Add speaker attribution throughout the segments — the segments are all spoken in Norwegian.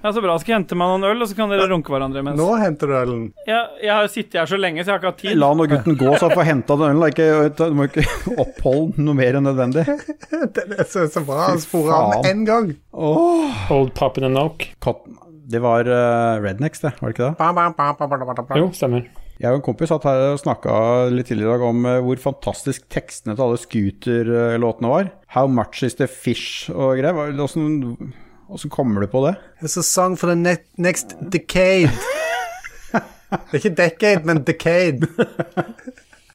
Speaker 1: Ja, så bra. Skal jeg hente meg noen øl, og så kan dere runke hverandre imens.
Speaker 2: Nå henter du ølen.
Speaker 1: Jeg, jeg har jo sittet her så lenge, så jeg har ikke hatt tid.
Speaker 3: La nå gutten gå, så han får henta den ølen. da. Ikke- Du må ikke oppholde den noe mer enn nødvendig.
Speaker 2: Den er så, så bra. Han sporer av
Speaker 3: faen.
Speaker 2: med en gang.
Speaker 4: Old Pop in an Oak.
Speaker 3: Cotton. Det var eh, Rednecks, det, var det ikke det?
Speaker 2: Ba, ba, ba, ba, ba, ba, ba, ba.
Speaker 4: Jo, stemmer.
Speaker 3: Jeg og en kompis satt her og snakka litt tidligere i dag om eh, hvor fantastisk tekstene til alle Scooter-låtene var. How much is the fish og greier. Hva- Åssen åssen kommer du på det?
Speaker 2: It's a song for the ne next decade. Det er ikke decade, men decade.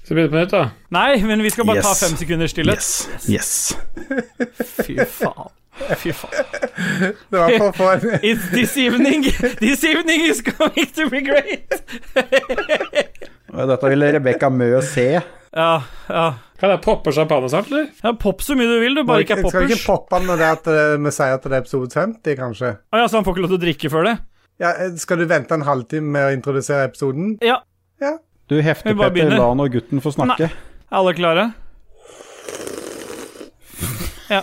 Speaker 4: Skal vi begynne på nytt, da?
Speaker 1: Nei, men vi skal bare ta
Speaker 3: Yes.
Speaker 1: fem sekunder stillhet.
Speaker 3: Yes.
Speaker 1: Fy faen. Fy faen.
Speaker 2: Det var for å få en
Speaker 1: It's this evening. This evening is going to be great.
Speaker 3: Og Dette ville Rebekka Mø se.
Speaker 1: Ja, ja.
Speaker 4: Kan jeg poppe champagne snart, eller?
Speaker 1: ja pop så mye du vil, du. Bare ikke er
Speaker 2: Skal vi
Speaker 1: poppers.
Speaker 2: ikke poppe den når det er at eh, vi sier at det er episode 50, kanskje?
Speaker 1: Å ja, så han får ikke lov til å drikke før det?
Speaker 2: Ja, eh, skal du vente en halvtime med å introdusere episoden?
Speaker 1: Ja.
Speaker 3: Du hefter,
Speaker 1: Vi bare
Speaker 3: Petter.
Speaker 1: begynner.
Speaker 3: La nå gutten få snakke.
Speaker 1: Er alle klare? Ja.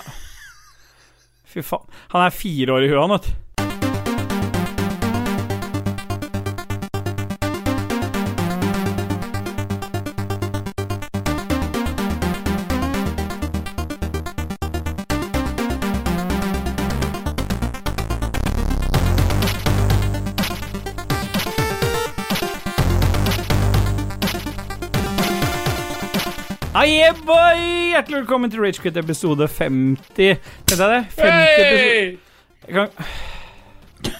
Speaker 1: Fy faen. Han er fire år i huet, han, vet du. Hei, yeah, boy! Hjertelig velkommen til Ragequit episode 50. Tenkte jeg det? 50 episode.
Speaker 4: Hey!
Speaker 1: Jeg, kan...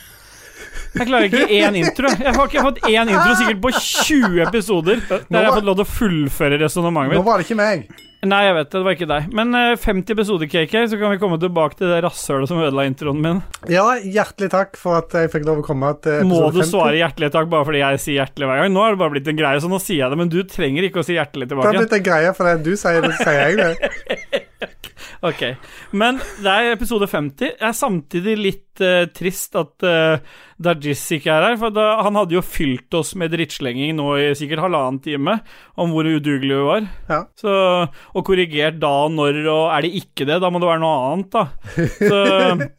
Speaker 1: jeg klarer ikke én intro. Jeg har ikke fått én intro sikkert på 20 episoder der jeg har fått lov til å fullføre resonnementet
Speaker 2: Nå
Speaker 1: mitt.
Speaker 2: var det ikke meg.
Speaker 1: Nei, jeg vet det. Det var ikke deg. Men eh, 50 episoder, KK, så kan vi komme tilbake til det rasshølet som ødela introen min.
Speaker 2: Ja, hjertelig takk for at jeg fikk lov å komme til episode 50.
Speaker 1: Må du svare hjertelig takk bare fordi jeg sier hjertelig hver gang? Nå er det bare blitt en greie, så nå sier jeg det, men du trenger ikke å si hjertelig
Speaker 2: Det har
Speaker 1: tilbake.
Speaker 2: blitt en greie, for det du sier det, så sier jeg det.
Speaker 1: Ok, Men det er episode 50. Jeg er samtidig litt eh, trist at uh, Dajis ikke er her. For da, han hadde jo fylt oss med drittslenging nå i sikkert halvannen time om hvor udugelige vi var.
Speaker 2: Ja.
Speaker 1: Så, og korrigert da og når, og er det ikke det, da må det være noe annet, da. Så,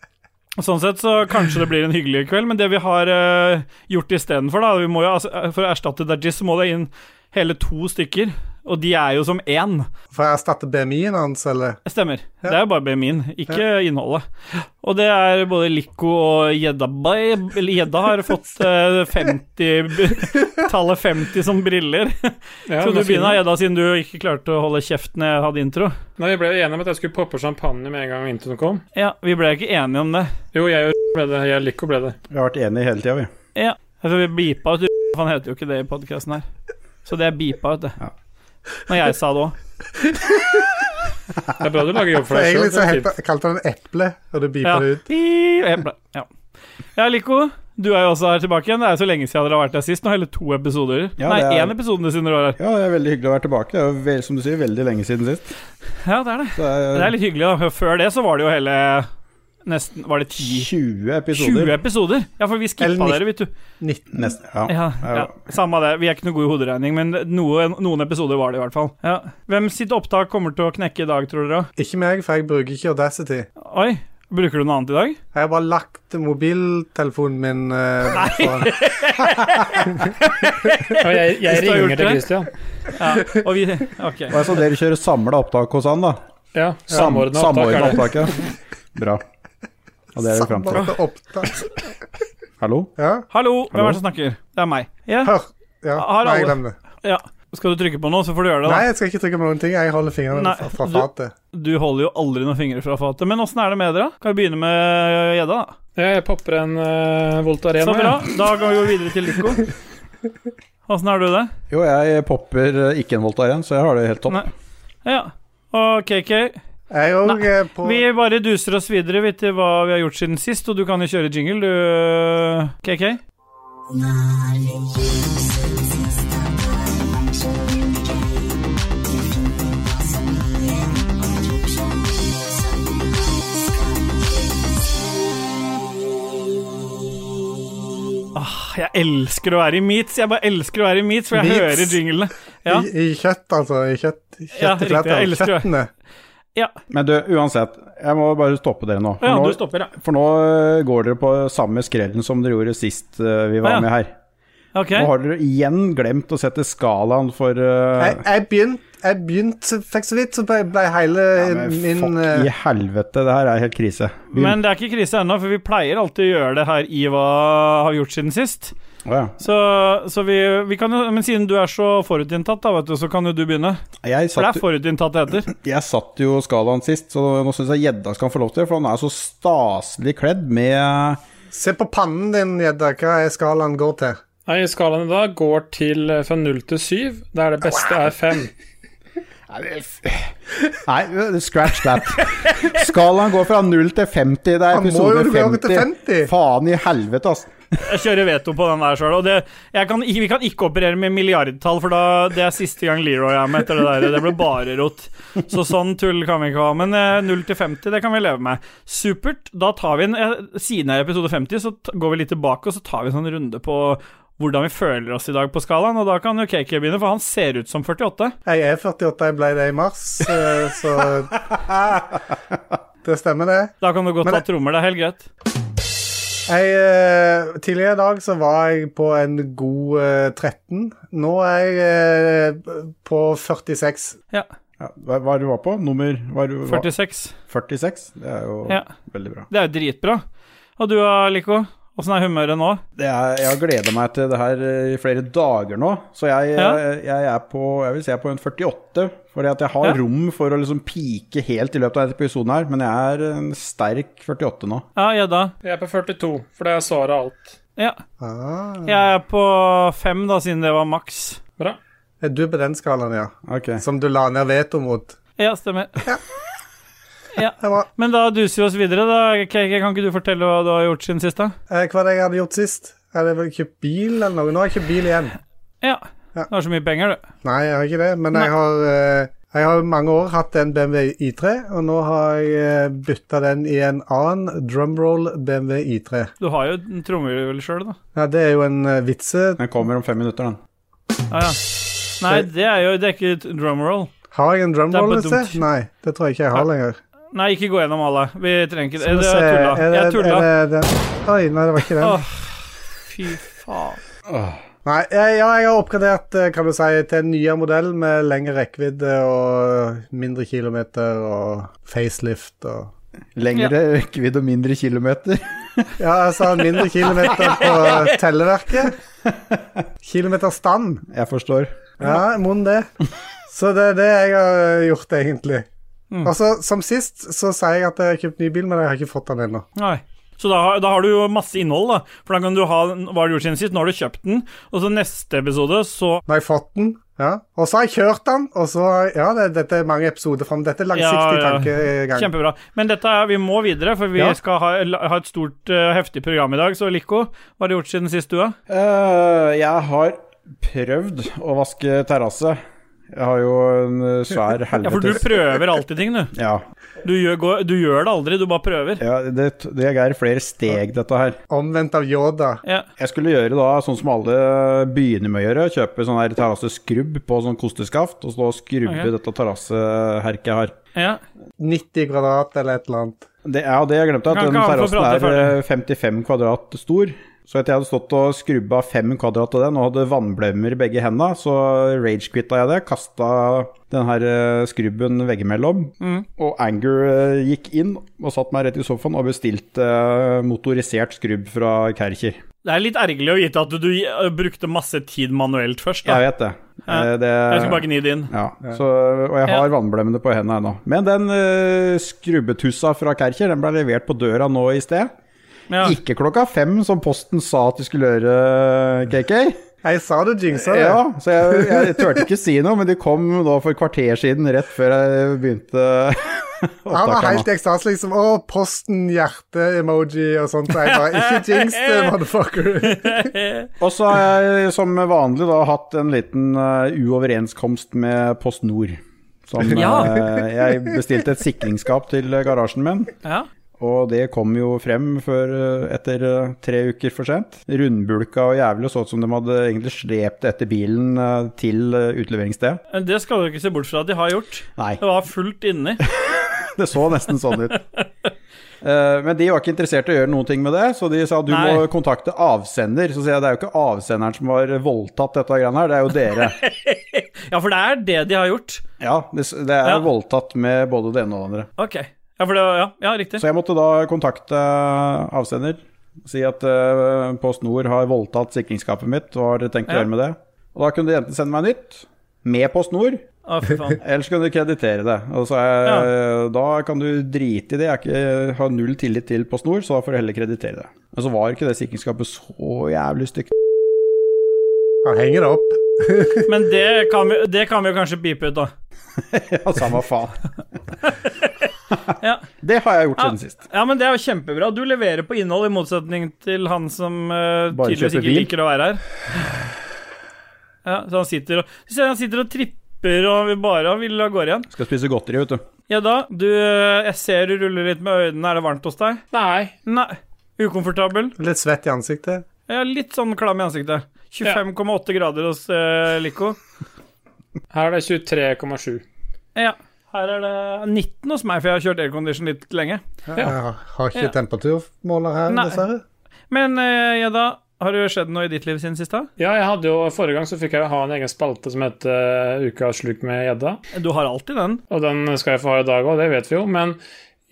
Speaker 1: sånn sett så kanskje det blir en hyggelig kveld, men det vi har eh, gjort istedenfor, da vi må jo, altså, eh, For å erstatte Dajis så må det inn hele to stykker, og de er jo som én.
Speaker 2: For jeg erstatter BMI-en hans, eller?
Speaker 1: Stemmer. Det er jo bare BMI-en, ikke innholdet. Og det er både Lico og Gjedda Bay- eller Gjedda har fått eh, 50 b- tallet 50 som briller.
Speaker 4: Ja,
Speaker 1: Skal
Speaker 4: men
Speaker 1: du
Speaker 4: fin.
Speaker 1: begynne, Gjedda, siden du ikke klarte å holde kjeft når jeg hadde intro?
Speaker 4: Nei, Vi ble jo enige om at jeg skulle poppe champagne med en gang introen kom.
Speaker 1: Ja, vi ble ikke enige om det.
Speaker 4: Jo, jeg og ble det. Jeg liker å ble det.
Speaker 3: Vi har vært enige hele tida, vi.
Speaker 1: Ja. Altså, vi beepa ut for Han heter jo ikke det i podkasten her. Så det er beepa ut,
Speaker 3: Ja.
Speaker 1: det. Når jeg sa det òg.
Speaker 4: Det er bra du lager jobb for
Speaker 2: For
Speaker 4: deg
Speaker 2: egentlig
Speaker 4: selv, det
Speaker 2: så
Speaker 4: er
Speaker 2: heter, jeg
Speaker 4: fint.
Speaker 2: sånn kalte den eple, og du
Speaker 1: Ja.
Speaker 2: beeper det ut.
Speaker 1: Beep. Jeg ble- ja. ja, Lico. Du er jo også her tilbake igjen. Det er jo så lenge siden dere har vært her sist. Nå hele to episoder.
Speaker 3: Ja,
Speaker 1: Nei,
Speaker 3: det er-
Speaker 1: én episode siden dere var her.
Speaker 3: Ja, det er veldig hyggelig å være tilbake. Det er jo vel, som du sier, veldig lenge siden sist.
Speaker 1: Ja, det er det.
Speaker 3: Det er,
Speaker 1: Det er litt hyggelig, da. Før det så var det jo hele Nesten Var det 10?
Speaker 3: 20 eh, episoder.
Speaker 1: 20 episoder? Ja, for vi skippa
Speaker 2: Eller nitt-
Speaker 1: dere, vet du.
Speaker 3: Nesten. Ja.
Speaker 1: Ja,
Speaker 3: Ja.
Speaker 1: ja, Samme det, vi er ikke noe gode i hoderegning, men noen, noen episoder var det i hvert fall. Ja. Hvem sitt opptak kommer til å knekke i dag, tror dere?
Speaker 2: Ikke meg, for jeg bruker ikke Audacity.
Speaker 1: Oi, bruker du noe annet i dag?
Speaker 2: Jeg har bare lagt mobiltelefonen min eh, foran.
Speaker 4: Ja, jeg jeg
Speaker 1: Hvis du har
Speaker 4: ringer
Speaker 1: gjort
Speaker 4: til
Speaker 1: det.
Speaker 4: Christian.
Speaker 1: Ja, og vi Ok.
Speaker 3: Og jeg så dere kjører samla opptak hos han, da.
Speaker 4: Ja,
Speaker 3: Sam,
Speaker 4: samordna opptak
Speaker 3: samordna
Speaker 4: er det.
Speaker 3: opptak, ja. Bra. Og det er vi fram til.
Speaker 2: Samlet opptak.
Speaker 3: Hallo?
Speaker 2: Ja,
Speaker 1: Hallo, hvem
Speaker 3: Hallo?
Speaker 1: er det som snakker? Det er meg. Ja,
Speaker 2: hør. Ja,
Speaker 1: Har
Speaker 2: nei,
Speaker 1: alle-
Speaker 2: glem det.
Speaker 1: ja. Skal du trykke på noe, så får du gjøre det.
Speaker 2: Nei,
Speaker 1: da
Speaker 2: jeg skal ikke trykke på noen ting. Jeg holder fingrene
Speaker 1: Nei,
Speaker 2: fra, fra
Speaker 1: du-
Speaker 2: fatet.
Speaker 1: Du holder jo aldri noen fingre fra fatet. Men åssen er det med dere? da? Kan vi begynne med gjedda? da?
Speaker 4: Ja, jeg popper en uh, Volt Arena.
Speaker 1: Så bra.
Speaker 4: jeg.
Speaker 1: Da går vi jo videre til Lico. Åssen har du det?
Speaker 3: Jo, jeg popper eh, ikke en Voltar igjen, så jeg har det helt topp.
Speaker 1: Nei. Ja. Og KK,
Speaker 2: Jeg òg
Speaker 1: Nei,
Speaker 2: eh, på
Speaker 1: vi bare duser oss videre vet du, hva vi har gjort siden sist, og du eh, kan jo kjøre jingle, du, KK. Ah, jeg elsker å være i meets. Jeg bare elsker å være i meets, for jeg
Speaker 2: Meets?
Speaker 1: hører jinglene. Ja.
Speaker 2: i, I kjøtt, altså. I kjøtt,
Speaker 1: Ja, riktig,
Speaker 2: kjøttefletter.
Speaker 1: jeg elsker det.
Speaker 2: kjøttene.
Speaker 1: Ja,
Speaker 3: Men du, uansett, jeg må bare stoppe dere nå. For,
Speaker 1: ja du
Speaker 3: nå,
Speaker 1: stopper, ja.
Speaker 3: for nå eh, går dere på samme skrellen som dere gjorde sist eh, vi var
Speaker 1: Ja.
Speaker 3: med her.
Speaker 1: Ok.
Speaker 3: Nå har dere igjen glemt å sette skalaen for eh,
Speaker 2: Jeg, jeg begynte jeg begynte, fikk så vidt, så ble, ble hele
Speaker 3: men
Speaker 2: min
Speaker 3: Fuck
Speaker 2: eh,
Speaker 3: i helvete, det her er helt krise. Vi-
Speaker 1: Men det er ikke krise ennå, for vi pleier alltid å gjøre det her i hva har vi gjort siden sist.
Speaker 3: Å ja.
Speaker 1: Så, så vi, vi kan jo Men siden du er så forutinntatt, da, vet du, så kan jo du begynne.
Speaker 3: jeg,
Speaker 1: For det
Speaker 3: satt,
Speaker 1: er forutinntatt det heter.
Speaker 3: jeg satt jo skalaen sist, så nå syns jeg gjedda skal få lov til det, for han er så staselig kledd med
Speaker 2: Se på pannen din, gjedda, hva er skalaen går til?
Speaker 4: Nei, skalaen i dag går til eh, fra null til syv, der det beste er fem.
Speaker 3: Nei, scratch that. Skalaen går fra 0 til 50. Det er
Speaker 2: Han må
Speaker 3: episode
Speaker 2: jo gå over
Speaker 3: 50.
Speaker 2: til 50.
Speaker 3: Faen i helvete, ass.
Speaker 1: Jeg kjører veto på den der sjøl. Og det, jeg kan, ikke- vi kan ikke operere med milliardtall, for da, det er siste gang Leroy er med etter det der. Det ble bare rot. Så sånn tull kan vi ikke ha. Men eh, 0 til 50, det kan vi leve med. Supert. Da tar vi en eh, Siden det er episode 50, så t- går vi litt tilbake, og så tar vi en sånn runde på hvordan vi føler oss i dag på skalaen. Og da kan jo KK begynne, for han ser ut som 48.
Speaker 2: Jeg er 48, jeg ble det i mars, eh, så Det stemmer, det.
Speaker 1: Da kan du godt
Speaker 2: Men
Speaker 1: ta
Speaker 2: det-
Speaker 1: trommer, det er helt greit.
Speaker 2: Jeg, eh, tidligere i dag så var jeg på en god eh, 13. Nå er jeg eh, på 46.
Speaker 1: Ja.
Speaker 3: Ja, hva hva er det du var på? Nummer hva er det du var?
Speaker 1: 46.
Speaker 3: 46? Det er jo
Speaker 1: Ja.
Speaker 3: veldig bra.
Speaker 1: Det er jo dritbra. Og du da, Lico? Åssen er humøret nå?
Speaker 3: Det er, jeg har gleda meg til det her eh, i flere dager nå, så jeg,
Speaker 1: Ja.
Speaker 3: jeg, jeg er på jeg vil si jeg er på en 48. Fordi at jeg har
Speaker 1: Ja.
Speaker 3: rom for å liksom pike helt i løpet av denne episoden her, men jeg er en sterk 48 nå.
Speaker 1: Ja, gjedda.
Speaker 4: Jeg er på 42, for det er svaret alt.
Speaker 1: Ja.
Speaker 2: Ah.
Speaker 1: Jeg er på fem, da, siden det var maks.
Speaker 4: Bra.
Speaker 2: Er du på den skalaen, ja?
Speaker 3: Ok.
Speaker 2: Som du la ned veto mot?
Speaker 1: Ja, stemmer.
Speaker 2: Det var
Speaker 1: Men da duser vi oss videre, da. KK, kan ikke du fortelle hva du har gjort siden sist, da?
Speaker 2: eh, hva var det jeg hadde gjort sist. Jeg hadde vel kjøpt bil eller noe. Nå har jeg ikke bil igjen.
Speaker 1: Ja.
Speaker 2: Ja.
Speaker 1: Du har så mye penger, du.
Speaker 2: Nei, jeg har ikke det, men
Speaker 1: Nei.
Speaker 2: jeg har eh, jeg har i mange år hatt en BMW I3, og nå har jeg bytta den i en annen drumroll BMW I3.
Speaker 1: Du har jo en trommevirvel sjøl, da.
Speaker 2: Ja, det er jo en eh, vitse.
Speaker 3: Den kommer om fem minutter, den.
Speaker 1: Ja, ja. Nei, det er jo det er ikke et drum roll.
Speaker 2: Har jeg en drumroll?
Speaker 1: Det er bare dumt.
Speaker 2: Lasse? Nei, det tror jeg ikke jeg har lenger.
Speaker 1: Nei, ikke gå gjennom alle. Vi trenger ikke det.
Speaker 2: Skal
Speaker 1: Det
Speaker 2: vi se,
Speaker 1: er tulla.
Speaker 2: er det-
Speaker 1: Jeg tulla. Ah.
Speaker 2: er det den? Oi, nei, det var ikke den.
Speaker 1: Åh, fy faen.
Speaker 3: Åh.
Speaker 2: Nei, jeg, ja, jeg har oppgradert eh, kan du si, til en nyere modell med lengre rekkevidde og mindre kilometer og facelift og
Speaker 3: Lengre rekkevidde og mindre kilometer.
Speaker 2: Ja, altså mindre kilometer på eh, telleverket. Kilometerstand.
Speaker 3: Jeg forstår.
Speaker 2: Ja, mon det. Så det er det jeg har gjort, egentlig.
Speaker 1: Mm.
Speaker 2: Og så, som sist, så sier jeg at jeg har kjøpt ny bil, men jeg har ikke fått den ennå.
Speaker 1: Nei. Så da, har- da har du jo masse innhold, da. For da kan du ha Hva har du gjort siden sist? Nå har du kjøpt den, og så neste episode, så
Speaker 2: Nå har jeg fått den, ja. Og så har jeg kjørt den, og så har jeg- Ja, det, dette er mange episoder fram. Dette er langsiktig
Speaker 1: Ja, ja.
Speaker 2: tankegang.
Speaker 1: Kjempebra. Men dette er, vi må videre, for vi
Speaker 2: Ja.
Speaker 1: skal ha, la- ha et stort, eh, heftig program i dag. Så Lico, hva har du gjort siden sist du, da?
Speaker 3: Eh, jeg har prøvd å vaske terrasse. Jeg har jo en eh, svær
Speaker 1: Ja, for du
Speaker 3: helvetes
Speaker 1: prøver alltid ting, du.
Speaker 3: ja,
Speaker 1: Du gjør, går, du gjør det aldri, du bare prøver.
Speaker 3: ja, det, det er flere steg, dette her.
Speaker 2: Omvendt av Yoda.
Speaker 1: Ja.
Speaker 3: Jeg skulle gjøre da sånn som alle begynner med å gjøre, kjøpe sånn her terrasseskrubb på sånn kosteskaft, og så skrubbe
Speaker 1: Ok.
Speaker 3: dette terrasseherket jeg har.
Speaker 1: ja.
Speaker 2: 90 kvadrat eller et eller annet.
Speaker 3: Det er jo det jeg glemte, at
Speaker 1: Kan
Speaker 3: den
Speaker 1: ikke han få
Speaker 3: terrassen
Speaker 1: prate
Speaker 3: er eh, 55 kvadrat stor. Så etter jeg hadde stått og skrubba fem kvadrat av den og hadde vannblemmer i begge henda, så ragequitta jeg det. Kasta den her eh, skrubben veggimellom.
Speaker 1: Mm.
Speaker 3: Og anger eh, gikk inn og satt meg rett i sofaen og bestilte eh, motorisert skrubb fra Kercher.
Speaker 1: Det er litt ergerlig å vite at du, du eh, brukte masse tid manuelt først.
Speaker 3: Jeg
Speaker 1: Da.
Speaker 3: vet det.
Speaker 1: Ja.
Speaker 3: Eh, det
Speaker 1: Jeg skal bare gni det inn.
Speaker 3: ja, så, og jeg har vannblemmene på hendene ennå. Men den eh, skrubbetussa fra Kercher den ble levert på døra nå i sted.
Speaker 1: Ja.
Speaker 3: Ikke klokka fem, som Posten sa at de skulle gjøre, KK.
Speaker 2: Jeg sa du jinxa det.
Speaker 3: Ja, så jeg, jeg turte ikke si noe, men de kom da for et kvarter siden, rett før jeg begynte
Speaker 2: Han var
Speaker 3: opptaket.
Speaker 2: helt i ekstase, liksom. Å, posten, hjerte-emoji og sånt. Så jeg bare Ikke jinx det, motherfucker.
Speaker 3: nå. Og så har jeg som vanlig da hatt en liten eh, uoverenskomst med Post Nord. Som
Speaker 1: Ja.
Speaker 3: eh, jeg bestilte et sikringsskap til garasjen min.
Speaker 1: Ja.
Speaker 3: Og det kom jo frem før, eh, etter eh, tre uker for sent. Rundbulka og jævlig og så ut som de hadde egentlig slept etter bilen eh, til eh, utleveringsstedet.
Speaker 1: Det skal du ikke se bort fra at de har gjort.
Speaker 3: Nei.
Speaker 1: Det var fullt inni.
Speaker 3: Det så nesten sånn ut. Eh, Men de var ikke interessert i å gjøre noen ting med det, så de sa du
Speaker 1: Nei.
Speaker 3: må kontakte avsender. Så sier jeg det er jo ikke avsenderen som har voldtatt dette greiene her, det er jo dere.
Speaker 1: Ja, for det er det de har gjort.
Speaker 3: Ja, det, s- det er
Speaker 1: Ja.
Speaker 3: voldtatt med både det ene og det andre.
Speaker 1: Ok. Ja, for det, ja, ja riktig.
Speaker 3: Så jeg måtte da kontakte eh, avsender, si at eh, Post Nord har voldtatt sikringsskapet mitt, hva har dere tenkt å
Speaker 1: Ja.
Speaker 3: gjøre med det? Og da kunne de enten sende meg nytt, med Post Nord,
Speaker 1: Å, fy faen.
Speaker 3: eller så kunne de kreditere det. Og så sa jeg eh, da kan du drite i det, jeg er ikke, jeg har null tillit til Post Nord, så da får du heller kreditere det. Men så var ikke det sikringsskapet så jævlig stygt.
Speaker 2: Han henger det opp.
Speaker 1: Men det kan, vi, det kan vi jo kanskje pipe ut, da.
Speaker 3: Ja, samme faen.
Speaker 1: Ja.
Speaker 3: Det har jeg gjort siden sist.
Speaker 1: ja, men det er jo kjempebra. Du leverer på innhold, i motsetning til han som eh,
Speaker 3: Bare
Speaker 1: tydeligvis
Speaker 3: kjøper
Speaker 1: ikke
Speaker 3: bil.
Speaker 1: liker å være her. Ja, så han sitter og, så han sitter og tripper og vil bare han vil av gårde igjen.
Speaker 3: Skal spise godteri, vet du.
Speaker 1: Ja da, du eh, Jeg ser du ruller litt med øynene. Er det varmt hos deg?
Speaker 4: Nei.
Speaker 1: Nei. Ukomfortabel?
Speaker 2: Litt svett i ansiktet.
Speaker 1: Jeg er litt sånn klam i ansiktet. 25,8 grader hos eh, Lico.
Speaker 4: Her er det 23,7.
Speaker 1: Ja. Her er det 19 hos meg, for jeg har kjørt aircondition litt lenge.
Speaker 2: Jeg har ikke
Speaker 1: Ja.
Speaker 2: temperaturmåler her,
Speaker 1: Nei.
Speaker 2: dessverre.
Speaker 1: Men eh, ja da, har det skjedd noe i ditt liv siden sist? da?
Speaker 4: Ja, jeg hadde jo, Forrige gang så fikk jeg jo ha en egen spalte som het eh, Uka sluk med gjedda.
Speaker 1: Du har alltid den.
Speaker 4: Og den skal jeg få ha i dag òg, det vet vi jo. Men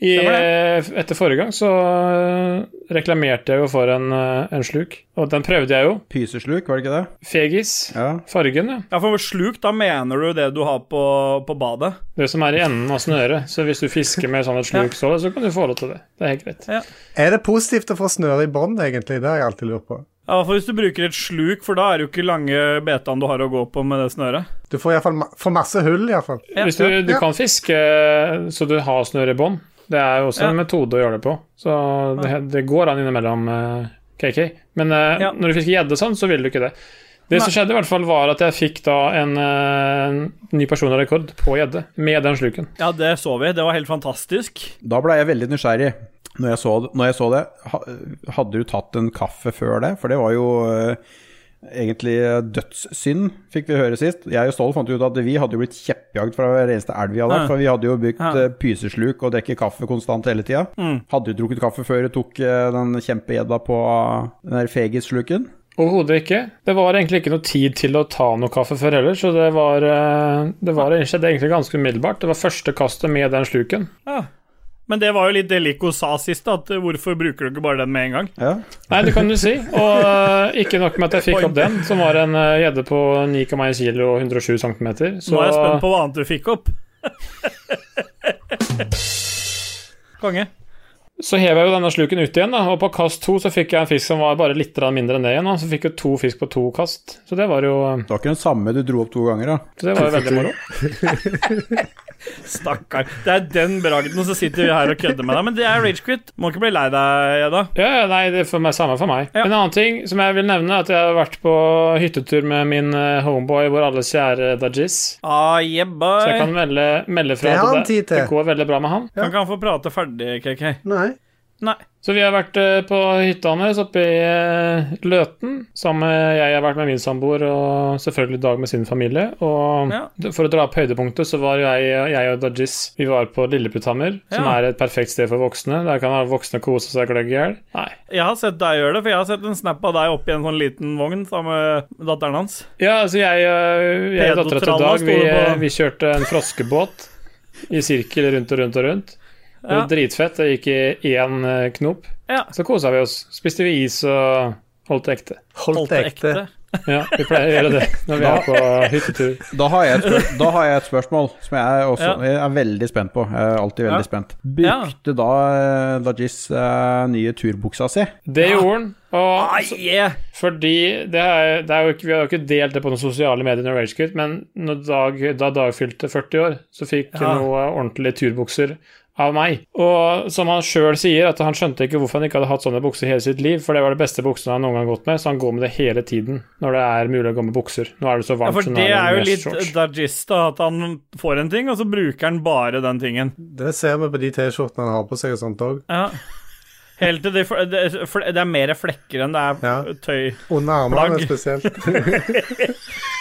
Speaker 4: i,
Speaker 1: Stemmer
Speaker 4: etter forrige gang så eh, reklamerte jeg jo for en, eh, en sluk. Og den prøvde jeg jo.
Speaker 3: Pysesluk, var det ikke det?
Speaker 4: Fegis.
Speaker 3: Ja.
Speaker 4: Fargen, ja.
Speaker 1: Ja, for sluk, da mener du det du har på, på badet?
Speaker 4: Det som er i enden av snøret. Så hvis du fisker med sånn et slukstål, så kan du få lov til det. Det er helt greit.
Speaker 2: Er det positivt å få snøre i bånd, egentlig? Det har jeg alltid lurt på.
Speaker 1: Ja, for hvis du bruker et sluk, for da er det jo ikke lange betaen du har å gå på med det snøret.
Speaker 2: Du får, i hvert fall ma får masse hull, iallfall.
Speaker 1: Ja,
Speaker 4: Hvis du, du
Speaker 2: ja.
Speaker 4: kan fiske eh, så du har snøre i bånd, det er jo også en metode å gjøre det på. Så det, det går an innimellom eh, KK. Men eh,
Speaker 1: Ja.
Speaker 4: når du fisker gjedde sånn, så vil du ikke det. Det som
Speaker 1: Nei.
Speaker 4: skjedde, i hvert fall var at jeg fikk da en, eh, en ny personrekord på gjedde med den sluken.
Speaker 1: Ja, det så vi. Det var helt fantastisk.
Speaker 3: Da ble jeg veldig nysgjerrig når jeg så, når jeg så det. ha- Hadde du tatt en kaffe før det? For det var jo eh, egentlig dødssynd, fikk vi høre sist. Jeg og Stål fant ut at vi hadde jo blitt kjeppjagd fra hver eneste elv vi hadde vært.
Speaker 1: Ja.
Speaker 3: For vi hadde jo bygd
Speaker 1: Ja. Mm.
Speaker 3: eh, pysesluk og drikke kaffe konstant hele tida. Hadde jo drukket kaffe før du tok eh, den kjempegjedda på den der fegisluken.
Speaker 4: Overhodet ikke. Det var egentlig ikke noe tid til å ta noe kaffe før heller, så det var, eh, det var det skjedde egentlig ganske umiddelbart. Det var første kastet med den sluken.
Speaker 1: Ja. Men det var jo litt det Lico sa sist, at eh, hvorfor bruker du ikke bare den med en gang?
Speaker 3: Ja.
Speaker 4: Nei, det kan du si. Og eh, ikke nok med at jeg fikk opp den, som var en eh, gjedde på 9,1 kilo og 107 cm. Så
Speaker 1: Nå er jeg spent på hva annet du fikk opp. Konge.
Speaker 4: så hev jeg jo denne sluken ut igjen, da, og på kast to så fikk jeg en fisk som var bare litt grann mindre enn det igjen. da. Så fikk jeg to fisk på to kast. Så det var jo
Speaker 3: Det var ikke den samme du dro opp to ganger, da.
Speaker 4: så det var jo veldig moro.
Speaker 1: Stakkar. Det er den bragden, og så sitter vi her og kødder med deg. Men det er ragequit. Må ikke bli lei deg, Edda.
Speaker 4: Ja, ja, nei, det er for meg, samme for meg.
Speaker 1: Ja.
Speaker 4: En annen ting som jeg vil nevne, er at jeg har vært på hyttetur med min eh, homeboy, vår alles kjære Dajis.
Speaker 1: Ah, yeah, boy.
Speaker 4: Så jeg kan melde, melde fra
Speaker 2: Det har
Speaker 4: at
Speaker 2: han tid til.
Speaker 4: det går veldig bra med han.
Speaker 1: Kan ikke han få prate ferdig, KK?
Speaker 2: Nei.
Speaker 1: Nei.
Speaker 4: Så vi har vært eh, på hytta hans oppe i eh, Løten, sammen med jeg har vært med min samboer, og selvfølgelig Dag med sin familie. Og
Speaker 1: Ja.
Speaker 4: d- for å dra opp høydepunktet, så var jo jeg, jeg og Dajis Vi var på Lilleputthammer, som
Speaker 1: Ja.
Speaker 4: er et perfekt sted for voksne. Der kan alle voksne kose seg gløgg i hjel. Nei.
Speaker 1: Jeg har sett deg gjøre det, for jeg har sett en snap av deg oppi en sånn liten vogn sammen med datteren hans.
Speaker 4: Ja, altså jeg, eh, jeg og dattera
Speaker 1: Pedotralla
Speaker 4: til Dag,
Speaker 1: sto
Speaker 4: vi,
Speaker 1: det på.
Speaker 4: eh, vi kjørte en froskebåt i sirkel rundt og rundt og rundt. Det var
Speaker 1: Ja.
Speaker 4: dritfett. Det gikk i én eh, knop.
Speaker 1: Ja.
Speaker 4: Så kosa vi oss. Spiste vi is og holdt det ekte.
Speaker 2: Holdt det ekte.
Speaker 4: Ja, vi pleier å gjøre det når vi er på hyttetur.
Speaker 3: Da har, jeg et spør- da har jeg et spørsmål som jeg, også,
Speaker 1: Ja.
Speaker 3: jeg er veldig spent på. Jeg er alltid veldig
Speaker 1: Ja.
Speaker 3: spent.
Speaker 1: Ja.
Speaker 3: Brukte da eh, Dajis eh, nye turbuksa si?
Speaker 4: Det gjorde han.
Speaker 1: Ah,
Speaker 4: Og
Speaker 1: yeah.
Speaker 4: fordi det er, det er jo ikke, Vi har jo ikke delt det på noen sosiale medier, når Rage Quit, men når Dag, da Dag fylte 40 år, så fikk
Speaker 1: Ja.
Speaker 4: han noe ordentlige turbukser av meg. Og som han sjøl sier, at han skjønte ikke hvorfor han ikke hadde hatt sånne bukser hele sitt liv, for det var det beste buksene han noen gang har gått med, så han går med det hele tiden når det er mulig å gå med bukser. Nå er det så
Speaker 1: Ja,
Speaker 4: varmt
Speaker 1: for
Speaker 4: som
Speaker 1: det er jo
Speaker 4: i
Speaker 1: litt
Speaker 4: dress-shorts.
Speaker 1: Dajis, da, at han får en ting, og så bruker han bare den tingen.
Speaker 2: Det ser vi på de T-skjortene han har på seg og sånt òg.
Speaker 1: Ja. Helt til de, fl- det, er fl- det er mer flekker enn det er
Speaker 2: Ja.
Speaker 1: tøy.
Speaker 2: Under armene
Speaker 1: Plagg.
Speaker 2: spesielt.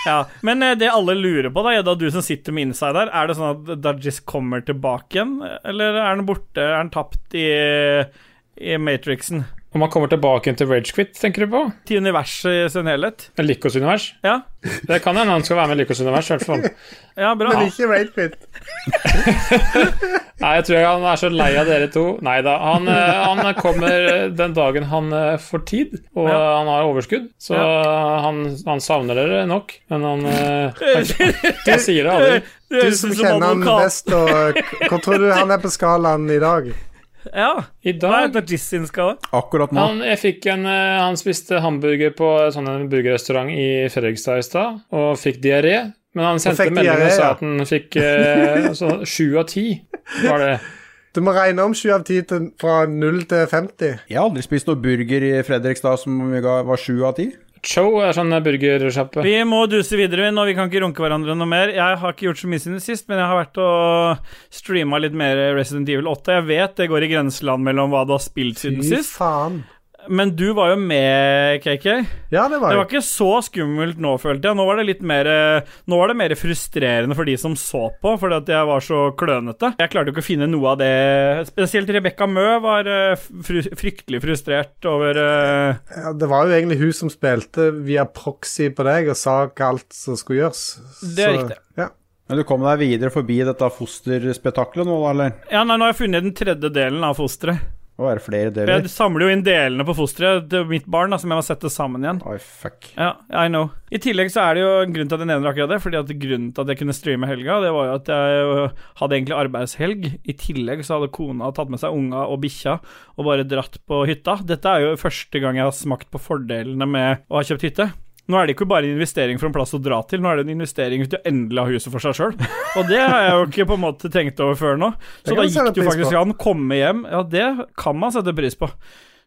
Speaker 1: Ja. Men eh, det alle lurer på, da, Gjedda, du som sitter med inside her, er det sånn at Dudgies kommer tilbake igjen, eller er han borte? Er han tapt i, i Matrixen?
Speaker 4: Om han kommer tilbake igjen til Ragequit, tenker du på?
Speaker 1: Til universet i sin helhet?
Speaker 4: Lykkos univers?
Speaker 1: Ja,
Speaker 4: Det kan hende han skal være med i Lykkos univers, i hvert fall.
Speaker 1: ja bra.
Speaker 2: Men ikke raid quit.
Speaker 4: Nei, jeg tror han er så lei av dere to. Nei da. Han, eh, han kommer eh, den dagen han eh, får tid, og
Speaker 1: Ja.
Speaker 4: eh, han har overskudd. Så eh, han, han savner dere nok, men han eh, han- Jeg sier det aldri.
Speaker 1: Du
Speaker 2: Du som kjenner han best, og k- hvor tror du han er på skalaen i dag?
Speaker 1: Ja.
Speaker 4: I
Speaker 1: Hva er
Speaker 4: dag
Speaker 1: Dudgies sin skala?
Speaker 3: Akkurat nå.
Speaker 4: han, jeg fikk en, eh, han spiste hamburger på sånn en burgerrestaurant i Fredrikstad i stad, og fikk diaré. Men han sendte
Speaker 2: fikk
Speaker 4: melding
Speaker 2: diaré,
Speaker 4: og sa
Speaker 2: ja.
Speaker 4: at han fikk eh, altså, sju av ti. Var det.
Speaker 2: Du må regne om 7 av 10 til, fra 0 til 50.
Speaker 3: Jeg har aldri spist noe burger i Fredrikstad som ga- var sju av ti.
Speaker 4: Cho er sånn burgersjappe.
Speaker 1: Vi må duse videre, vi, nå. Vi kan ikke runke hverandre noe mer. Jeg har ikke gjort så mye siden sist, men jeg har vært og streama litt mer Resident Evil 8. Jeg vet det går i grenseland mellom hva du har spilt siden
Speaker 2: Fy
Speaker 1: sist,
Speaker 2: faen.
Speaker 1: men du var jo med, KK.
Speaker 2: Ja, det var
Speaker 1: Det
Speaker 2: jo
Speaker 1: var ikke så skummelt nå, følte jeg. Nå var det litt mer, nå var det mer frustrerende for de som så på, fordi at jeg var så klønete. Jeg klarte jo ikke å finne noe av det Spesielt Rebekka Mø var eh, fru, fryktelig frustrert over eh,
Speaker 2: ja, Det var jo egentlig hun som spilte via proxy på deg og sa hva alt som skulle gjøres.
Speaker 1: Det er
Speaker 2: Så-
Speaker 1: riktig.
Speaker 2: Ja.
Speaker 3: Men du kom deg videre forbi dette fosterspetakkelet nå, da, eller?
Speaker 1: Ja, nei, nå har jeg funnet den tredje delen av fosteret.
Speaker 3: Å være flere
Speaker 1: For
Speaker 3: deler?
Speaker 1: Jeg samler jo inn delene på fosteret til mitt barn, da, som jeg må sette sammen igjen.
Speaker 3: Oi, fuck.
Speaker 1: Ja, I know. I tillegg så er det jo en grunn til at jeg nevner akkurat det. Fordi at grunnen til at jeg kunne streame helga, det var jo at jeg ø, hadde egentlig arbeidshelg. I tillegg så hadde kona tatt med seg unga og bikkja og bare dratt på hytta. Dette er jo første gang jeg har smakt på fordelene med å ha kjøpt hytte. Nå er det ikke bare en investering for en plass å dra til, nå er det en investering til å endelig ha huset for seg sjøl. Og det har jeg jo ikke på en måte tenkt over før nå. Så
Speaker 2: Det kan
Speaker 1: da
Speaker 2: man sette
Speaker 1: gikk det jo
Speaker 2: pris på.
Speaker 1: faktisk an å komme hjem. Ja, det kan man sette pris på.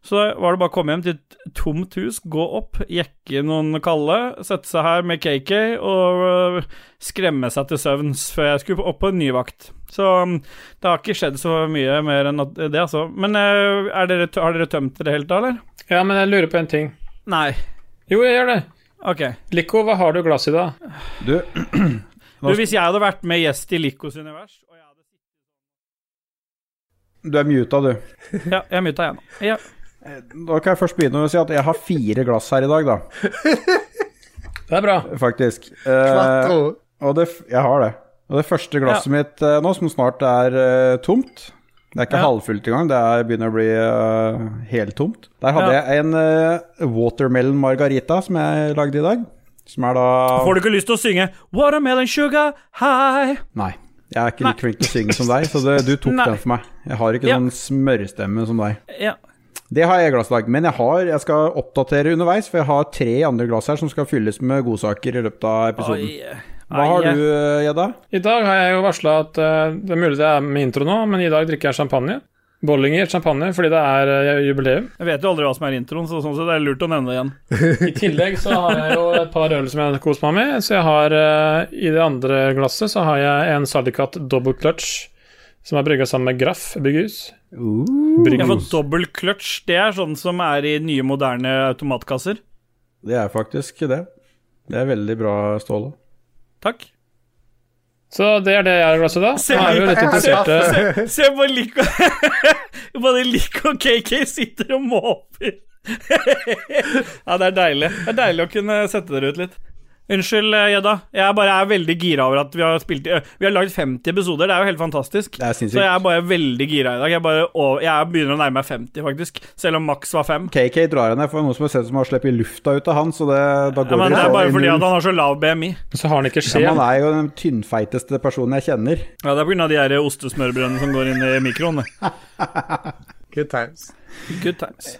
Speaker 1: Så var det bare å komme hjem til et tomt hus, gå opp, jekke noen kalde, sette seg her med KK og øh, skremme seg til søvns før jeg skulle opp på en ny vakt. Så um, det har ikke skjedd så mye mer enn at det, altså. Men øh, er dere, tø- har dere tømt det helt, da, eller?
Speaker 4: Ja, men jeg lurer på en ting.
Speaker 1: Nei.
Speaker 4: Jo, jeg gjør det.
Speaker 1: Ok.
Speaker 4: Lico, hva har du i glasset i dag?
Speaker 3: Du,
Speaker 1: Du, hvis jeg hadde vært med gjest i Likos univers og jeg hadde...
Speaker 3: du er muta, du.
Speaker 1: Ja, jeg er muta igjen. Ja.
Speaker 3: Da kan jeg først begynne med å si at jeg har fire glass her i dag, da.
Speaker 4: Det er bra.
Speaker 3: Faktisk. Eh,
Speaker 2: Quattro.
Speaker 3: og det, f- jeg har det. Og det første glasset mitt eh, nå, som snart er eh, tomt Det er ikke
Speaker 1: Ja.
Speaker 3: halvfullt engang, det er, begynner å bli eh, heltomt. Der hadde
Speaker 1: Ja.
Speaker 3: jeg en eh, watermelon margarita som jeg lagde i dag. Som er da
Speaker 1: Får du ikke lyst til å synge 'Watermelon Sugar High'?
Speaker 3: Nei. Jeg er ikke like flink til å synge som deg, så det, du tok
Speaker 1: Nei.
Speaker 3: den for meg. Jeg har ikke
Speaker 1: Ja.
Speaker 3: sånn smørstemme som deg.
Speaker 1: Ja.
Speaker 3: Det har jeg i glasslag, men jeg, har, jeg skal oppdatere underveis, for jeg har tre andre glass her som skal fylles med godsaker i løpet av episoden.
Speaker 1: Oi.
Speaker 3: sånn. Hva har du, eh, Gjedda?
Speaker 4: I dag har jeg jo varsla at eh, det er mulig det er med intro nå, men i dag drikker jeg champagne. Bollinger champagne fordi det er eh, jubileum.
Speaker 1: Jeg vet jo aldri hva som er introen, så sånn sett er det lurt å nevne det igjen.
Speaker 4: I tillegg så har jeg jo et par øl som jeg har kost meg med. Så jeg har eh, i det andre glasset så har jeg en Sardicat double clutch som er brygga sammen med Graff brygghus.
Speaker 1: Jeg får
Speaker 4: Brygghus.
Speaker 1: dobbel clutch. Det er sånn som er i nye, moderne automatkasser.
Speaker 3: Det er faktisk det. Det er veldig bra, Ståle.
Speaker 1: Takk.
Speaker 4: Så det er det jeg har i glasset da.
Speaker 1: Se
Speaker 4: Nå er jo
Speaker 1: meg.
Speaker 4: litt eh, interesserte
Speaker 1: Se, se på Lico Både Lico og KK sitter og måper. ja, det er deilig. Det er deilig å kunne sette dere ut litt. Unnskyld, eh, Gjedda. Jeg bare er veldig gira over at vi har spilt i- Vi har lagd 50 episoder, det er jo helt fantastisk.
Speaker 3: Det er
Speaker 1: Så jeg
Speaker 3: sinnssykt.
Speaker 1: er bare veldig gira i dag. Jeg, bare, over- jeg begynner å nærme meg 50, faktisk. Selv om maks var 5.
Speaker 3: KK drar henne for noen som har sett som har sluppet lufta ut av han, så det, da
Speaker 1: Ja,
Speaker 3: går
Speaker 1: men det
Speaker 3: det
Speaker 1: er
Speaker 3: så
Speaker 1: bare
Speaker 3: i
Speaker 1: fordi at
Speaker 3: null.
Speaker 1: han har så lav BMI.
Speaker 4: Så har han ikke
Speaker 3: Ja,
Speaker 4: skje.
Speaker 3: man er jo den tynnfeiteste personen jeg kjenner.
Speaker 1: Ja, det er pga. de her ostesmørbrødene som går inn i mikroen. det.
Speaker 2: Good times.
Speaker 1: Good times.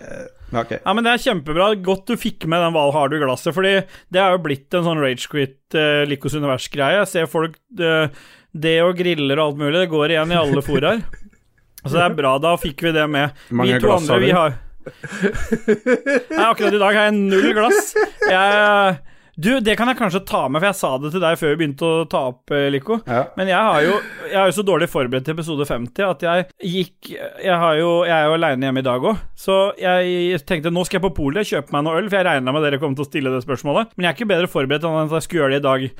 Speaker 3: Ja, ok.
Speaker 1: Ja, men Det er kjempebra. Godt du fikk med den Hva har du-glasset, Fordi det er jo blitt en sånn ragequit uh, Likos univers-greie. Jeg ser folk eh, Det og griller og alt mulig, det går igjen i alle foraer. Så det er bra, da fikk vi det med.
Speaker 3: Mange
Speaker 1: vi to
Speaker 3: glass
Speaker 1: andre,
Speaker 3: har
Speaker 1: vi
Speaker 3: du?
Speaker 1: har Nei, akkurat i dag har jeg null glass. Jeg Du, det kan jeg kanskje ta med, for jeg sa det til deg før vi begynte å ta opp, eh, Lico.
Speaker 3: Ja.
Speaker 1: Men jeg, har jo, jeg er jo så dårlig forberedt til episode 50 at jeg gikk Jeg, har jo, jeg er jo aleine hjemme i dag òg, så jeg tenkte nå skal jeg på polet, kjøpe meg noe øl, for jeg regna med dere kom til å stille det spørsmålet. Men jeg er ikke bedre forberedt enn at jeg skulle gjøre det i dag.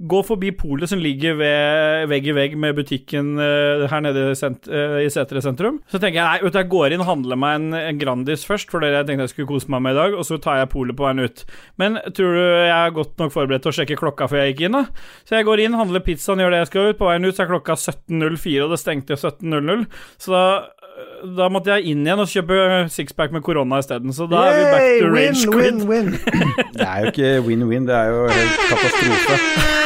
Speaker 1: Gå forbi polet som ligger ved, vegg i vegg med butikken eh, her nede i sent, eh, i Setre sentrum. Så tenker jeg nei, vet du, jeg går inn og handler meg en, en Grandis først, for det jeg tenkte jeg skulle kose meg med i dag, og så tar jeg polet på veien ut. Men tror du jeg er godt nok forberedt til å sjekke klokka før jeg gikk inn, da? Så jeg går inn, handler pizzaen, gjør det jeg skal ut. På veien ut så er klokka 17.04, og det stengte 17.00. Så da, da måtte jeg inn igjen og kjøpe sixpack med korona isteden. Så da er vi back
Speaker 2: Yay,
Speaker 1: to rage
Speaker 2: win,
Speaker 1: quit.
Speaker 2: win, win.
Speaker 3: Det er jo ikke win-win, det er jo helt katastrofe.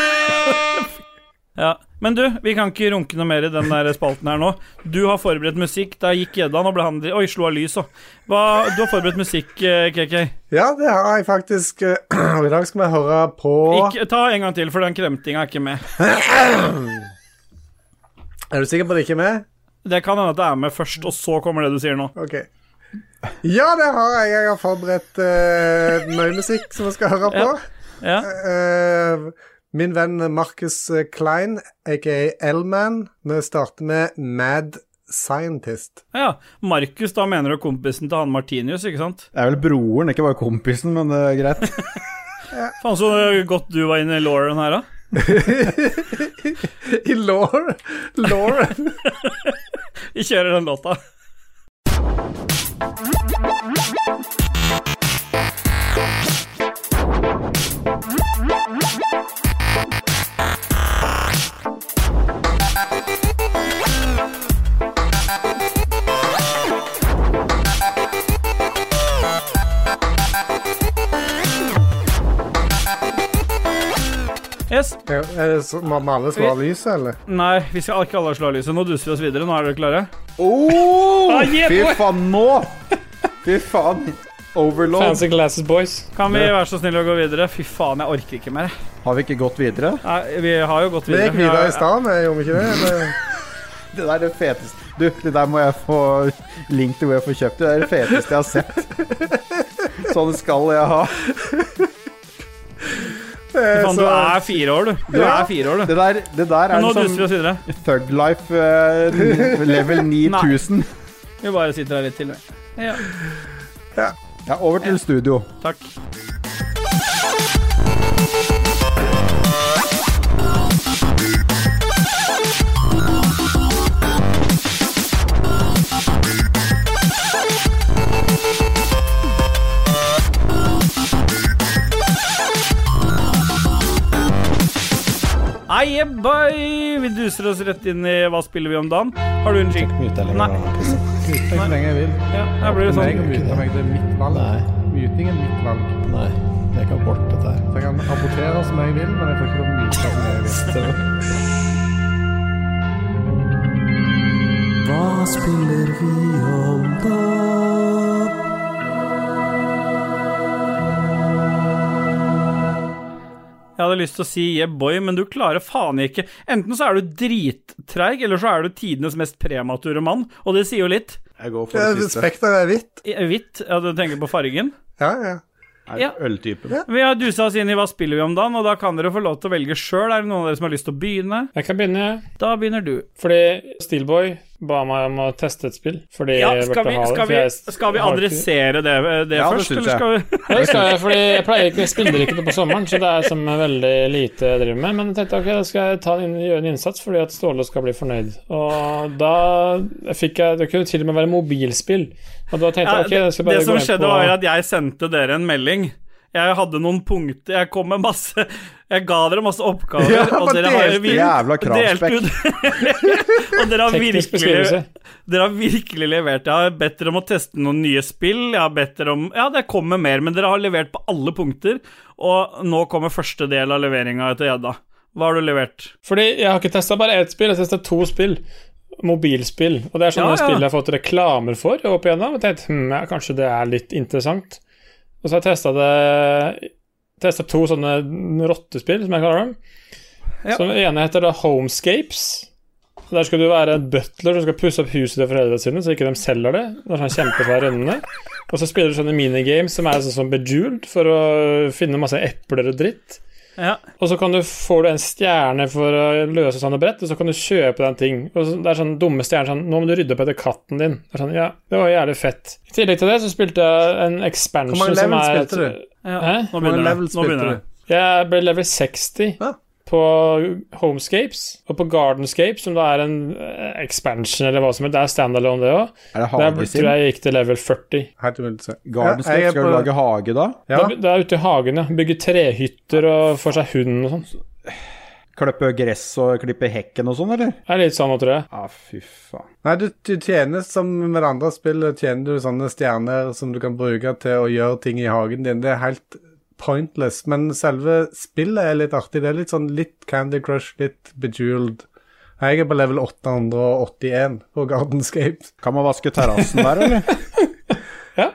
Speaker 1: Ja. Men du, vi kan ikke runke noe mer i den der spalten her nå. Du har forberedt musikk. Der gikk gjedda, nå ble han Oi, slo av lys òg. Du har forberedt musikk, eh, KK.
Speaker 2: Ja, det har jeg faktisk. eh, Og i dag skal vi høre på
Speaker 1: Ikke, ta en gang til, for den kremtinga er ikke med.
Speaker 2: Er du sikker på at det ikke er med?
Speaker 1: Det kan hende at det er med først, og så kommer det du sier nå.
Speaker 2: OK. Ja, det har jeg. Jeg har forberedt eh, mye musikk som vi skal høre på.
Speaker 1: Ja.
Speaker 2: Eh, min venn Marcus Klein, aka L-Man. Vi starter med Mad Scientist.
Speaker 1: ja. Markus, da mener du kompisen til han Martinius, ikke sant?
Speaker 3: Det er vel broren, ikke bare kompisen, men det er greit.
Speaker 1: Faen så godt du var inne i Lauren her, da.
Speaker 2: I Lore. Lore.
Speaker 1: Vi kjører den låta. Yes.
Speaker 2: ja, er det så, må må alle slå av lyset, eller?
Speaker 1: Nei, vi skal ikke alle slå av lyset. Nå duser vi oss videre. Nå er dere klare?
Speaker 3: Oh,
Speaker 1: Ah, yeah,
Speaker 3: fy
Speaker 1: boy.
Speaker 3: faen, nå! Fy faen. Overload.
Speaker 4: Fancy Glasses Boys.
Speaker 1: Kan vi være så snille å gå videre? Fy faen, jeg orker ikke mer.
Speaker 3: Har vi ikke gått videre?
Speaker 1: Nei, vi har jo gått
Speaker 2: Vi
Speaker 1: videre.
Speaker 2: gikk videre i stad, vi gjorde vi ikke det? Eller?
Speaker 3: Det der er det feteste Du, det der må jeg få link til hvor jeg får kjøpt det. Det er det feteste jeg har sett. Sånn skal jeg ha.
Speaker 2: Eh,
Speaker 1: Faen, du er fire år, du. Du
Speaker 3: Ja.
Speaker 1: er fire år, du.
Speaker 3: Det der, det der er
Speaker 1: Men nå duser vi
Speaker 3: liksom
Speaker 1: oss videre.
Speaker 3: Thug Life eh, level 9000.
Speaker 1: Vi bare sitter her litt til. vi. Ja.
Speaker 3: Ja, over til studio.
Speaker 1: Takk. Nei, yeah, boy! Vi duser oss rett inn i Hva spiller vi om dagen? Har du en jing? Nei.
Speaker 2: Tenk så lenge jeg vil.
Speaker 1: Ja, her blir det
Speaker 2: Jeg
Speaker 1: sånn.
Speaker 2: kan mute meg, det er mitt valg. Muting er mitt valg.
Speaker 5: Nei, jeg kan borte dette her.
Speaker 2: Så jeg kan abortere som jeg vil, men jeg får ikke lov å mute som jeg vil.
Speaker 5: Hva spiller vi om da?
Speaker 1: Jeg hadde lyst til å si yeah boy, men du klarer faen ikke. Enten så er du drittreig, eller så er du tidenes mest premature mann, og det sier jo litt.
Speaker 3: Jeg går
Speaker 2: Ja, Spekteret er hvitt.
Speaker 1: I- eh, Hvitt, ja, du tenker på fargen.
Speaker 2: Ja, ja.
Speaker 1: Ja.
Speaker 3: Øltypen.
Speaker 1: Vi har dusa oss inn i Hva spiller vi om dagen, og da kan dere få lov til å velge sjøl. Er det noen av dere som har lyst til å begynne?
Speaker 4: Jeg kan begynne, jeg.
Speaker 1: Da begynner du.
Speaker 4: Fordi Steelboy ba meg om å teste et spill. Fordi
Speaker 1: Ja,
Speaker 4: jeg
Speaker 1: skal
Speaker 4: burde
Speaker 1: vi,
Speaker 4: ha det,
Speaker 1: skal
Speaker 4: for
Speaker 1: vi,
Speaker 4: jeg
Speaker 1: skal vi
Speaker 4: har ikke-
Speaker 1: adressere det, eh, det
Speaker 3: Ja, det
Speaker 1: først,
Speaker 3: synes
Speaker 1: eller
Speaker 3: jeg.
Speaker 1: skal vi
Speaker 4: Ja, det skal jeg, fordi jeg pleier ikke, jeg spiller ikke noe på sommeren, så det er som veldig lite jeg driver med. Men jeg tenkte ok, da skal jeg ta en, gjøre en innsats fordi at Ståle skal bli fornøyd. Og da fikk jeg Det kunne til og med være mobilspill. Og da tenkte
Speaker 1: Ja,
Speaker 4: jeg ok, jeg
Speaker 1: det
Speaker 4: skal bare
Speaker 1: som
Speaker 4: gå inn
Speaker 1: skjedde,
Speaker 4: på
Speaker 1: var at jeg sendte dere en melding. Jeg hadde noen punkter Jeg kom med masse Jeg ga dere masse oppgaver.
Speaker 2: Ja,
Speaker 1: og
Speaker 2: men
Speaker 1: dere
Speaker 2: delte-
Speaker 1: vir-
Speaker 3: Jævla
Speaker 1: delt
Speaker 3: kravspekk.
Speaker 1: ut- og dere har
Speaker 4: teknisk
Speaker 1: virkelig
Speaker 4: beskrivelse.
Speaker 1: Dere har virkelig levert. Jeg har bedt dere om å teste noen nye spill. Jeg har bedt dere om Ja, det kommer mer, men dere har levert på alle punkter. Og nå kommer første del av leveringa etter gjedda. Hva har du levert?
Speaker 4: Fordi jeg har ikke testa bare ett spill, jeg har testa to spill. Mobilspill. Og det er sånne
Speaker 1: Ja, ja.
Speaker 4: spill jeg har fått reklamer for opp igjennom. Og tenkt hm, ja, kanskje det er litt interessant. Og så har jeg testa det Testa to sånne rottespill, som jeg kaller dem.
Speaker 1: Ja.
Speaker 4: Så den ene heter da Homescapes. Der skal du være en butler som skal pusse opp huset til foreldrene sine, så ikke de selger det. Det er sånn kjempesvær rønnende. Og så spiller du sånne minigames som er sånn som Bejeweled, for å finne masse epler og dritt.
Speaker 1: Ja.
Speaker 4: Og så kan du, får du en stjerne for å løse sånne brett, og så kan du kjøpe deg en ting. Og så, det er sånn dumme stjerner sånn 'Nå må du rydde opp etter katten din.' Det er sånn, ja, det var jævlig fett. I tillegg til det så spilte jeg en expansion
Speaker 2: Hvor mange
Speaker 4: som
Speaker 2: levels
Speaker 4: er
Speaker 2: spilte du?
Speaker 1: ja.
Speaker 4: Hæ?
Speaker 1: Nå
Speaker 2: Hvor mange
Speaker 1: begynner det.
Speaker 2: levels
Speaker 1: Nå
Speaker 2: spilte
Speaker 1: begynner
Speaker 2: du?
Speaker 1: det.
Speaker 4: Jeg ble level 60
Speaker 2: Ja.
Speaker 4: på Homescapes og på Gardenscapes, som da er en eh, expansion eller hva som helst. Det er standalone, det òg.
Speaker 3: Er det
Speaker 4: Der tror
Speaker 3: hagesim?
Speaker 4: jeg jeg gikk til level 40.
Speaker 2: Helt umulig.
Speaker 3: Gardenscape? Skal du lage hage da?
Speaker 2: Ja.
Speaker 4: Da- Det er ute i hagen, ja. Bygge trehytter og får seg hund og sånn.
Speaker 3: Klippe gress og klippe hekken og sånn, eller?
Speaker 4: Det er litt sånn nå, tror jeg.
Speaker 3: Ja, fy faen.
Speaker 2: Nei, du, du tjener som med det andre spillet, tjener du sånne stjerner som du kan bruke til å gjøre ting i hagen din. Det er helt pointless, men selve spillet er litt artig. Det er litt sånn litt Candy Crush, litt Bejeweled. Jeg er på level 881 på Gardenscape.
Speaker 3: Kan man vaske terrassen der, eller?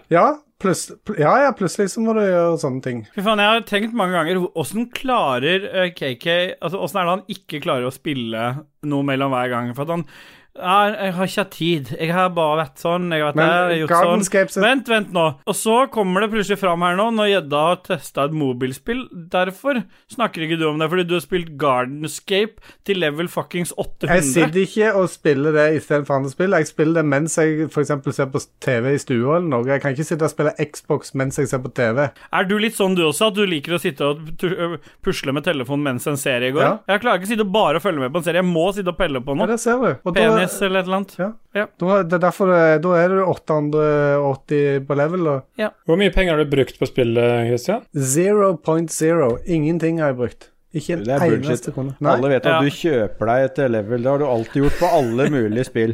Speaker 2: Ja, pluss- pl- ja, ja, plutselig så må du gjøre sånne ting.
Speaker 1: Fy faen, jeg har tenkt mange ganger Åssen klarer eh, KK Altså, Åssen er det han ikke klarer å spille noe mellom hver gang? For at han Nei, jeg har ikke hatt tid. Jeg har bare vært sånn. Jeg har vært
Speaker 2: Men
Speaker 1: der, jeg har gjort sånn.
Speaker 2: Gardenscapes er-
Speaker 1: Vent, vent nå. Og så kommer det plutselig fram her nå, når gjedda har testa et mobilspill. Derfor snakker ikke du om det, fordi du har spilt Gardenscape til level fuckings 800.
Speaker 2: Jeg sitter ikke og spiller det istedenfor andre spill. Jeg spiller det mens jeg for eksempel ser på TV i stua eller noe. Jeg kan ikke sitte og spille Xbox mens jeg ser på TV.
Speaker 1: Er du litt sånn du også, at du liker å sitte og tu- ø, pusle med telefonen mens en serie går?
Speaker 2: Ja.
Speaker 1: Jeg klarer ikke å sitte og bare følge med på en serie, jeg må sitte og pelle på
Speaker 2: Ja,
Speaker 1: noe.
Speaker 2: der ser du. Og da-
Speaker 1: Penis eller et eller annet.
Speaker 2: Ja.
Speaker 1: Ja.
Speaker 2: Da, det er derfor det, da er du 880 på level, da.
Speaker 4: Hvor mye penger har du brukt på spillet, Christian?
Speaker 2: 0.0. Ingenting har jeg brukt. Ikke en
Speaker 3: Det er bullshit.
Speaker 2: eneste krone.
Speaker 3: Alle
Speaker 2: Nei.
Speaker 3: vet at
Speaker 1: Ja.
Speaker 3: du kjøper deg et level. Det har du alltid gjort på alle mulige spill.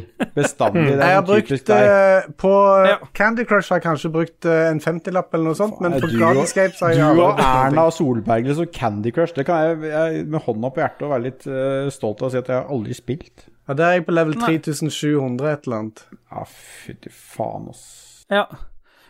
Speaker 3: Bestandig.
Speaker 2: Jeg
Speaker 3: Det er
Speaker 2: har
Speaker 3: en typisk
Speaker 2: brukt
Speaker 3: deg.
Speaker 2: eh, På
Speaker 1: Ja.
Speaker 2: Candy Crush har jeg kanskje brukt eh, en 50-lapp eller noe sånt, men
Speaker 3: Nei,
Speaker 2: på
Speaker 3: du og-
Speaker 2: Gardenscape har jeg
Speaker 3: Du
Speaker 2: aldri
Speaker 3: og
Speaker 2: brukt
Speaker 3: Erna
Speaker 2: noe.
Speaker 3: og Solberg liksom Candy Crush. Det kan jeg, jeg med hånda på hjertet og være litt eh, stolt av å si at jeg har aldri spilt.
Speaker 2: Ja, Der er jeg på level 3700 et eller annet.
Speaker 3: Ja, fytti faen, ass.
Speaker 1: Ja.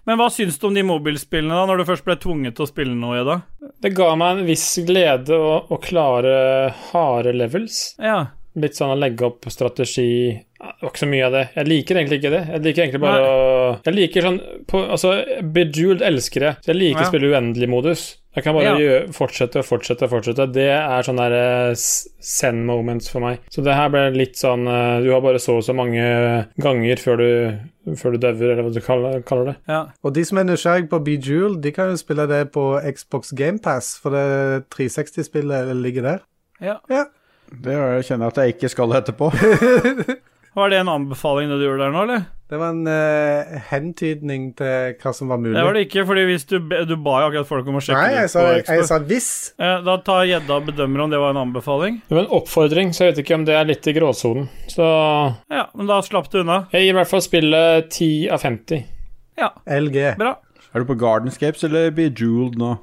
Speaker 1: Men hva syns du om de mobilspillene, da, når du først ble tvunget til å spille noe i det?
Speaker 4: Det ga meg en viss glede å, å klare harde levels.
Speaker 1: Ja.
Speaker 4: Litt sånn å legge opp strategi Det var ikke så mye av det. Jeg liker egentlig ikke det. Jeg liker egentlig bare
Speaker 1: Nei.
Speaker 4: å Jeg liker sånn på, Altså, Bejeweled elsker jeg. Så jeg liker
Speaker 1: Ja.
Speaker 4: å spille uendelig modus. Jeg kan bare
Speaker 1: Ja.
Speaker 4: gjø- fortsette og fortsette og fortsette. Det er sånne der, eh, s- send moments for meg. Så det her ble litt sånn eh, Du har bare så og så mange ganger før du, før du dauer, eller hva du kaller, kaller det.
Speaker 1: ja.
Speaker 2: Og de som er nysgjerrig på Bejeweled, de kan jo spille det på Xbox GamePass, for det 360-spillet ligger der.
Speaker 1: ja.
Speaker 3: Det kjenner jeg at jeg ikke skal etterpå.
Speaker 1: Var det en anbefaling det du gjorde der nå, eller?
Speaker 2: Det var en eh, hentydning til hva som var mulig.
Speaker 1: Det var det ikke, fordi hvis du, be- du ba jo akkurat folk om å sjekke
Speaker 2: Nei,
Speaker 1: det
Speaker 2: jeg
Speaker 1: ut
Speaker 2: sa,
Speaker 1: på
Speaker 2: jeg,
Speaker 1: Expo.
Speaker 2: sa hvis.
Speaker 1: Eh, Da tar gjedda og bedømmer om det var en anbefaling.
Speaker 4: Det var en oppfordring, så jeg vet ikke om det er litt i gråsonen. Så
Speaker 1: Ja, men da slapp du unna.
Speaker 4: jeg gir i hvert fall spillet 10 av 50.
Speaker 1: Ja,
Speaker 2: LG.
Speaker 1: bra.
Speaker 3: Er du på Gardenscapes eller Bejeweled nå?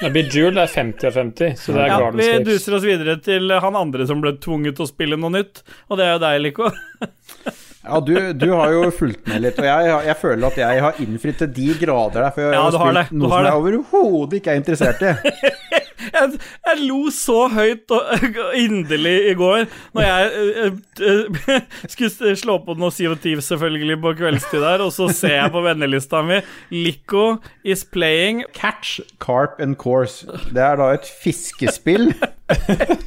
Speaker 4: Ja, Bejeweled er 50 av 50, så det er
Speaker 1: Ja, vi
Speaker 4: Gardenscapes.
Speaker 1: duser oss videre til han andre som ble tvunget til å spille noe nytt, og det er jo deg, Lico.
Speaker 3: Ja, du, du har jo fulgt med litt, og jeg, jeg føler at jeg har innfridd til de grader der, for jeg
Speaker 1: Ja,
Speaker 3: har
Speaker 1: du har det,
Speaker 3: spilt
Speaker 1: du
Speaker 3: noe
Speaker 1: har
Speaker 3: som jeg overhodet ikke er interessert i.
Speaker 1: Jeg, jeg lo så høyt og og inderlig i går når jeg eh, eh, skulle s- slå på noe Sea of Thieves selvfølgelig på kveldstid der, og så ser jeg på vennelista mi Lico is playing
Speaker 3: Catch, Carp and Course. Det er da et fiskespill.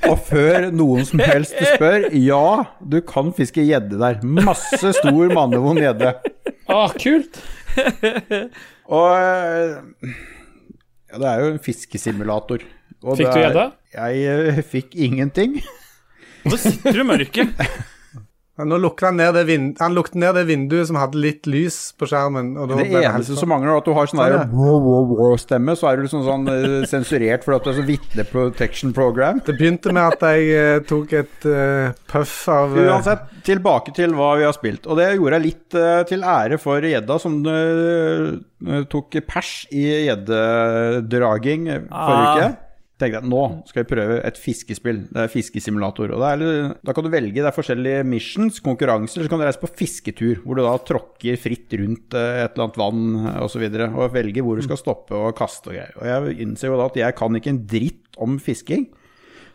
Speaker 3: Og før noen som helst spør Ja, du kan fiske gjedde der. Masse stor, mannevond gjedde.
Speaker 4: Ah, kult!
Speaker 3: Og eh, ja, det er jo en fiskesimulator. Og
Speaker 4: Fikk
Speaker 3: det
Speaker 4: du
Speaker 3: er-
Speaker 4: gjedda?
Speaker 3: Jeg eh, fikk ingenting.
Speaker 1: Nå sitter du i mørket.
Speaker 2: Ja, Nå lukket han ned det, vin han lukket ned det vinduet som hadde litt lys på skjermen. Og da
Speaker 3: Det
Speaker 2: ble det liksom
Speaker 3: eneste
Speaker 2: helt-
Speaker 3: som mangler, er at du har sånn
Speaker 2: Sånn,
Speaker 3: der
Speaker 2: ja.
Speaker 3: wow-wow-wow-stemme, så er du liksom sånn eh, sensurert fordi at du er sånn vitne protection program.
Speaker 2: Det begynte med at jeg eh, tok et eh, puff av eh,
Speaker 3: Uansett, tilbake til hva vi har spilt. Og det gjorde jeg litt eh, til ære for gjedda, som eh, tok pers i gjeddedraging
Speaker 1: Ah.
Speaker 3: forrige uke. Tenkte jeg, Nå skal vi prøve et fiskespill. Det er fiskesimulator. Og det er, litt- da kan du velge det er forskjellige missions, konkurranser, eller så kan du reise på fisketur, hvor du da tråkker fritt rundt eh, et eller annet vann osv. Og, så videre, og velge hvor du skal stoppe og kaste og greier. Og jeg innser jo da at jeg kan ikke en dritt om fisking.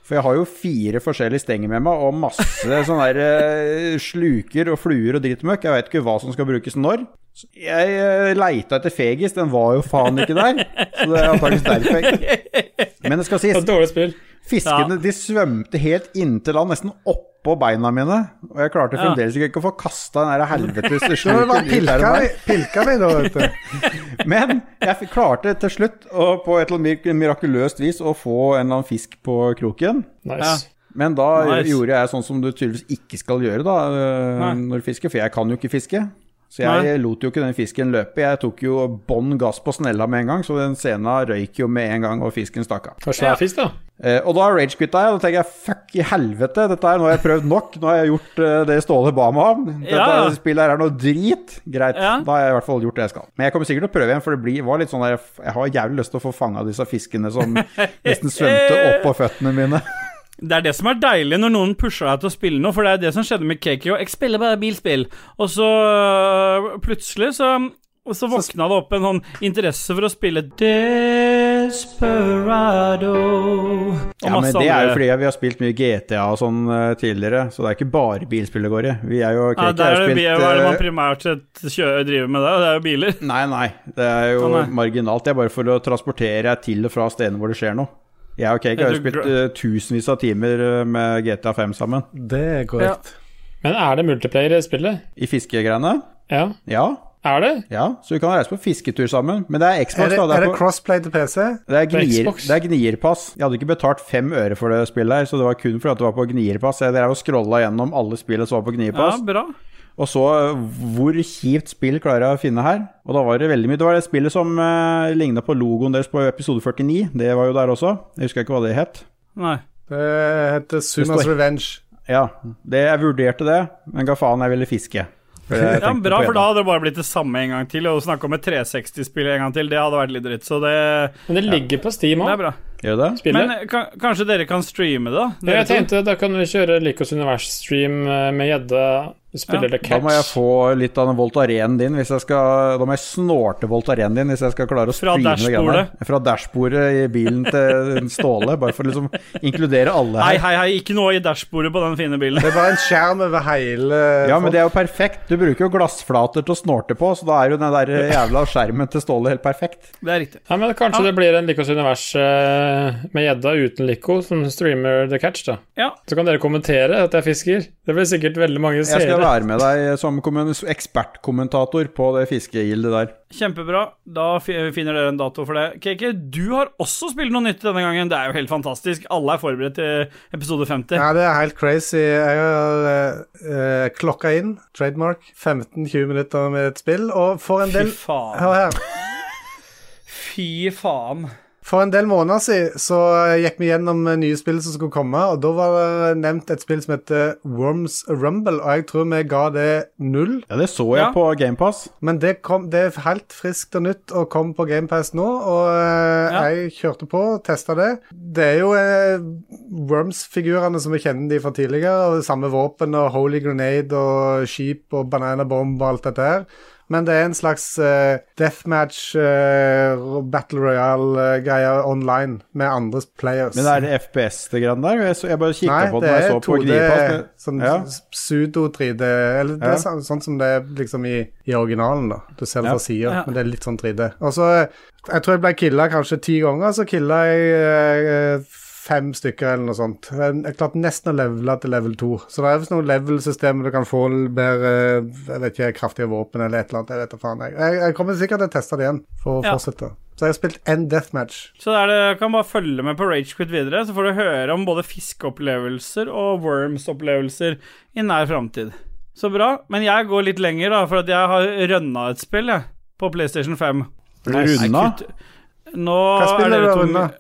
Speaker 3: For jeg har jo fire forskjellige stenger med meg, og masse sånne der, eh, sluker og fluer og dritmøkk. Jeg veit ikke hva som skal brukes når. Så Jeg eh, leita etter fegis, den var jo faen ikke der. Så det er antakeligvis derfor. jeg- Men det skal
Speaker 4: Det er
Speaker 3: sies,
Speaker 4: et dårlig spill.
Speaker 3: fiskene de svømte helt inntil land, nesten oppå beina mine. Og jeg klarte fremdeles ikke å få kasta den der helvetes
Speaker 2: Det var
Speaker 3: sluken ut der.
Speaker 2: pilka
Speaker 3: og
Speaker 2: vi,
Speaker 3: der.
Speaker 2: pilka vi da, vet du.
Speaker 3: Men jeg fikk- klarte til slutt, å, på et eller annet mir- mirakuløst vis, å få en eller annen fisk på kroken.
Speaker 4: Nice.
Speaker 3: Men da
Speaker 1: Nice.
Speaker 3: gjorde jeg sånn som du tydeligvis ikke skal gjøre da, øh,
Speaker 1: Nei.
Speaker 3: når du fisker, for jeg kan jo ikke fiske. Så jeg
Speaker 1: Nei.
Speaker 3: lot jo ikke den fisken løpe. Jeg tok jo bånn gass på snella med en gang, så den scena røyk jo med en gang, og fisken stakk av.
Speaker 4: Det var svær fisk, da.
Speaker 3: Eh, og da ragequitta jeg, og da tenker jeg fuck i helvete, dette her, nå har jeg prøvd nok. Nå har jeg gjort eh, det Ståle ba meg om. Dette
Speaker 1: Ja.
Speaker 3: spillet her er noe drit. Greit,
Speaker 1: Ja.
Speaker 3: da har jeg i hvert fall gjort det jeg skal. Men jeg kommer sikkert til å prøve igjen, for det blir, var litt sånn der, jeg har jævlig lyst til å få fanga disse fiskene som nesten svømte oppå føttene mine.
Speaker 1: Det er det som er deilig når noen pusher deg til å spille noe, for det er det som skjedde med Kiki og Jeg spiller bare bilspill, og så øh, plutselig så og så våkna det opp en sånn interesse for å spille Desperado. Og
Speaker 3: Ja, men
Speaker 1: masse
Speaker 3: det er jo
Speaker 1: andre-
Speaker 3: fordi vi har spilt mye GTA og sånn eh, tidligere, så det er ikke bare bilspill det går i. Vi er jo ok,
Speaker 1: ja,
Speaker 3: ikke
Speaker 1: der
Speaker 3: har
Speaker 1: er det,
Speaker 3: spilt,
Speaker 1: bil- Hva er det man
Speaker 3: eh,
Speaker 1: primært sett kjører, driver med der? Det er jo biler.
Speaker 3: Nei, nei, det er jo
Speaker 1: Å, nei.
Speaker 3: marginalt. Det er bare for å transportere deg til og fra stedene hvor det skjer noe. Jeg og Cake har jo
Speaker 1: Jeg tror
Speaker 3: spilt eh, tusenvis av timer eh, med GTA 5 sammen.
Speaker 2: Det er korrekt.
Speaker 4: Men er det multiplayer i spillet?
Speaker 3: I fiskegreiene?
Speaker 4: Ja.
Speaker 3: Ja.
Speaker 4: Er det?
Speaker 3: ja, så vi kan reise på fisketur sammen. Men det er Xbox,
Speaker 2: Er det,
Speaker 3: da.
Speaker 2: er
Speaker 3: Det
Speaker 2: det
Speaker 3: er, på,
Speaker 2: crossplay til PC?
Speaker 3: det, er
Speaker 4: på
Speaker 3: gnier,
Speaker 4: Xbox?
Speaker 3: det er gnierpass. Jeg hadde ikke betalt fem øre for det spillet her, så det var kun fordi at det var på gnierpass. Jeg drev og scrolla gjennom alle spillene som var på
Speaker 1: Ja,
Speaker 3: gnierpass.
Speaker 1: bra.
Speaker 3: Og så eh, hvor kjipt spill klarer jeg å finne her. Og da var det veldig mye. Det var det spillet som eh, ligna på logoen deres på episode 49. Det var jo der også. Jeg husker ikke hva det het.
Speaker 1: Nei.
Speaker 2: Det heter Sumas
Speaker 3: står-
Speaker 2: Revenge.
Speaker 3: Ja, det, jeg vurderte det, men ga faen, jeg ville fiske. For jeg
Speaker 1: Ja,
Speaker 3: tenkte
Speaker 1: bra,
Speaker 3: på
Speaker 1: for da
Speaker 3: det.
Speaker 1: hadde det bare blitt det samme en gang til. Og å snakke om et 360-spill en gang til, det hadde vært litt dritt. Så det,
Speaker 4: Men det ligger på Steam
Speaker 1: det
Speaker 4: òg,
Speaker 1: er bra.
Speaker 3: Gjør det?
Speaker 4: spillet.
Speaker 1: Men eh, kan, kanskje dere kan streame det, da?
Speaker 4: Ja,
Speaker 1: Dere
Speaker 4: jeg
Speaker 1: to?
Speaker 4: tenkte da kan vi kjøre Likos univers-stream eh, med gjedde. Spiller det
Speaker 3: Da må jeg
Speaker 4: catch?
Speaker 3: få litt av den Voltarenen din hvis jeg skal Da må jeg snorte Voltarenen din hvis jeg skal klare å
Speaker 1: Fra
Speaker 3: streame det greiene der. Fra dashbordet i bilen til Ståle, bare for å liksom inkludere alle
Speaker 1: Hei,
Speaker 3: her.
Speaker 1: hei, hei, ikke noe i dashbordet på den fine bilen.
Speaker 2: Det er bare en skjerm over hele
Speaker 3: Ja, men det er jo perfekt. Du bruker jo glassflater til å snorte på, så da er jo den der jævla skjermen til Ståle helt perfekt.
Speaker 1: Det er riktig.
Speaker 4: Ja, men Kanskje det blir en Likos univers eh, med gjedda uten Liko som streamer The Catch, da.
Speaker 1: Ja.
Speaker 4: Så kan dere kommentere at jeg fisker. Det blir sikkert veldig mange
Speaker 3: Jeg skal
Speaker 4: seere.
Speaker 3: være med deg som kommun- ekspertkommentator på det fiskegildet der.
Speaker 1: Kjempebra. Da fi- finner dere en dato for det. KK, du har også spilt noe nytt denne gangen. Det er jo helt fantastisk. Alle er forberedt til episode 50.
Speaker 2: Ja, det er helt crazy. Jeg har eh, eh, klokka inn, trademark, 15-20 minutter med et spill, og for en
Speaker 1: Fy
Speaker 2: del
Speaker 1: faen.
Speaker 2: Hør her.
Speaker 1: Fy faen.
Speaker 2: For en del måneder siden så gikk vi gjennom eh, nye spill som skulle komme, og da var det nevnt et spill som heter Worms Rumble, og jeg tror vi ga det null.
Speaker 3: Ja, det så jeg
Speaker 1: Ja.
Speaker 3: på GamePass.
Speaker 2: Men det, kom, det er helt friskt og nytt og kom på GamePass nå, og eh,
Speaker 1: Ja.
Speaker 2: jeg kjørte på og testa det. Det er jo eh, Worms-figurene som vi kjenner de fra tidligere, og samme våpen og Holy Grenade og skip og Banana Bomb og alt dette her. Men det er en slags eh, deathmatch, eh, battle royale-greie online med andre players.
Speaker 3: Men er det FPS det greiene der? Jeg, så, jeg bare kikka
Speaker 2: Nei,
Speaker 3: på
Speaker 2: det
Speaker 3: det når jeg
Speaker 2: er
Speaker 3: så på
Speaker 2: 2D,
Speaker 3: Gnirpass.
Speaker 2: sånn
Speaker 3: Ja.
Speaker 2: pseudo-3D Eller det
Speaker 3: Ja.
Speaker 2: er sånn, sånn som det er liksom i, i originalen, da. Du ser det
Speaker 3: Ja.
Speaker 2: fra sida,
Speaker 1: Ja.
Speaker 2: men det er litt sånn 3D. Og så Jeg tror jeg ble killa kanskje ti ganger, så killa jeg eh, fem stykker eller noe sånt. Jeg jeg klarte nesten å levele til level 2. Så det er visst noen level-systemer du kan få mer eh, jeg vet ikke, kraftige våpen eller et eller annet. Jeg vet da faen. Jeg, jeg, jeg kommer sikkert til å teste det igjen for å
Speaker 1: Ja.
Speaker 2: fortsette. Så jeg har spilt én deathmatch.
Speaker 1: Så der, det- kan bare følge med på Ragequit videre, så får du høre om både fiskeopplevelser og Worms-opplevelser i nær framtid. Så bra. Men jeg går litt lenger, da, for at jeg har rønna et spill, jeg, på PlayStation 5.
Speaker 3: Runda?
Speaker 1: Nei, kutt. Nå
Speaker 2: Hva spiller
Speaker 1: er dere
Speaker 2: du da,
Speaker 1: to-
Speaker 2: Rune?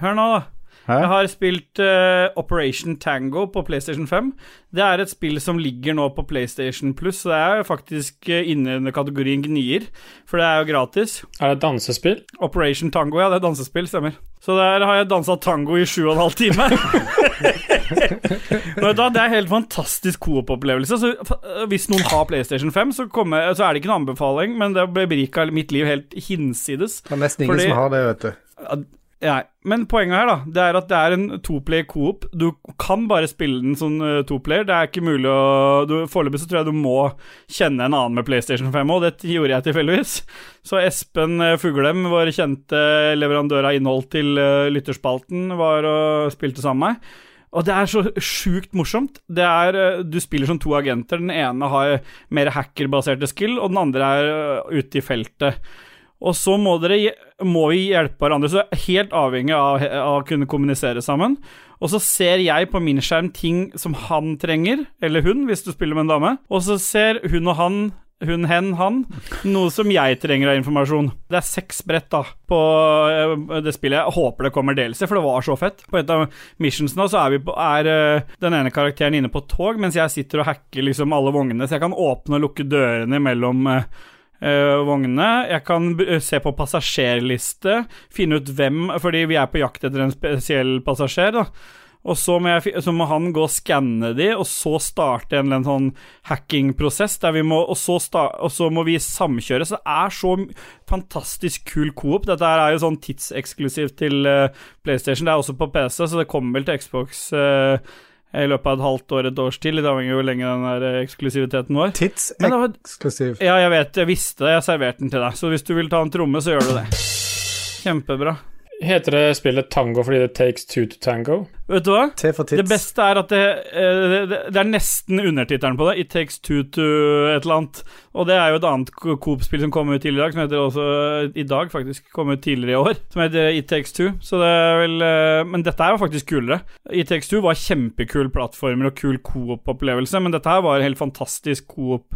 Speaker 1: Hør nå, da.
Speaker 3: Hæ?
Speaker 1: Jeg har spilt eh, Operation Tango på PlayStation 5. Det er et spill som ligger nå på PlayStation Pluss, så det er faktisk eh, inne under kategorien gnier, for det er jo gratis.
Speaker 4: Er det et dansespill?
Speaker 1: Operation Tango, ja, det er dansespill, stemmer. Så der har jeg dansa tango i sju og en halv time. Men da, det er helt fantastisk coop-opplevelse. Så fa- hvis noen har PlayStation 5, så, kommer, så er det ikke noen anbefaling, men det berika mitt liv helt hinsides.
Speaker 2: Det er nesten ingen
Speaker 1: Fordi-
Speaker 2: som har det, vet du.
Speaker 1: Nei, men poenget her, da, det er at det er en toplayer coop. Du kan bare spille den som eh, toplayer. Det er ikke mulig å du- Foreløpig så tror jeg du må kjenne en annen med PlayStation 5 òg, det gjorde jeg tilfeldigvis. Så Espen eh, Fuglem, vår kjente leverandør av innhold til eh, lytterspalten, var og spilte sammen med meg. Og det er så sjukt morsomt. Det er, eh, Du spiller som to agenter. Den ene har mer hackerbaserte skill, og den andre er eh, ute i feltet. Og så må dere hje- må vi hjelpe hverandre, så er helt avhengig av, av å kunne kommunisere sammen. Og så ser jeg på min skjerm ting som han trenger, eller hun, hvis du spiller med en dame. Og så ser hun og han, hun, hen, han, noe som jeg trenger av informasjon. Det er seks brett da, på eh, det spillet. Jeg håper det kommer delelse, for det var så fett. På et av missionsene så er, vi på, er eh, den ene karakteren inne på et tog, mens jeg sitter og hacker liksom alle vognene, så jeg kan åpne og lukke dørene mellom eh, eh, vognene. Jeg kan b- eh, se på passasjerliste, finne ut hvem Fordi vi er på jakt etter en spesiell passasjer, da. Og så må, jeg, fi- så må han gå og skanne de, og så starte en eller annen sånn hacking-prosess, der vi må, og så, sta- og så må vi samkjøre. Så det er så m- fantastisk kul coop. Dette her er jo sånn tidseksklusivt til eh, PlayStation. Det er også på PC, så det kommer vel til Xbox eh, i løpet av et halvt år, et års tid, litt avhengig av hvor lenge den der eh, eksklusiviteten vår. Men det var,
Speaker 2: Tidseksklusiv.
Speaker 1: ja, jeg vet, jeg visste det. Jeg serverte den til deg. Så hvis du vil ta en tromme, så gjør du det. Kjempebra.
Speaker 4: Heter det spillet Tango fordi det takes two to tango?
Speaker 1: Vet du hva?
Speaker 2: T for
Speaker 1: Det
Speaker 2: tits.
Speaker 1: beste er at det, eh, det, det er nesten undertittelen på det. It takes two to et eller annet. Og det er jo et annet Co- Coop-spill som kom ut tidligere i dag, som heter også eh, I dag, faktisk. Kom ut tidligere i år. Som heter It takes two. Så det er vel eh, Men dette her var faktisk kulere. It takes two var kjempekul plattformer og kul coop-opplevelse, men dette her var en helt fantastisk coop.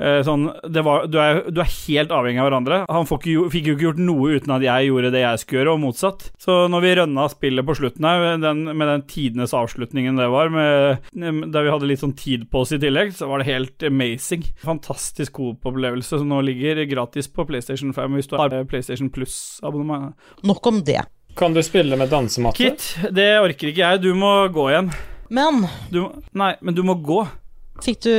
Speaker 1: Eh, Sånn, det var, du, er, du er helt avhengig av hverandre. Han får ikke, gjo- fikk jo ikke gjort noe uten at jeg gjorde det jeg skulle gjøre, og motsatt. Så når vi rønna spillet på slutten her, den, med den tidenes avslutningen det var, med, der vi hadde litt sånn tid på oss i tillegg, så var det helt amazing. Fantastisk coop-opplevelse som nå ligger gratis på PlayStation 5 hvis du har eh, PlayStation Plus-abonnement.
Speaker 6: Nok om det.
Speaker 4: Kan du spille med dansematte?
Speaker 1: Kit, det orker ikke jeg. Du må gå igjen.
Speaker 6: Men
Speaker 1: Du, nei, men du må gå.
Speaker 6: fikk du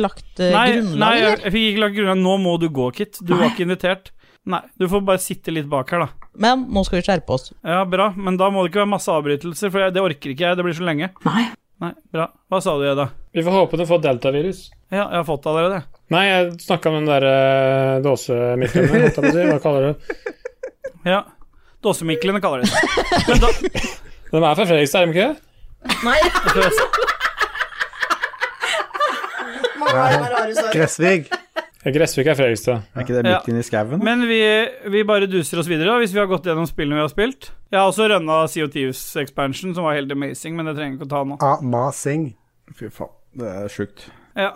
Speaker 6: lagt eh,
Speaker 1: Nei, nei
Speaker 6: grunnlaget,
Speaker 1: jeg,
Speaker 6: eller?
Speaker 1: jeg fikk ikke lagt grunnlag. Nå må du gå, Kit. Du var ikke invitert. Nei, du får bare sitte litt bak her, da.
Speaker 6: Men nå skal vi skjerpe oss.
Speaker 1: Ja, bra, men da må det ikke være masse avbrytelser, for jeg, det orker ikke jeg. Det blir så lenge.
Speaker 7: Nei.
Speaker 1: Nei, bra. Hva sa du, Eda?
Speaker 4: Vi får håpe du får deltavirus.
Speaker 1: Ja, jeg har fått det allerede.
Speaker 4: Nei, jeg snakka om den der uh, dåsemikrofonen, holdt jeg på å si. Hva kaller du det?
Speaker 1: Ja. Dåsemiklene kaller de det. Men da
Speaker 4: De er fra Fredrikstad, er de ikke det?
Speaker 6: Nei,
Speaker 7: Må ha det rare svaret.
Speaker 2: Gressvig.
Speaker 4: Ja, Gressvik er Fredrikstad.
Speaker 3: Er ikke det
Speaker 1: Ja.
Speaker 3: midt inne i skauen? da?
Speaker 1: Men vi, vi bare duser oss videre, da, hvis vi har gått gjennom spillene vi har spilt. Jeg har også rønna CO2s expansion, som var helt amazing, men det trenger jeg ikke å ta nå.
Speaker 2: Amazing.
Speaker 3: Fy faen, det er sjukt.
Speaker 1: Ja.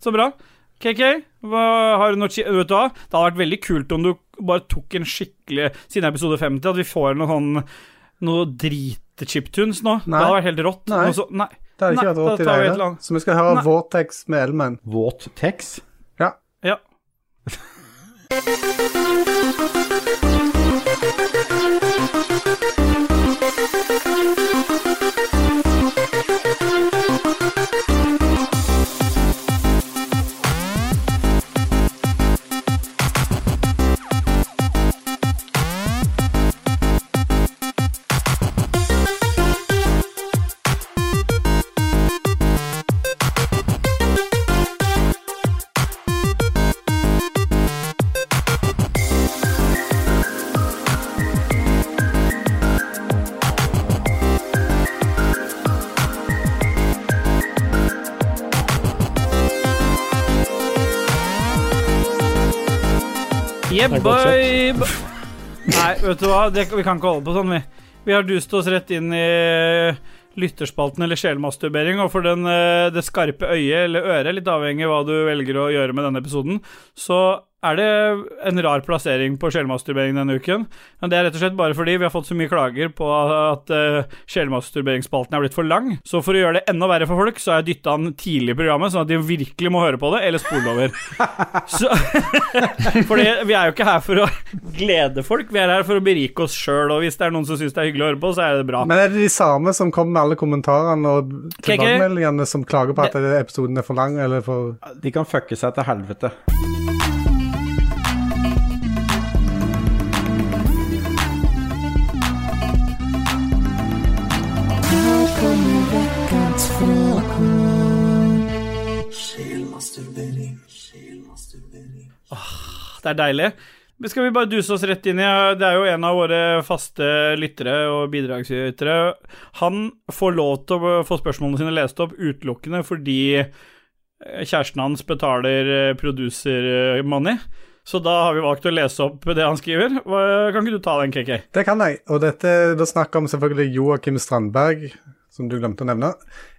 Speaker 1: Så bra. KK, hva, har du noe chi- Vet du hva, det hadde vært veldig kult om du bare tok en skikkelig Siden episode 50, at vi får noe sånn Noe dritchiptunes nå.
Speaker 2: Nei.
Speaker 1: Det hadde vært helt rått.
Speaker 2: Nei.
Speaker 1: Noe så, nei.
Speaker 2: Det hadde ikke
Speaker 1: Nei,
Speaker 2: vært rått
Speaker 1: da tar
Speaker 2: i det
Speaker 1: vi et
Speaker 2: hele.
Speaker 1: eller annet.
Speaker 2: Så vi skal høre
Speaker 1: Nei.
Speaker 2: Vortex med Elman.
Speaker 3: Våt tex?
Speaker 2: Ja.
Speaker 1: Ja. Yeah,
Speaker 4: Det er godt
Speaker 1: boy! bo- Nei, vet du hva, det, vi kan ikke holde på sånn, vi. Vi har dust oss rett inn i lytterspalten eller sjelmasturbering, og for den, eh, det skarpe øyet eller øret, litt avhengig av hva du velger å gjøre med denne episoden, så er det en rar plassering på sjelmasturbering denne uken. Men det er rett og slett bare fordi vi har fått så mye klager på at eh, sjelmasturberingsspalten er blitt for lang. Så for å gjøre det enda verre for folk, så har jeg dytta den tidlig i programmet, sånn at de virkelig må høre på det, eller spole over. Så, fordi vi er jo ikke her for å glede folk, vi er her for å berike oss sjøl, og hvis det er noen som syns det er hyggelig å høre på, så er det bra.
Speaker 2: Men er det de samme som kommer med alle kommentarene og tilbakemeldingene som klager på at episoden er for lang eller for
Speaker 3: De kan fucke seg til helvete.
Speaker 1: det er deilig. Men Skal vi bare duse oss rett inn i Det er jo en av våre faste lyttere og bidragsytere. Han får lov til å få spørsmålene sine lest opp utelukkende fordi eh, kjæresten hans betaler eh, producer money. Så da har vi valgt å lese opp det han skriver. Hva- Kan ikke du ta den, KK?
Speaker 2: Det kan jeg. Og dette, da snakker jeg om selvfølgelig Joakim Strandberg, som du glemte å nevne.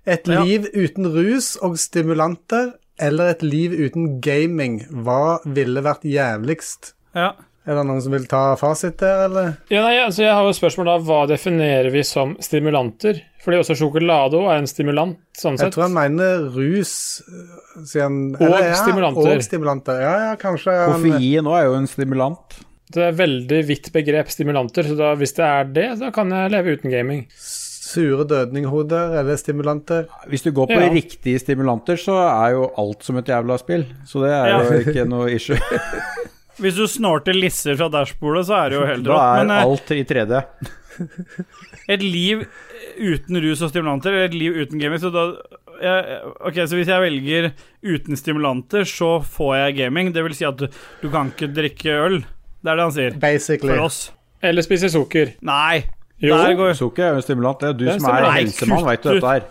Speaker 2: Et
Speaker 1: Ja.
Speaker 2: liv uten rus og stimulanter eller et liv uten gaming, hva ville vært jævligst?
Speaker 1: Ja.
Speaker 2: Er det noen som vil ta fasit der, eller?
Speaker 4: Ja, nei, altså Jeg har jo et spørsmål da, hva definerer vi som stimulanter? Fordi også sjokolade er en stimulant, sånn
Speaker 2: Jeg
Speaker 4: sett.
Speaker 2: tror han mener rus, øh, sier han. eller ja,
Speaker 4: stimulanter.
Speaker 2: Og stimulanter. Ja, ja, kanskje. han-
Speaker 3: Koffein nå er jo en stimulant.
Speaker 4: Det er veldig vidt begrep, stimulanter, så da, hvis det er det, da kan jeg leve uten gaming.
Speaker 2: Sure dødninghoder eller stimulanter.
Speaker 3: Hvis du går på
Speaker 4: Ja.
Speaker 3: riktige stimulanter, så er jo alt som et jævla spill. Så det er
Speaker 1: Ja.
Speaker 3: jo ikke noe issue.
Speaker 1: Hvis du snorter lisser fra dashbordet, så er det jo helt
Speaker 3: Da
Speaker 1: rått.
Speaker 3: er
Speaker 1: Men eh,
Speaker 3: alt i 3D.
Speaker 1: et liv uten rus og stimulanter, eller et liv uten gaming så da, jeg, Ok, så hvis jeg velger uten stimulanter, så får jeg gaming. Det vil si at du, du kan ikke drikke øl. Det er det han sier.
Speaker 2: Basically.
Speaker 1: For oss.
Speaker 4: Eller spise sukker.
Speaker 1: Nei.
Speaker 4: Jo,
Speaker 1: Der går
Speaker 3: Sukker er jo en stimulant. Det er du
Speaker 4: Det er
Speaker 3: som er
Speaker 4: stimulant.
Speaker 3: helsemann,
Speaker 1: Nei,
Speaker 3: veit du dette her.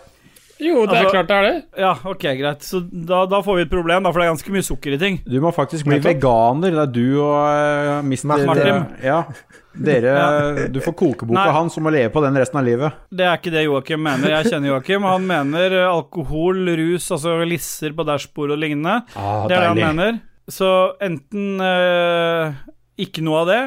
Speaker 4: jo det er
Speaker 1: Altså-
Speaker 4: klart det er det.
Speaker 1: Ja, ok, greit. Så da, da får vi et problem, da, for det er ganske mye sukker i ting.
Speaker 3: Du må faktisk bli
Speaker 2: Nettopp.
Speaker 3: veganer. Det er du og eh, mister
Speaker 1: Martin.
Speaker 3: Ja. Dere Du får kokeboka
Speaker 1: Nei.
Speaker 3: hans og må leve på den resten av livet.
Speaker 1: Det er ikke det Joakim mener. Jeg kjenner Joakim. Han mener eh, alkohol, rus, altså lisser på dashbordet og lignende.
Speaker 3: Ah,
Speaker 1: Det er det han mener. Så enten eh, ikke noe av det,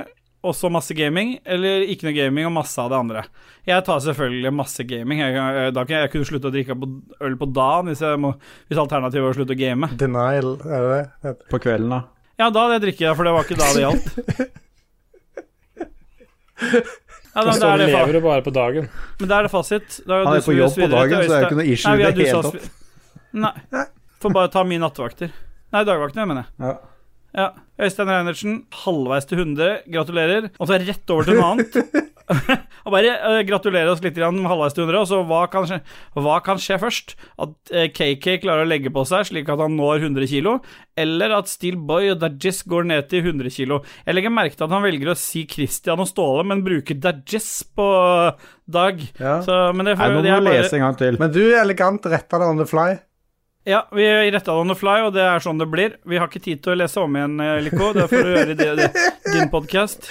Speaker 1: og så masse gaming, eller ikke noe gaming og masse av det andre. Jeg tar selvfølgelig masse gaming. Jeg, kan, eh, da kan jeg, jeg kunne slutte å drikke på, øl på dagen hvis, jeg må, hvis alternativet var å slutte å game.
Speaker 2: Denial, er det det?
Speaker 3: På kvelden, da.
Speaker 1: Ja, da hadde jeg drikket, for det var ikke da det gjaldt. Ja,
Speaker 4: Da
Speaker 1: da, da
Speaker 4: står
Speaker 1: er
Speaker 4: du
Speaker 1: det fa-
Speaker 4: lever jo bare på dagen.
Speaker 1: men da er det fasit. Da
Speaker 3: Han er
Speaker 1: du-
Speaker 3: på jobb
Speaker 1: du-
Speaker 3: på dagen, så det er jo ikke noe issue
Speaker 1: Nei, vi
Speaker 3: i det
Speaker 1: har- du
Speaker 3: hele
Speaker 1: sa- Nei. Får bare ta mine nattevakter. Nei, dagvaktene, mener jeg.
Speaker 3: Ja.
Speaker 1: Ja. Øystein Reinertsen, halvveis til 100. Gratulerer. Og så rett over til noe annet. og bare eh, gratulerer oss litt grann med halvveis til 100, og så hva kan skje, hva kan skje først? At eh, KK klarer å legge på seg slik at han når 100 kilo, eller at Steel Boy og Dajis går ned til 100 kilo. Jeg legger merke til at han velger å si Christian og Ståle, men bruker Dajis på Dag.
Speaker 2: Ja.
Speaker 1: Så, men det,
Speaker 3: Nei,
Speaker 1: får-
Speaker 3: nå
Speaker 1: det
Speaker 3: må
Speaker 1: er
Speaker 3: du
Speaker 1: bare-
Speaker 3: lese en gang til.
Speaker 2: Men du er elegant retta det on the fly.
Speaker 1: Ja, vi retta det on the fly, og det er sånn det blir. Vi har ikke tid til å lese om igjen, eh, Lico. Det får du gjøre i det- det- din podkast.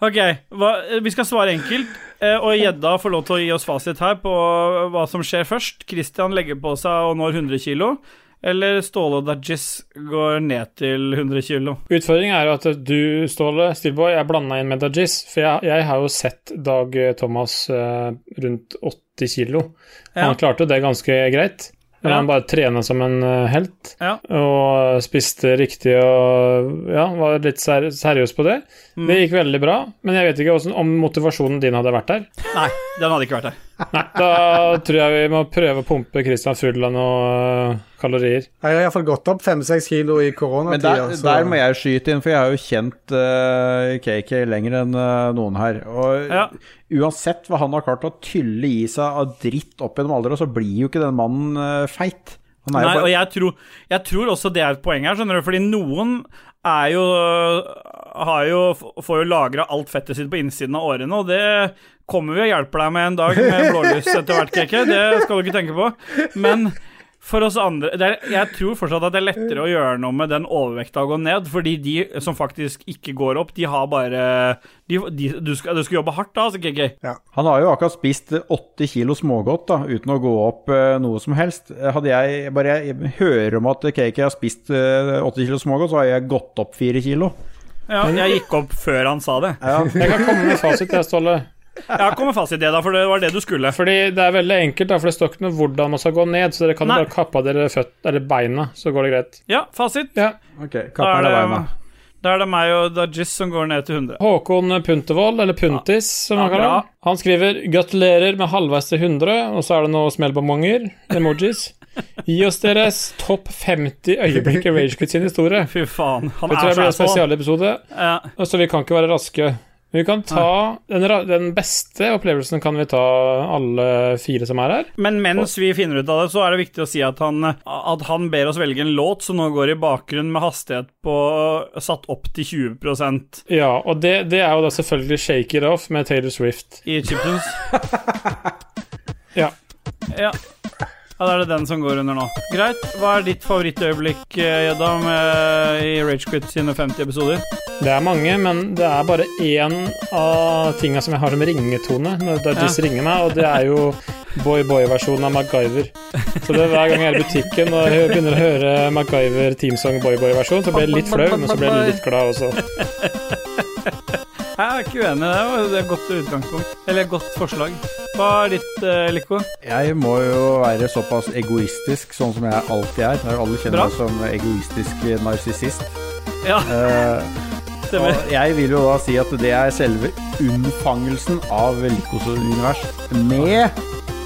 Speaker 1: Ok, hva, eh, vi skal svare enkelt. eh, Og gjedda får lov til å gi oss fasit her på hva som skjer først. Christian legger på seg og når 100 kg. Eller Ståle og Dajis går ned til 100 kg.
Speaker 4: Utfordringen er jo at du, Ståle Steelboy, er blanda inn med Dajis. For jeg, jeg har jo sett Dag eh, Thomas eh, rundt 80 kilo.
Speaker 1: Ja.
Speaker 4: Han klarte det ganske greit. Men
Speaker 1: Ja.
Speaker 4: han bare trena som en eh, helt.
Speaker 1: Ja.
Speaker 4: Og spiste riktig og ja, var litt ser seriøs på det.
Speaker 1: Mm.
Speaker 4: Det gikk veldig bra, men jeg vet ikke hvordan, om motivasjonen din hadde vært der.
Speaker 1: Nei, den hadde ikke vært her.
Speaker 4: Nei, da tror jeg vi må prøve å pumpe Christian Frudland og eh, kalorier.
Speaker 2: Jeg har iallfall gått opp fem-seks kilo i
Speaker 3: Men der,
Speaker 2: koronatida.
Speaker 3: der må jeg skyte inn, for jeg har jo kjent eh, KK lenger enn eh, noen her. Og
Speaker 1: Ja.
Speaker 3: uansett hva han har klart å tylle i seg av dritt opp gjennom alderen, så blir jo ikke den mannen eh, feit. Han er
Speaker 1: Nei,
Speaker 3: jo
Speaker 1: og
Speaker 3: bare
Speaker 1: jeg tror, jeg tror også det er et poeng her, skjønner du. Fordi noen er jo, har jo Får jo lagra alt fettet sitt på innsiden av årene, og det kommer vi og hjelper deg med en dag med blålys etter hvert, Keke. Det skal du ikke tenke på. Men for oss andre det er, Jeg tror fortsatt at det er lettere å gjøre noe med den overvekta å gå ned, fordi de som faktisk ikke går opp, de har bare de, de, du, skal, du skal jobbe hardt da, altså, Keke.
Speaker 3: Han har jo akkurat spist 80 kilo smågodt da, uten å gå opp eh, noe som helst. Hadde jeg bare jeg hører om at KK har spist eh, 80 kilo smågodt, så har jeg gått opp 4 kilo.
Speaker 1: Ja, jeg gikk opp før han sa det.
Speaker 4: Jeg kan komme med fasit, jeg, Ståle.
Speaker 1: Ja, kom med fasit, det, da, for det var det du skulle.
Speaker 4: Fordi det er veldig enkelt, da, for det står ikke noe hvordan man skal gå ned, så dere kan
Speaker 1: Nei.
Speaker 4: bare kappe av dere føtt, eller beina, så går det greit.
Speaker 1: Ja, fasit.
Speaker 4: Ja.
Speaker 3: Ok,
Speaker 1: Da
Speaker 3: kapp
Speaker 1: er,
Speaker 3: av beina.
Speaker 1: det, da er det meg og Dajis som går ned til 100.
Speaker 4: Håkon Puntervold, eller Puntis, som
Speaker 1: Ja,
Speaker 4: han kaller
Speaker 1: bra.
Speaker 4: han. Han skriver 'Gratulerer med halvveis til 100', og så er det noe smellbombonger, emojis. Gi oss deres topp 50 øyeblikk i Ragequit sin historie.
Speaker 1: Fy faen, han
Speaker 4: Det
Speaker 1: er
Speaker 4: tror
Speaker 1: så
Speaker 4: jeg blir
Speaker 1: sånn.
Speaker 4: en
Speaker 1: asshole.
Speaker 4: spesialepisode,
Speaker 1: Ja,
Speaker 4: og så vi kan ikke være raske. Vi kan ta den, ra- den beste opplevelsen kan vi ta alle fire som er her.
Speaker 1: Men mens vi finner ut av det, så er det viktig å si at han, at han ber oss velge en låt som nå går i bakgrunnen med hastighet på satt opp til 20
Speaker 4: Ja, og det, det er jo da selvfølgelig 'Shake It Off' med Taylor Swift.
Speaker 1: i Chipsons.
Speaker 4: Ja.
Speaker 1: ja. Ja, Da er det den som går under nå. Greit. Hva er ditt favorittøyeblikk, eh, Gjedda, med- i Ragequit sine 50 episoder?
Speaker 4: Det er mange, men det er bare én av tinga som jeg har som ringetone når Dajis
Speaker 1: Ja.
Speaker 4: ringer meg, og det er jo Boy Boy-versjonen av MacGyver. Så det er hver gang jeg er i butikken og jeg begynner å høre MacGyver teamsong Boy Boy-versjon, så blir jeg litt flau, men så blir jeg litt glad også.
Speaker 1: Jeg er ikke uenig i det. og Det er et godt utgangspunkt. Eller et godt forslag. Hva er ditt, eh, Lico?
Speaker 3: Jeg må jo være såpass egoistisk, sånn som jeg alltid er. Når alle kjenner
Speaker 1: Bra.
Speaker 3: meg som egoistisk narsissist.
Speaker 1: Ja,
Speaker 3: Eh,
Speaker 1: stemmer.
Speaker 3: og jeg vil jo da si at det er selve unnfangelsen av Likos univers med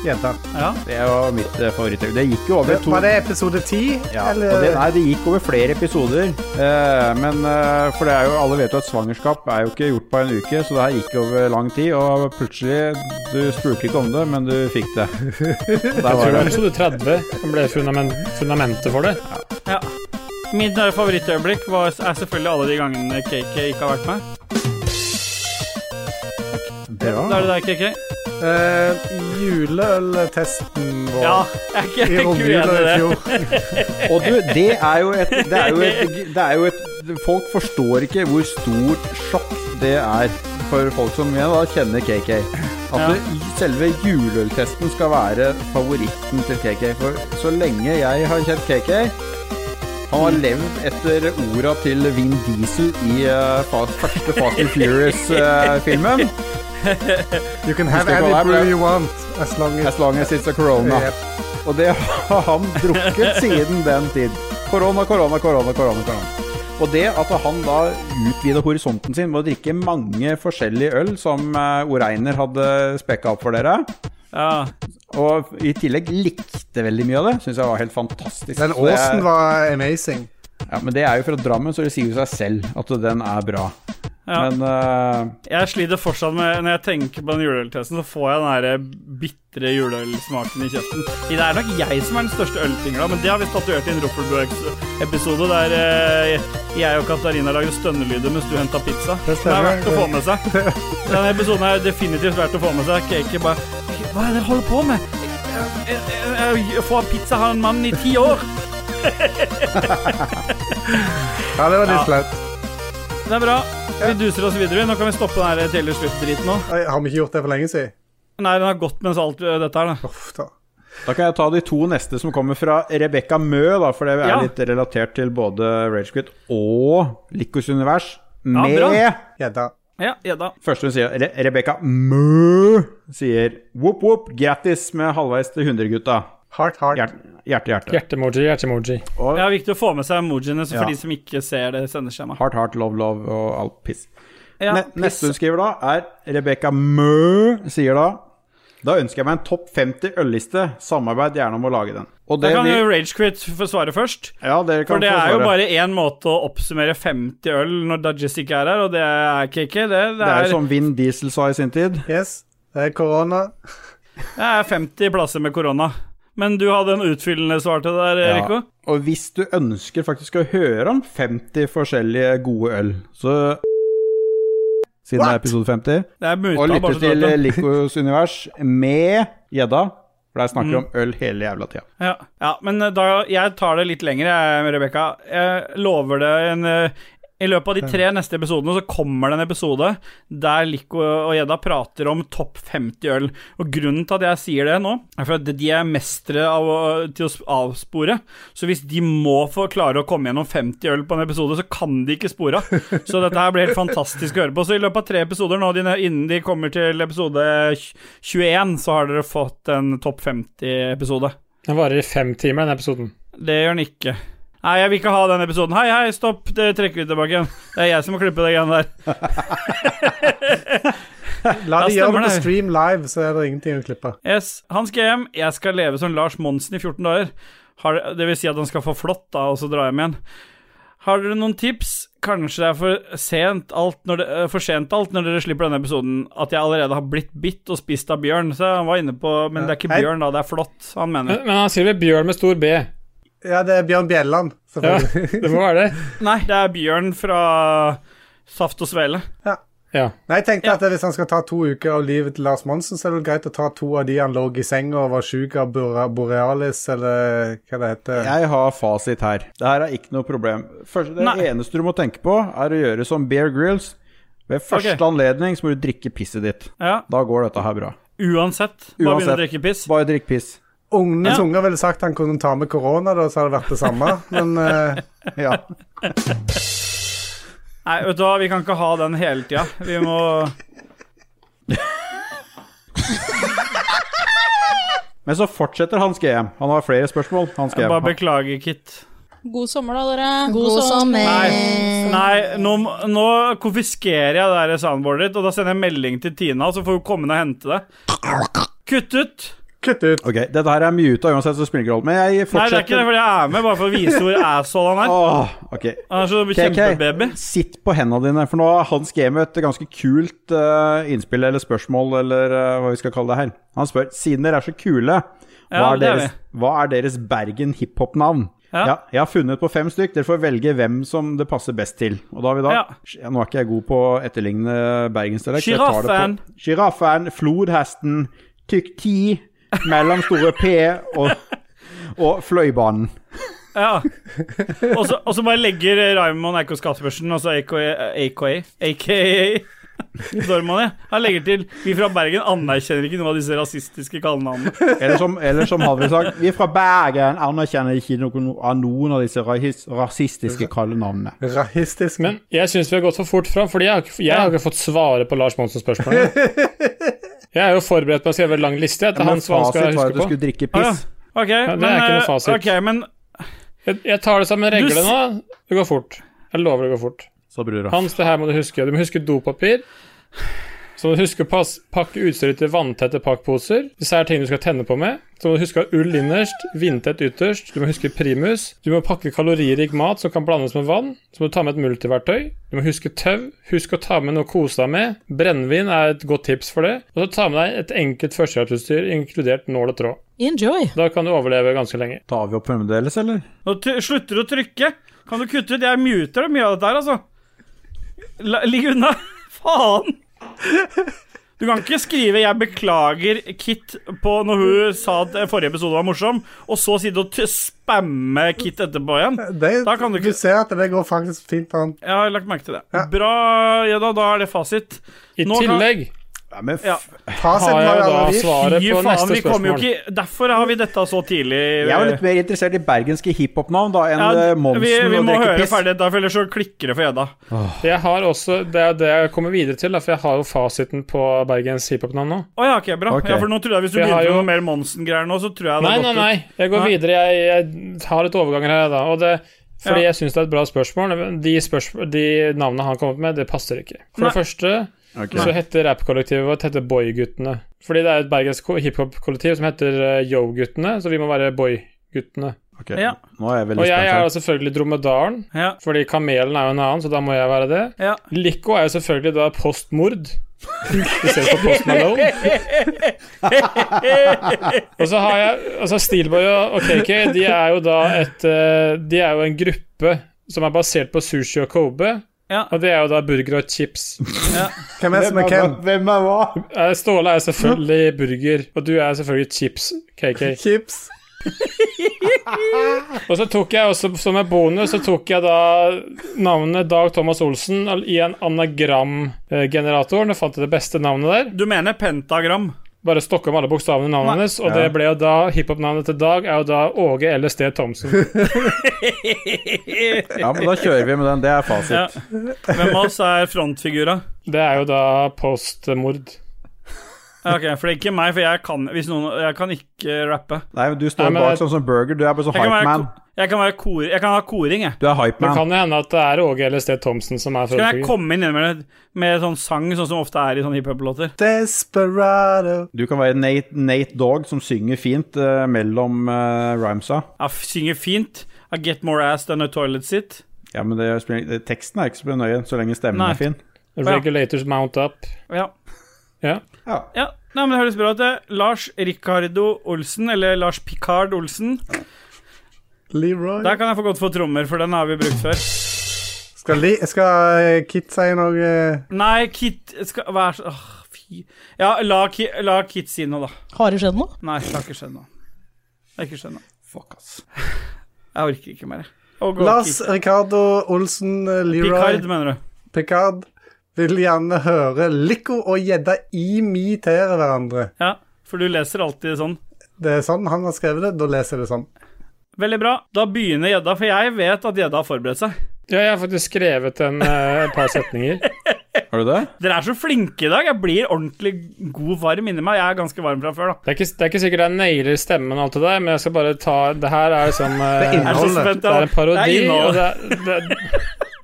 Speaker 2: Gjedda.
Speaker 1: Ja.
Speaker 3: Det var mitt eh, favorittøyeblikk. Det gikk jo over to
Speaker 2: Var det episode ti?
Speaker 3: Ja, og
Speaker 2: eller?
Speaker 3: det, nei, det gikk over flere episoder. Eh, men eh, For det er jo, alle vet jo at svangerskap er jo ikke gjort på en uke, så det her gikk over lang tid. Og plutselig Du spurte ikke om det, men du fikk det. Der
Speaker 4: Jeg tror
Speaker 3: var
Speaker 4: det var
Speaker 3: det.
Speaker 4: episode 30 som ble fundament, fundamentet for det.
Speaker 1: ja. Mitt nære favorittøyeblikk var, er selvfølgelig alle de gangene KK ikke har vært med. Da er
Speaker 3: Bra.
Speaker 1: det deg, KK.
Speaker 2: Eh, Juleøltesten vår
Speaker 1: Ja, jeg er ikke, jeg
Speaker 2: i
Speaker 1: er ikke
Speaker 2: romjula
Speaker 1: uenig i
Speaker 2: i
Speaker 1: det.
Speaker 2: fjor.
Speaker 3: Og du, det er jo et Det er jo et, det er jo et Folk forstår ikke hvor stort sjokk det er for folk som igjen da kjenner KK. At
Speaker 1: Ja.
Speaker 3: det, selve juleøltesten skal være favoritten til KK. For så lenge jeg har kjent KK Han har levd etter orda til Vin Diesel i eh, fa- første Fast and eh, Furious-filmen.
Speaker 2: You can have
Speaker 3: Husker ikke hva
Speaker 2: any
Speaker 3: det er, men-
Speaker 2: brew you want as long as
Speaker 3: As long as it's a corona.
Speaker 2: Yep.
Speaker 3: Og det har han drukket siden den tid. Korona, korona, korona, korona. korona. Og det at han da utvida horisonten sin ved å drikke mange forskjellige øl, som eh, Oreiner hadde spekka opp for dere,
Speaker 1: Ja.
Speaker 3: og i tillegg likte veldig mye av det, syns jeg var helt fantastisk.
Speaker 2: Den
Speaker 3: Så jeg-
Speaker 2: åsen var amazing.
Speaker 3: ja, Men det er jo fra Drammen, så det sier jo seg selv at den er bra.
Speaker 1: Ja.
Speaker 3: Men eh,
Speaker 1: Jeg sliter fortsatt med Når jeg tenker på den juleøltesten, så får jeg den der bitre juleølsmaken i kjeften. Det er nok jeg som er den største øltingla, men det har vi statuert i en Roffelbø-episode der eh, jeg og Katarina lagde stønnelyder mens du henta pizza. Det, er verdt å få med seg. Denne episoden er definitivt verdt å få med seg. Cake bare Hva er det dere holder på med? Eh, Jeg, jeg, jeg får pizza av en mann i ti år.
Speaker 2: Ja, det var litt
Speaker 1: Ja.
Speaker 2: flaut.
Speaker 1: Det er bra. Vi duser oss videre. Nå kan vi stoppe den her Taylor Swift-driten nå.
Speaker 2: Oi, Har vi ikke gjort det for lenge siden?
Speaker 1: Nei, den har gått mens alt eh, dette her, da.
Speaker 2: Uff da.
Speaker 3: da kan jeg ta de to neste som kommer fra Rebekka Mø, da, for det er
Speaker 1: Ja.
Speaker 3: litt relatert til både Ragequit og Likos univers. Med
Speaker 1: bra.
Speaker 2: Gjedda.
Speaker 1: Ja, gjedda.
Speaker 3: Første hun sier, Re Rebekka Mø sier whoop whoop, grattis med halvveis til 100-gutta.
Speaker 2: Heart, heart.
Speaker 3: Hjerte, hjerte. hjerte.
Speaker 4: Hjertemoji, hjertemoji.
Speaker 3: Og
Speaker 1: Ja, viktig å få med seg emojiene så for
Speaker 3: Ja.
Speaker 1: de som ikke ser det sendeskjemaet.
Speaker 3: hardt, hardt, love, love og alt piss.
Speaker 1: Ja,
Speaker 3: Ne neste hun skriver da, er Rebekka Mø sier da Da ønsker jeg meg en topp 50 ølliste. Samarbeid gjerne om å lage den. Og
Speaker 1: da
Speaker 3: det
Speaker 1: kan jo
Speaker 3: blir
Speaker 1: Ragequit få svare først.
Speaker 3: Ja, dere kan
Speaker 1: For det
Speaker 3: få
Speaker 1: er jo
Speaker 3: svaret.
Speaker 1: bare én måte å oppsummere 50 øl når Dajis ikke er her, og det er ikke ikke. Det, det,
Speaker 3: Det er
Speaker 1: er,
Speaker 3: jo sånn- som Vin Diesel sa i sin tid.
Speaker 2: Yes. Det er korona.
Speaker 1: det er 50 plasser med korona. Men du hadde en utfyllende svar til det der, Rico.
Speaker 3: Og hvis du ønsker faktisk å høre om 50 forskjellige gode øl, så Siden det er episode 50.
Speaker 1: Det er
Speaker 3: Og
Speaker 1: muta, bare så
Speaker 3: lytter
Speaker 1: du
Speaker 3: til
Speaker 1: vet det.
Speaker 3: Likos univers med gjedda. For der snakker vi
Speaker 1: Mm.
Speaker 3: om øl hele jævla tida.
Speaker 1: Ja. ja, men eh, da, jeg tar det litt lenger, jeg, Rebekka. Jeg lover det en eh, I løpet av de tre neste episodene så kommer det en episode der Lico og Gjedda prater om topp 50 øl. Og grunnen til at jeg sier det nå, er for at de er mestere av, å- til å sp- avspore. Så hvis de må få klare å komme gjennom 50 øl på en episode, så kan de ikke spore av. Så dette her blir helt fantastisk å høre på. Så i løpet av tre episoder nå, de- innen de kommer til episode 21, så har dere fått en topp 50-episode.
Speaker 4: Den varer i fem timer, den episoden.
Speaker 1: Det gjør den ikke. Nei, jeg vil ikke ha den episoden. Hei, hei, stopp, det trekker vi tilbake igjen. Det er jeg som må klippe det greiene der.
Speaker 2: La
Speaker 1: Ja,
Speaker 2: de gjøre
Speaker 1: stemmer
Speaker 2: det på
Speaker 1: det.
Speaker 2: stream live, så er det ingenting å klippe.
Speaker 1: Yes, han skal hjem. Jeg skal leve som Lars Monsen i 14 dager. Har, det vil si at han skal få flått, da, og så dra hjem igjen. Har dere noen tips? kanskje det er for sent alt når, det, eh, for sent alt når dere slipper denne episoden, at jeg allerede har blitt bitt og spist av bjørn. Så han var inne på Men det er ikke
Speaker 2: Hei.
Speaker 1: bjørn, da. Det er flått, han mener.
Speaker 4: Men, men han skriver bjørn med stor B.
Speaker 2: Ja, det er Bjørn Bjelland,
Speaker 4: Ja,
Speaker 2: selvfølgelig.
Speaker 4: det må være det.
Speaker 1: Nei, det er bjørn fra Saft og Svele.
Speaker 4: Ja.
Speaker 2: Nei, jeg tenkte
Speaker 1: Ja.
Speaker 2: at hvis han skal ta to uker av livet til Lars Monsen, så er det vel greit å ta to av de han lå i senga og var sjuk av bore- borealis, eller hva det heter.
Speaker 3: Jeg har fasit her. Det her er ikke noe problem. Første, det
Speaker 1: Nei.
Speaker 3: eneste du må tenke på, er å gjøre som Bear Grills. Ved første
Speaker 1: Ok.
Speaker 3: anledning så må du drikke pisset ditt.
Speaker 1: Ja,
Speaker 3: Da går dette her bra.
Speaker 1: uansett. Bare begynne å
Speaker 3: Uansett.
Speaker 1: drikke piss.
Speaker 3: Bare drikk piss.
Speaker 2: Ungnes
Speaker 1: Ja.
Speaker 2: unger ville sagt han kunne ta med korona, da, så hadde det vært det samme. Men eh,
Speaker 3: Ja.
Speaker 1: Nei, vet du hva, vi kan ikke ha den hele tida. Vi må
Speaker 3: Men så fortsetter Hans GM. Han har flere spørsmål. Hans GM.
Speaker 1: bare beklage, Kit.
Speaker 8: God sommer, da, dere.
Speaker 7: God sommer.
Speaker 1: Nei, nei nå, må- nå konfiskerer jeg det der soundboardet ditt, og da sender jeg melding til Tina, så får hun komme ned og hente det. Kutt ut!
Speaker 2: kutt ut.
Speaker 3: Ok, Dette her er muta uansett, så spiller det ingen rolle. Men jeg
Speaker 1: Nei, det er ikke det,
Speaker 3: fortsetter.
Speaker 1: for jeg er med bare for å vise hvor asshole han er.
Speaker 3: Åh, ok.
Speaker 1: Han er så kjempebaby.
Speaker 3: KK, sitt på hendene dine, for nå har Hans Game et ganske kult eh, innspill eller spørsmål, eller eh, hva vi skal kalle det her. Han spør siden dere er så kule, hva,
Speaker 1: Ja,
Speaker 3: er,
Speaker 1: det er
Speaker 3: deres, hva er deres Bergen hiphop-navn?
Speaker 1: Ja.
Speaker 3: jeg har funnet på fem stykk. Dere får velge hvem som det passer best til. Og da har vi da
Speaker 1: Ja.
Speaker 3: ja. Nå er ikke jeg god på å etterligne bergensdialekt. så jeg tar det på-
Speaker 1: Giraffen.
Speaker 3: Giraffen, flodhesten, tykti, mellom store P og, og fløibanen.
Speaker 1: Ja. Og så- og så bare legger Raymond Eikos Caspersen, altså AKA AKA, AKA Dorman, ja. Han legger til Vi fra Bergen anerkjenner ikke noe av disse rasistiske kallenavnene.
Speaker 3: Eller som, eller som han ville sagt Vi fra Bergen anerkjenner ikke noen av noen av disse rahis- rasistiske kallenavnene.
Speaker 2: Rahistisk.
Speaker 4: Men jeg syns vi har gått for fort fram, Fordi jeg har ikke, jeg har ikke fått svare på Lars Monsen-spørsmålet. Jeg er jo forberedt på å skrive en lang liste. Etter
Speaker 3: Men
Speaker 4: hans hva han skal
Speaker 3: fasit var at du
Speaker 4: huske på.
Speaker 3: skulle drikke
Speaker 1: Ah, ja.
Speaker 3: piss.
Speaker 1: Ok,
Speaker 4: det er
Speaker 1: men,
Speaker 4: ikke noe
Speaker 1: eh,
Speaker 4: fasit.
Speaker 1: ok, men
Speaker 4: Jeg, jeg tar det som en
Speaker 1: Du
Speaker 4: regle
Speaker 1: s-
Speaker 4: nå. Det går fort. Jeg lover det går fort.
Speaker 3: Så bror han.
Speaker 4: Hans, det her må du huske. Du må huske dopapir. Så må du huske å pass, pakke utstyret til vanntette pakkposer. Disse er ting du skal tenne på med. Så må du huske å ha ull innerst, vindtett ytterst. Du må huske primus. Du må pakke kaloririk mat som kan blandes med vann. Så må du ta med et multiverktøy. Du må huske tau. Husk å ta med noe å kose deg med. Brennevin er et godt tips for det. Og så ta med deg et enkelt førstehjelpsutstyr, inkludert nål og tråd.
Speaker 6: Enjoy.
Speaker 4: Da kan du overleve ganske lenge.
Speaker 3: Tar vi opp fremdeles, eller?
Speaker 1: Nå t slutter du å trykke. Kan du kutte ut? Jeg muter det mye av dette her, altså. La, ligg unna. Faen. Du kan ikke skrive 'jeg beklager Kit' på når hun sa at forrige episode var morsom, og så sitte og t spamme Kit etterpå igjen.
Speaker 2: det,
Speaker 1: Da kan du
Speaker 2: du,
Speaker 1: ikke-
Speaker 2: ser at det går faktisk fint for han.
Speaker 1: Jeg har lagt merke til det. Bra, ja da, da er det fasit.
Speaker 4: I
Speaker 1: Nå kan-
Speaker 4: tillegg
Speaker 3: Ja, men f
Speaker 1: Ja.
Speaker 2: Fasit
Speaker 4: har
Speaker 2: var
Speaker 4: jeg jo da
Speaker 2: allerede
Speaker 1: Fy
Speaker 4: svaret på
Speaker 1: faen,
Speaker 4: neste
Speaker 1: vi kommer jo
Speaker 4: spørsmål.
Speaker 1: ikke Derfor har vi dette så tidlig.
Speaker 3: Jeg var litt mer interessert i bergenske hiphop-navn da enn eh,
Speaker 1: ja,
Speaker 3: Monsen
Speaker 1: vi, vi
Speaker 3: og
Speaker 1: må
Speaker 3: drikke
Speaker 1: høre
Speaker 3: piss.
Speaker 1: ferdig, dette, for ellers så klikker det for gjedda.
Speaker 4: Jeg har også, Det er det jeg kommer videre til, da, for jeg har jo fasiten på Bergens hiphop-navn nå.
Speaker 1: Å ja, ok, bra.
Speaker 3: Ok.
Speaker 1: Ja, for nå tror jeg Hvis du
Speaker 4: Vi har
Speaker 1: begynte
Speaker 4: jo-
Speaker 1: med noe mer Monsen-greier nå, så tror jeg det
Speaker 4: Nei,
Speaker 1: har gått
Speaker 4: nei, nei.
Speaker 1: ut.
Speaker 4: Jeg går
Speaker 1: Nei.
Speaker 4: videre. Jeg, jeg har et overganger her, da. Og det, fordi
Speaker 1: Ja.
Speaker 4: jeg syns det er et bra spørsmål. men De, spørsmål, de navnene han kom opp med, det passer ikke. For
Speaker 1: Nei.
Speaker 4: det første
Speaker 3: Ok.
Speaker 4: så heter rappkollektivet vårt heter Boyguttene. Fordi det er et bergensk hiphop-kollektiv som heter eh, Yo-guttene, så vi må være Boyguttene.
Speaker 3: Ok,
Speaker 1: Ja.
Speaker 3: Nå er jeg veldig
Speaker 4: Og jeg er
Speaker 3: spent.
Speaker 4: da selvfølgelig dromedaren,
Speaker 1: Ja.
Speaker 4: fordi kamelen er jo en annen, så da må jeg være det.
Speaker 1: Ja.
Speaker 4: Lico er jo selvfølgelig da postmord. Vi ser på Post Malone. og så har jeg altså Steelboy og og KK de er jo da et eh, De er jo en gruppe som er basert på sushi og kobe.
Speaker 1: Ja.
Speaker 4: Og det er jo da burger og chips.
Speaker 2: Hvem er som er hvem?
Speaker 3: hvem er hva?
Speaker 4: Eh, Ståle er selvfølgelig burger, og du er selvfølgelig chips, KK.
Speaker 2: Chips.
Speaker 4: Og så tok jeg også som en bonus så tok jeg da navnet Dag Thomas Olsen i en anagramgenerator. Da fant jeg det beste navnet der.
Speaker 1: Du mener pentagram.
Speaker 4: bare stokke om alle bokstavene i navnet hennes, og det ble jo da hiphop-navnet til Dag er jo da Åge LSD Thomsen.
Speaker 3: Ja, men da kjører vi med den. Det er fasit.
Speaker 1: Ja. Hvem av oss er frontfigura?
Speaker 4: Det er jo da postmord.
Speaker 1: Ja, ok, For det er ikke meg, for jeg kan, hvis noen, jeg kan ikke rappe.
Speaker 3: Nei, men du står
Speaker 4: Nei, men
Speaker 3: bak
Speaker 4: jeg-
Speaker 3: sånn som Burger. Du er bare sånn
Speaker 1: Jeg kan, være,
Speaker 3: hypeman.
Speaker 1: ko- jeg, kan være kor, jeg kan ha koring, jeg.
Speaker 3: Du er
Speaker 4: Det
Speaker 3: hypeman.
Speaker 4: kan jo hende at det er Åge LSD Thomsen som er
Speaker 1: Så kan jeg
Speaker 4: frontfigur.
Speaker 1: komme inn med, med sånn sang, sånn som ofte er i sånne hiphop-låter.
Speaker 2: Desperado.
Speaker 3: Du kan være Nate, Nate Dogg som synger fint eh, mellom eh, rhymesa.
Speaker 1: Ja, f- Synger fint. I get more ass than a toilet seat.
Speaker 3: Ja, men det, spiller- det, teksten er ikke så nøye, så lenge stemmen
Speaker 1: Nei.
Speaker 3: er fin.
Speaker 4: Regulators mount up.
Speaker 1: Ja.
Speaker 4: Ja.
Speaker 1: ja. Nei, men det høres bra ut, det. Lars Ricardo Olsen, eller Lars Picard Olsen.
Speaker 2: Leroy.
Speaker 1: Der kan jeg få godt få trommer, for den har vi brukt før.
Speaker 2: Skal, li, skal eh, Kit si noe
Speaker 1: Nei, Kit skal Vær så Åh, fy. Ja, la, Ki, la Kit si noe, da.
Speaker 6: Har det skjedd noe?
Speaker 1: Nei, det har ikke skjedd noe. Det har ikke skjedd noe.
Speaker 3: Fuck, ass.
Speaker 1: Jeg orker ikke mer. jeg. Og gå,
Speaker 2: Lars
Speaker 1: Kit.
Speaker 2: Ricardo Olsen eh, Leroy
Speaker 1: Picard, mener du.
Speaker 2: Picard vil gjerne høre Lico og gjedda imitere hverandre.
Speaker 1: Ja, for du leser alltid sånn.
Speaker 2: Det er sånn han har skrevet det. Da leser jeg det sånn.
Speaker 1: Veldig bra. Da begynner gjedda, for jeg vet at gjedda har forberedt seg.
Speaker 4: Ja, jeg har faktisk skrevet en, eh, et par setninger.
Speaker 3: Har du det?
Speaker 1: Dere er så flinke i dag. Jeg blir ordentlig god varm inni meg. Jeg er ganske varm fra før, da.
Speaker 4: Det er ikke, det er ikke sikkert jeg nailer stemmen og alt det der, men jeg skal bare ta Det her er liksom eh,
Speaker 2: Det er
Speaker 1: Jeg er så
Speaker 2: Innholdet.
Speaker 1: spent.
Speaker 4: det er en parodi,
Speaker 1: Det er
Speaker 4: og
Speaker 1: innholdet.
Speaker 4: det, det,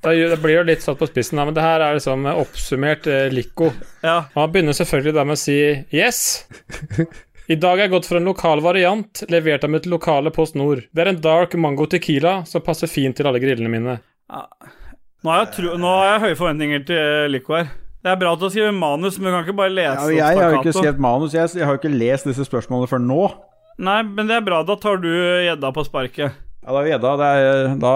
Speaker 4: det, det blir jo litt satt på spissen, da, men det her er liksom oppsummert eh, Lico.
Speaker 1: Ja.
Speaker 4: Og han begynner selvfølgelig da med å si yes. I dag er gått for en lokal variant, levert av mitt lokale Post Nord. Det er en dark mango tequila som passer fint til alle grillene mine.
Speaker 1: Nå har jeg, tro, nå har jeg høye forventninger til Lico her. Det er bra at du har skrevet manus, men du kan ikke bare lese
Speaker 3: Ja,
Speaker 1: opp
Speaker 3: jeg har jo
Speaker 1: stakkato.
Speaker 3: ikke skrevet manus, jeg, jeg har jo ikke lest disse spørsmålene før nå.
Speaker 1: Nei, men det er bra. Da tar du gjedda på sparket.
Speaker 3: Ja, da er gjedda, det er eh, da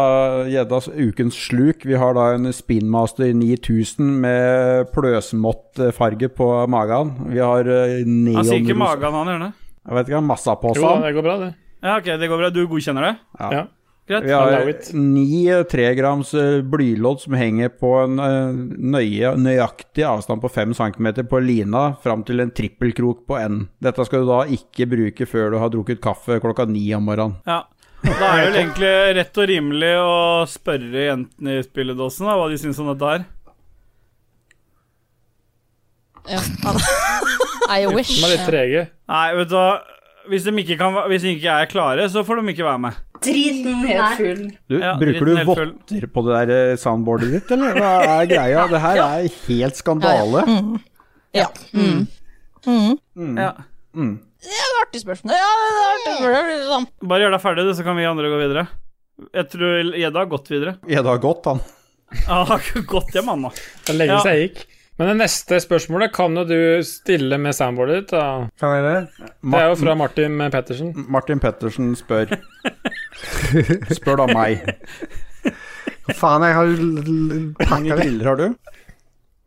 Speaker 3: gjeddas ukens sluk. Vi har da en Spinmaster 9000 med pløsmottfarge på magen. Vi har eh,
Speaker 1: Han sier ikke
Speaker 3: neonrosa
Speaker 1: magen, han gjør det.
Speaker 3: Jeg vet ikke, massa på
Speaker 4: Jo,
Speaker 3: seg.
Speaker 4: det går bra, det.
Speaker 1: Ja, ok, det går bra. Du godkjenner det?
Speaker 4: Ja.
Speaker 1: Greit.
Speaker 3: Vi
Speaker 4: Allow
Speaker 3: har
Speaker 4: it.
Speaker 3: ni tregrams eh, blylodd som henger på en eh, nøye, nøyaktig avstand på fem centimeter på lina fram til en trippelkrok på N. Dette skal du da ikke bruke før du har drukket kaffe klokka ni om morgenen.
Speaker 1: Ja. Da er det vel egentlig rett og rimelig å spørre jentene i spilledåsen da, hva de syns om dette her.
Speaker 8: Ja. I wish.
Speaker 4: De er litt trege.
Speaker 1: Nei, vet du hva. Hvis de ikke, kan, hvis de ikke er klare, så får de ikke være med.
Speaker 7: Driten helt full.
Speaker 3: Du,
Speaker 1: Ja,
Speaker 3: bruker
Speaker 1: dritten
Speaker 3: du
Speaker 1: helt full.
Speaker 3: votter på det der eh, soundboardet ditt, eller? Hva er greia? Det her er helt skandale.
Speaker 6: Ja. Mm. Mm.
Speaker 1: Ja.
Speaker 8: Artig spørsmål.
Speaker 6: Ja, det er artig, for det blir sånn.
Speaker 1: Bare gjør deg ferdig, du, så kan vi andre gå videre. Jeg tror gjedda har gått videre.
Speaker 3: Gjedda har gått, han.
Speaker 1: Han har ikke gått hjem, han, da.
Speaker 4: Det er lenge
Speaker 1: Ja.
Speaker 4: siden jeg gikk. Men det neste spørsmålet kan jo du stille med soundboardet ditt. Da.
Speaker 2: Kan jeg det?
Speaker 4: Det er jo
Speaker 3: Martin,
Speaker 4: fra Martin Pettersen.
Speaker 3: Martin Pettersen spør. Spør da meg.
Speaker 2: Hva Faen, jeg har jo l- l-
Speaker 3: Hvor mange
Speaker 2: pakka det.
Speaker 3: griller har du?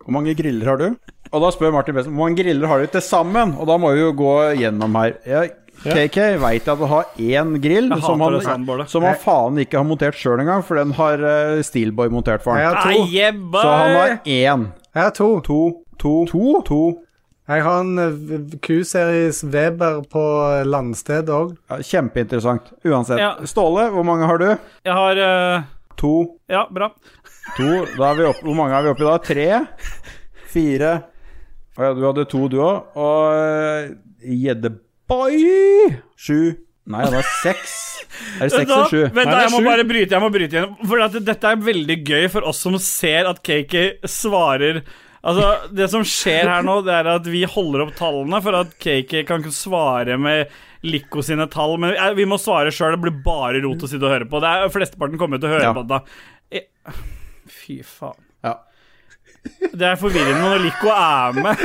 Speaker 3: Hvor mange griller har du? Og da spør Martin Pettersen hvor mange griller har du til sammen? Og da må vi jo gå gjennom her. Ja, KK veit jeg at du har én grill
Speaker 1: Jeg
Speaker 3: som
Speaker 1: hater det sånn,
Speaker 3: han,
Speaker 1: soundboardet.
Speaker 3: som han faen ikke har montert sjøl engang, for den har eh, Steelboy montert for
Speaker 2: Jeg
Speaker 3: han.
Speaker 2: har
Speaker 1: Nei,
Speaker 2: to.
Speaker 1: jebba!
Speaker 3: Så han har én,
Speaker 2: Jeg har to.
Speaker 3: to, to, to, to.
Speaker 2: Jeg har en eh, v- Q-series Weber på eh, landsted òg.
Speaker 3: Ja, kjempeinteressant. Uansett.
Speaker 1: Ja.
Speaker 3: Ståle, hvor mange har du?
Speaker 1: Jeg har eh,
Speaker 3: To,
Speaker 1: Ja, bra.
Speaker 3: to. Da er vi opp, hvor mange er vi oppe i da? Tre, fire Å ja, du hadde to, du òg. Og eh, gjeddeboy Sju. Nei, det var seks. Er det seks
Speaker 1: da,
Speaker 3: eller sju?
Speaker 1: Vent,
Speaker 4: Nei,
Speaker 1: da,
Speaker 4: det er
Speaker 1: jeg må
Speaker 4: sju.
Speaker 1: bare bryte jeg må bryte igjen. For at dette er veldig gøy for oss som ser at Kiki svarer Altså, Det som skjer her nå, det er at vi holder opp tallene for at Kiki kan ikke svare med Lico sine tall, men eh, vi må svare sjøl. Det blir bare rot å sitte og høre på. Det er, flesteparten kommer til å høre
Speaker 3: Ja.
Speaker 1: på det. da. Eh, Fy faen.
Speaker 3: Ja.
Speaker 1: Det er forvirrende når Lico er med.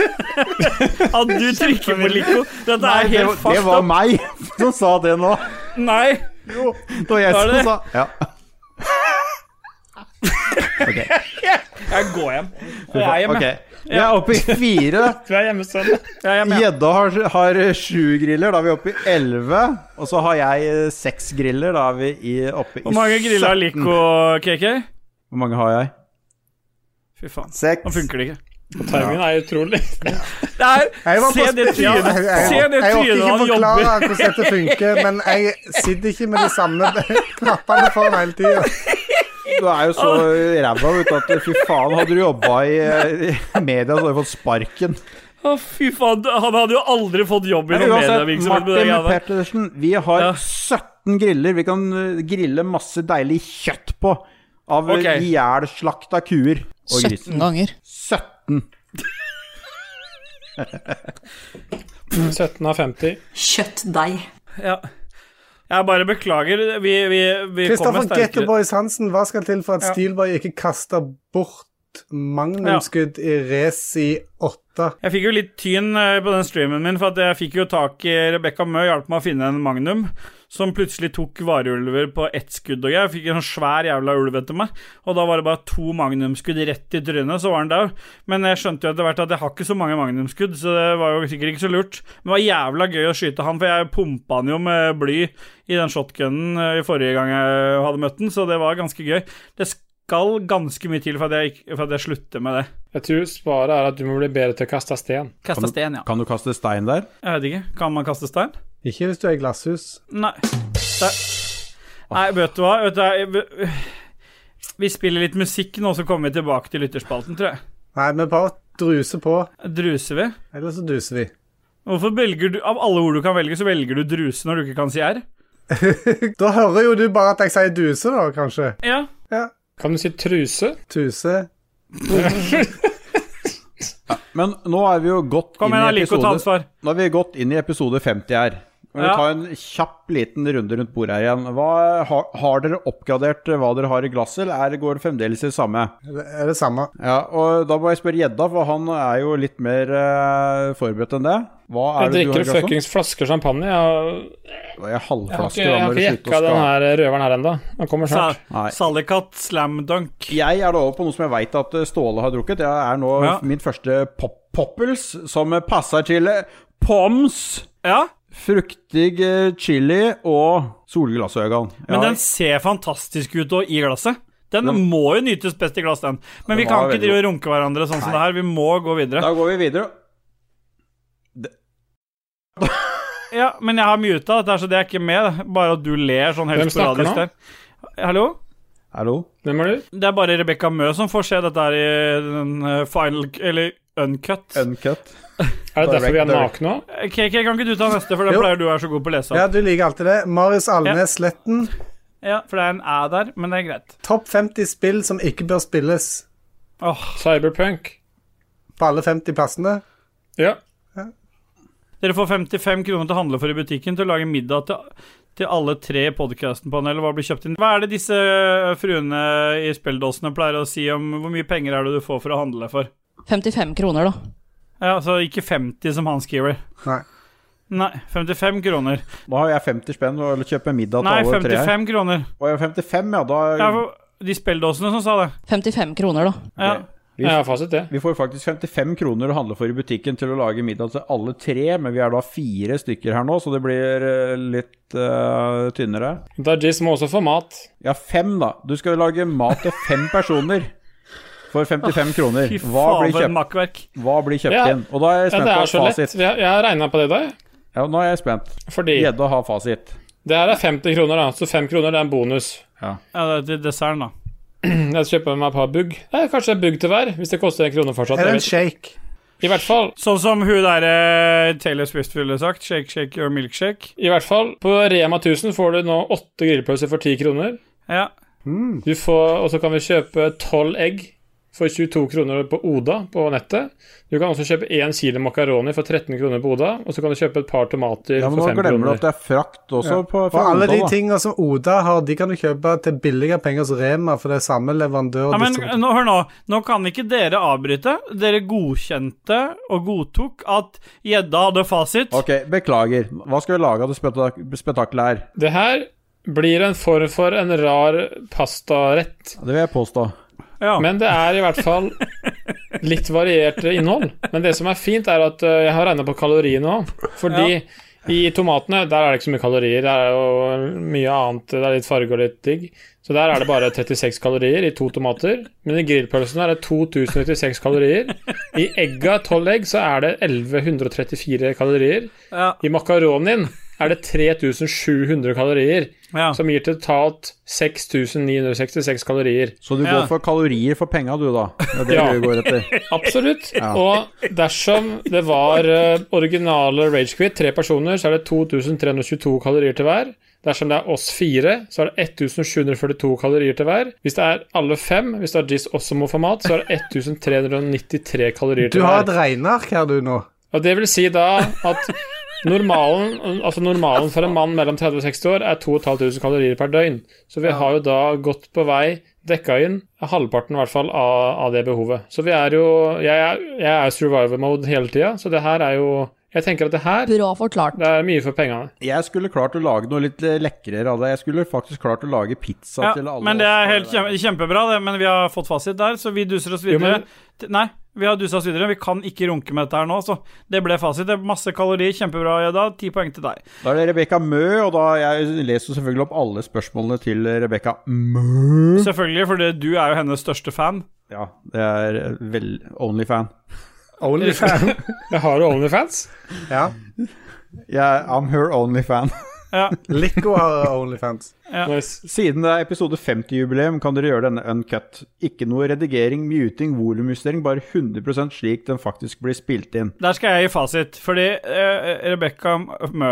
Speaker 1: At du trykker på Lico. Dette er
Speaker 3: Det,
Speaker 1: helt
Speaker 3: det
Speaker 1: fast.
Speaker 3: var
Speaker 1: opp.
Speaker 3: meg som sa det nå.
Speaker 1: Nei.
Speaker 3: Det var jeg
Speaker 1: Var det
Speaker 3: som sa ja.
Speaker 1: Jeg går hjem. Jeg er hjemme.
Speaker 3: Ok. Vi er oppe i fire.
Speaker 4: Du er hjemmestående.
Speaker 1: Jeg er hjemme.
Speaker 3: Gjedda har, har sju griller. Da er vi oppe i elleve. Og så har jeg eh, seks griller. Da er vi i, oppe i
Speaker 1: Hvor mange griller har
Speaker 3: 17.
Speaker 1: Lico, KK?
Speaker 3: Hvor mange har jeg?
Speaker 1: Fy faen.
Speaker 3: Seks.
Speaker 1: Nå funker det ikke.
Speaker 4: Timingen er utrolig.
Speaker 1: Det er,
Speaker 2: Jeg var
Speaker 1: se
Speaker 2: på
Speaker 1: det
Speaker 2: sp- Ja,
Speaker 1: trynet
Speaker 2: jeg- jeg-
Speaker 1: Se det
Speaker 2: Jeg orker
Speaker 1: trynet
Speaker 2: ikke
Speaker 1: han jobber
Speaker 2: forklare hvordan dette funker, men jeg sitter ikke med de samme knappene foran hele tida.
Speaker 3: Du er jo så ræva ut at fy faen, hadde du jobba i, i media, så hadde du fått sparken.
Speaker 1: Å, fy faen. Han hadde jo aldri fått jobb i
Speaker 3: Men
Speaker 1: noen
Speaker 3: uansett,
Speaker 1: medievirksomhet med det
Speaker 3: Martin
Speaker 1: greia der.
Speaker 3: Pettersen, vi har
Speaker 1: Ja.
Speaker 3: 17 griller. Vi kan eh, grille masse deilig kjøtt på. Av
Speaker 1: Ok.
Speaker 3: okay. ihjelslakta kuer og
Speaker 6: 17
Speaker 3: griser.
Speaker 6: ganger.
Speaker 3: 17.
Speaker 4: 17 av 50.
Speaker 7: Kjøttdeig.
Speaker 1: Ja. Jeg bare beklager. Vi, vi, vi kommer
Speaker 2: Kristoffer
Speaker 1: sterkere
Speaker 2: Gettoboys Hansen, hva skal til for at
Speaker 1: Ja.
Speaker 2: Steelboy ikke kaster bort magnumskudd i race i åtte?
Speaker 1: Jeg fikk jo litt tyn eh, på den streamen min, for at jeg fikk jo tak i Rebekka Mø, hjalp meg å finne en Magnum, som plutselig tok varulver på ett skudd og jeg. Fikk en sånn svær jævla ulv etter meg, og da var det bare to Magnum-skudd rett i trynet, så var den der. Men jeg skjønte jo etter hvert at jeg har ikke så mange Magnum-skudd, så det var jo sikkert ikke så lurt. Men det var jævla gøy å skyte han, for jeg pumpa han jo med bly i den shotgunen eh, forrige gang jeg hadde møtt den, så det var ganske gøy. Det skal ganske mye til for at jeg, ikke- for at jeg slutter med det.
Speaker 4: Jeg tror svaret er at du må bli bedre til å kaste sten.
Speaker 3: Kan
Speaker 1: Kasta
Speaker 3: du-
Speaker 1: sten, ja.
Speaker 3: Kan du kaste stein der?
Speaker 1: Jeg vet ikke. Kan man kaste stein?
Speaker 2: Ikke hvis du er i glasshus.
Speaker 1: Nei. Der. Nei, vet du hva? Vet du, jeg, vi spiller litt musikk nå, så kommer vi tilbake til lytterspalten, tror jeg.
Speaker 2: Nei, vi bare druser på,
Speaker 1: Druser vi?
Speaker 2: eller så duser vi.
Speaker 1: Hvorfor velger du Av alle ord du kan velge, så velger du druse når du ikke kan si r?
Speaker 2: Da hører jo du bare at jeg sier duse, da, kanskje.
Speaker 1: Ja.
Speaker 4: Kan du si truse?
Speaker 2: Tuse.
Speaker 3: Men nå er vi jo godt
Speaker 1: Kom
Speaker 3: inn
Speaker 1: igjen, da,
Speaker 3: i
Speaker 1: lik å ta
Speaker 3: episode
Speaker 1: ansvar.
Speaker 3: Nå er vi gått inn i episode 50 her. Vi
Speaker 1: Ja.
Speaker 3: tar en kjapp liten runde rundt bordet her igjen. Hva, har, har dere oppgradert eh, hva dere har i glasset, eller er det- går det fremdeles i det samme?
Speaker 2: Det er det samme.
Speaker 3: Ja, og Da må jeg spørre Gjedda, for han er jo litt mer eh, forberedt enn det. Hva er det du har
Speaker 4: Jeg drikker
Speaker 3: i glasset?
Speaker 4: fuckings flasker champagne. Jeg har,
Speaker 3: Jeg har
Speaker 4: jeg har ikke,
Speaker 3: halvflaske. da,
Speaker 4: jeg
Speaker 3: når
Speaker 4: har ikke
Speaker 3: du slutter
Speaker 4: jekka
Speaker 3: å
Speaker 4: den
Speaker 3: ska-
Speaker 4: her eh, røveren her ennå. Han kommer
Speaker 1: Sa-
Speaker 4: snart.
Speaker 3: Nei.
Speaker 1: Sallikat slam dunk.
Speaker 3: Jeg er da over på noe som jeg veit at eh, Ståle har drukket. Jeg er nå
Speaker 1: Ja.
Speaker 3: min første pop poppels, som eh, passer til eh, poms,
Speaker 1: Ja,
Speaker 3: fruktig eh, chili og solglassøyne.
Speaker 1: men den ser fantastisk ut og i glasset. Den
Speaker 3: Den-
Speaker 1: må jo nytes best i glass, den. Men vi
Speaker 3: Den
Speaker 1: kan
Speaker 3: var
Speaker 1: ikke
Speaker 3: veldig
Speaker 1: drive og runke hverandre sånn som det her. Vi må gå videre.
Speaker 3: Da går vi videre.
Speaker 1: Ja, men jeg har muta dette, her, så det er ikke med. det. Bare at du ler sånn helt
Speaker 4: Hvem snakker
Speaker 1: sporadisk
Speaker 4: nå?
Speaker 1: der. Hallo?
Speaker 3: Hallo?
Speaker 4: Hvem er du?
Speaker 1: Det er bare Rebekka Mø som får se dette her i den eh, final Eller uncut.
Speaker 3: Uncut.
Speaker 4: Er det derfor vi er
Speaker 3: Direct,
Speaker 4: nakne òg?
Speaker 1: KK, kan ikke du ta neste, for den
Speaker 2: Jo.
Speaker 1: pleier du å være så god på å lese.
Speaker 2: Ja,
Speaker 1: Ja.
Speaker 2: du liker alltid det. Marius Alnes Sletten.
Speaker 1: for det er en æ der, men det er greit.
Speaker 2: Topp 50 spill som ikke bør spilles
Speaker 1: Åh,
Speaker 4: Cyberpunk.
Speaker 2: på alle 50 plassene.
Speaker 4: Ja.
Speaker 1: Dere får 55 kroner til å handle for i butikken til å lage middag til, til alle tre i podkasten på en, eller hva blir kjøpt inn. Hva er det disse eh, fruene i spilledåsene pleier å si om hvor mye penger er det du får for å handle for?
Speaker 8: 55 kroner, da.
Speaker 1: Ja, så ikke 50 som han skriver.
Speaker 2: Nei.
Speaker 1: Nei, 55 kroner.
Speaker 3: Da har jeg 50 spenn og kjøper middag til
Speaker 1: Nei,
Speaker 3: alle tre. her.
Speaker 1: 55 kroner.
Speaker 3: Å, jeg har 55, ja. Da
Speaker 1: Ja, for de spilledåsene som sa det.
Speaker 8: 55 kroner, da.
Speaker 1: Ja.
Speaker 4: Jeg har fasit, det.
Speaker 3: Vi får faktisk 55 kroner å handle for i butikken til å lage middag til alle tre, men vi er da fire stykker her nå, så det blir eh, litt eh, tynnere.
Speaker 4: Dajis må også få mat.
Speaker 3: Ja, fem, da. Du skal jo lage mat til fem personer for 55 kroner.
Speaker 1: Fy
Speaker 3: Hva
Speaker 1: faen,
Speaker 3: blir
Speaker 1: for et
Speaker 3: kjøpt,
Speaker 1: makkverk.
Speaker 3: hva blir kjøpt
Speaker 4: Ja.
Speaker 3: inn? Og da er jeg
Speaker 4: Ja,
Speaker 3: spent
Speaker 4: det er så
Speaker 3: på
Speaker 4: lett.
Speaker 3: fasit.
Speaker 4: Jeg, jeg har regna på det i dag.
Speaker 3: Ja, nå er jeg spent.
Speaker 4: Fordi
Speaker 3: Gjedde har fasit.
Speaker 4: det her er 50 kroner, da. Så 5 kroner det er en bonus.
Speaker 1: Ja, det er til desserten, da.
Speaker 4: Jeg kjøper meg et par bugg. Nei, kanskje en bugg til hver, hvis det koster en krone fortsatt.
Speaker 2: Eller
Speaker 4: Jeg
Speaker 2: en shake.
Speaker 4: vet. I hvert fall,
Speaker 1: Sånn som hun derre Taylor Swift ville sagt. Shake, shake your milkshake.
Speaker 4: i hvert fall, på Rema 1000 får du nå åtte grillpølser for 10 kroner.
Speaker 1: Ja.
Speaker 4: Du får, og så kan vi kjøpe 12 egg for 22 kroner på Oda på nettet. Du kan også kjøpe 1 kilo makaroni for 13 kroner på Oda, og så kan du kjøpe et par tomater
Speaker 3: Ja, men
Speaker 4: for
Speaker 3: nå
Speaker 4: 5
Speaker 3: glemmer du
Speaker 4: kroner.
Speaker 3: at det er frakt også. På,
Speaker 2: For alle de
Speaker 3: Odda, da.
Speaker 2: tinga som Oda har, de kan du kjøpe til billigere penger hos Rema, for det er samme leverandør. og
Speaker 1: ja men
Speaker 2: distributør.
Speaker 1: nå, hør nå. Nå kan ikke dere avbryte. Dere godkjente og godtok at gjedda hadde fasit.
Speaker 3: Ok, beklager. Hva skal vi lage av det spetak spetakkelet her?
Speaker 4: Det her blir en form for en rar pastarett,
Speaker 3: Det vil jeg påstå.
Speaker 1: Ja.
Speaker 4: men det er i hvert fall litt variert innhold. Men det som er fint, er at øh, jeg har regna på kaloriene òg, fordi i tomatene der er det ikke så mye kalorier. Det er jo mye annet, det er litt farge og litt digg. Så der er det bare 36 kalorier i to tomater. Men i grillpølsen er det 2096 kalorier. I egga, 12 egg, så er det 1134 kalorier.
Speaker 1: ja.
Speaker 4: I makaronien er det 3700 kalorier,
Speaker 1: ja.
Speaker 4: som gir totalt 6966 kalorier.
Speaker 3: Så du
Speaker 1: Ja.
Speaker 3: går for kalorier for penga, du, da. Det er det
Speaker 4: Ja.
Speaker 3: du går etter.
Speaker 4: Absolutt. Og dersom det var eh, originale Rage Quit, tre personer, så er det 2322 kalorier til hver. Dersom det er oss fire, så er det 1742 kalorier til hver. Hvis det er alle fem, hvis det er Jizz også må få mat, så er det 1393 kalorier
Speaker 2: Du
Speaker 4: til
Speaker 2: har et
Speaker 4: hver.
Speaker 2: regneark her, du, nå.
Speaker 4: Og det vil si da at Normalen, altså normalen for en mann mellom 30 og 60 år er 2500 kalorier per døgn. Så vi har jo da gått på vei, dekka inn halvparten i hvert fall av, av det behovet. Så vi er jo Jeg er, jeg er survivor mode hele tida, så det her er jo Jeg tenker at det her
Speaker 8: Bra forklart.
Speaker 4: det er mye for pengene.
Speaker 3: Jeg skulle klart å lage noe litt eh, lekrere av det. Jeg skulle faktisk klart å lage pizza
Speaker 1: Ja,
Speaker 3: til alle.
Speaker 1: men det
Speaker 3: oss.
Speaker 1: er helt kjem- kjempebra, det. Men vi har fått fasit der, så vi duser oss
Speaker 4: Jo,
Speaker 1: videre.
Speaker 4: men-
Speaker 1: T- Nei, vi har dusa oss videre. Vi kan ikke runke med dette her nå, så det ble fasit. Det er masse kalorier. Kjempebra, Jedda. Ti poeng til deg.
Speaker 3: Da er det Rebekka Mø, og da jeg leser selvfølgelig opp alle spørsmålene til Rebekka Mø.
Speaker 1: Selvfølgelig, for det- du er jo hennes største fan.
Speaker 3: Ja, det er eh, vel Onlyfan.
Speaker 2: Onlyfan.
Speaker 4: Jeg har jo Onlyfans.
Speaker 2: ja.
Speaker 3: Yeah, I'm her onlyfan.
Speaker 1: Ja.
Speaker 2: Lico har Onlyfans.
Speaker 4: Nice.
Speaker 3: Siden det er episode 50-jubileum, kan dere gjøre denne uncut. Ikke noe redigering, muting, volumjustering, bare 100 slik den faktisk blir spilt inn.
Speaker 1: Der skal jeg gi fasit, fordi uh, Rebekka Mø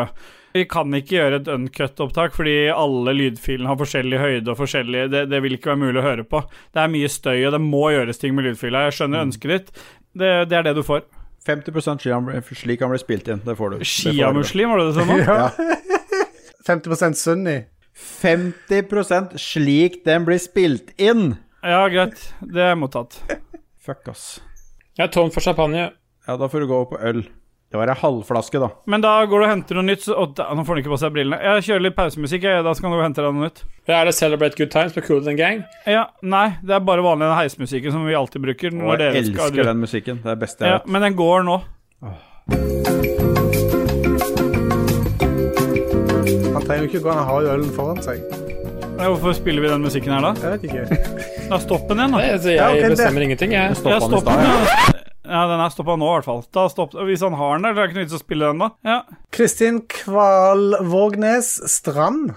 Speaker 1: Vi kan ikke gjøre et uncut-opptak fordi alle lydfilene har forskjellig høyde og forskjellig det, det vil ikke være mulig å høre på. Det er mye støy, og det må gjøres ting med lydfila. Jeg skjønner ønsket ditt. Det, det er det du får.
Speaker 3: 50 slik han- slik han blir spilt inn. Det får du. Det får du.
Speaker 1: Sjiamuslim, var det det du sa nå?
Speaker 2: 50 sunni.
Speaker 3: 50 slik den blir spilt inn!
Speaker 1: Ja, greit. Det er mottatt.
Speaker 3: Fuck, ass.
Speaker 4: Jeg er tom for champagne.
Speaker 3: Ja, da får du gå på øl. Det var ei halvflaske, da.
Speaker 1: Men da går du og henter noe nytt. Så, å, da, nå får han ikke på seg brillene. Jeg kjører litt pausemusikk, jeg. Da skal du gå og hente deg noe nytt.
Speaker 4: Jeg er det Celebrate Good Times med Cool and Gang.
Speaker 1: Ja, Nei, det er bare vanlig den heismusikken som vi alltid bruker.
Speaker 3: Og
Speaker 1: Når
Speaker 3: jeg
Speaker 1: dere skal
Speaker 3: elsker den musikken. Det er det beste jeg
Speaker 1: Ja,
Speaker 3: vet.
Speaker 1: men den går nå.
Speaker 2: Han trenger jo ikke gå, han har jo ølen foran seg.
Speaker 1: Ja, Hvorfor spiller vi den musikken her, da?
Speaker 2: Jeg vet ikke.
Speaker 1: Da Stopp den igjen, da.
Speaker 4: Nei, altså,
Speaker 2: Ja, ok,
Speaker 4: jeg
Speaker 2: det-
Speaker 4: bestemmer ingenting, jeg.
Speaker 3: Stoppa
Speaker 1: Ja,
Speaker 3: den i
Speaker 1: stopp
Speaker 3: stad, ja.
Speaker 1: den. Ja, den er stoppa nå, i hvert fall. Da stopp. og Hvis han har den der, så er det ikke noe vits å spille den, da. Ja.
Speaker 2: Kristin Kvalvågnes Strand.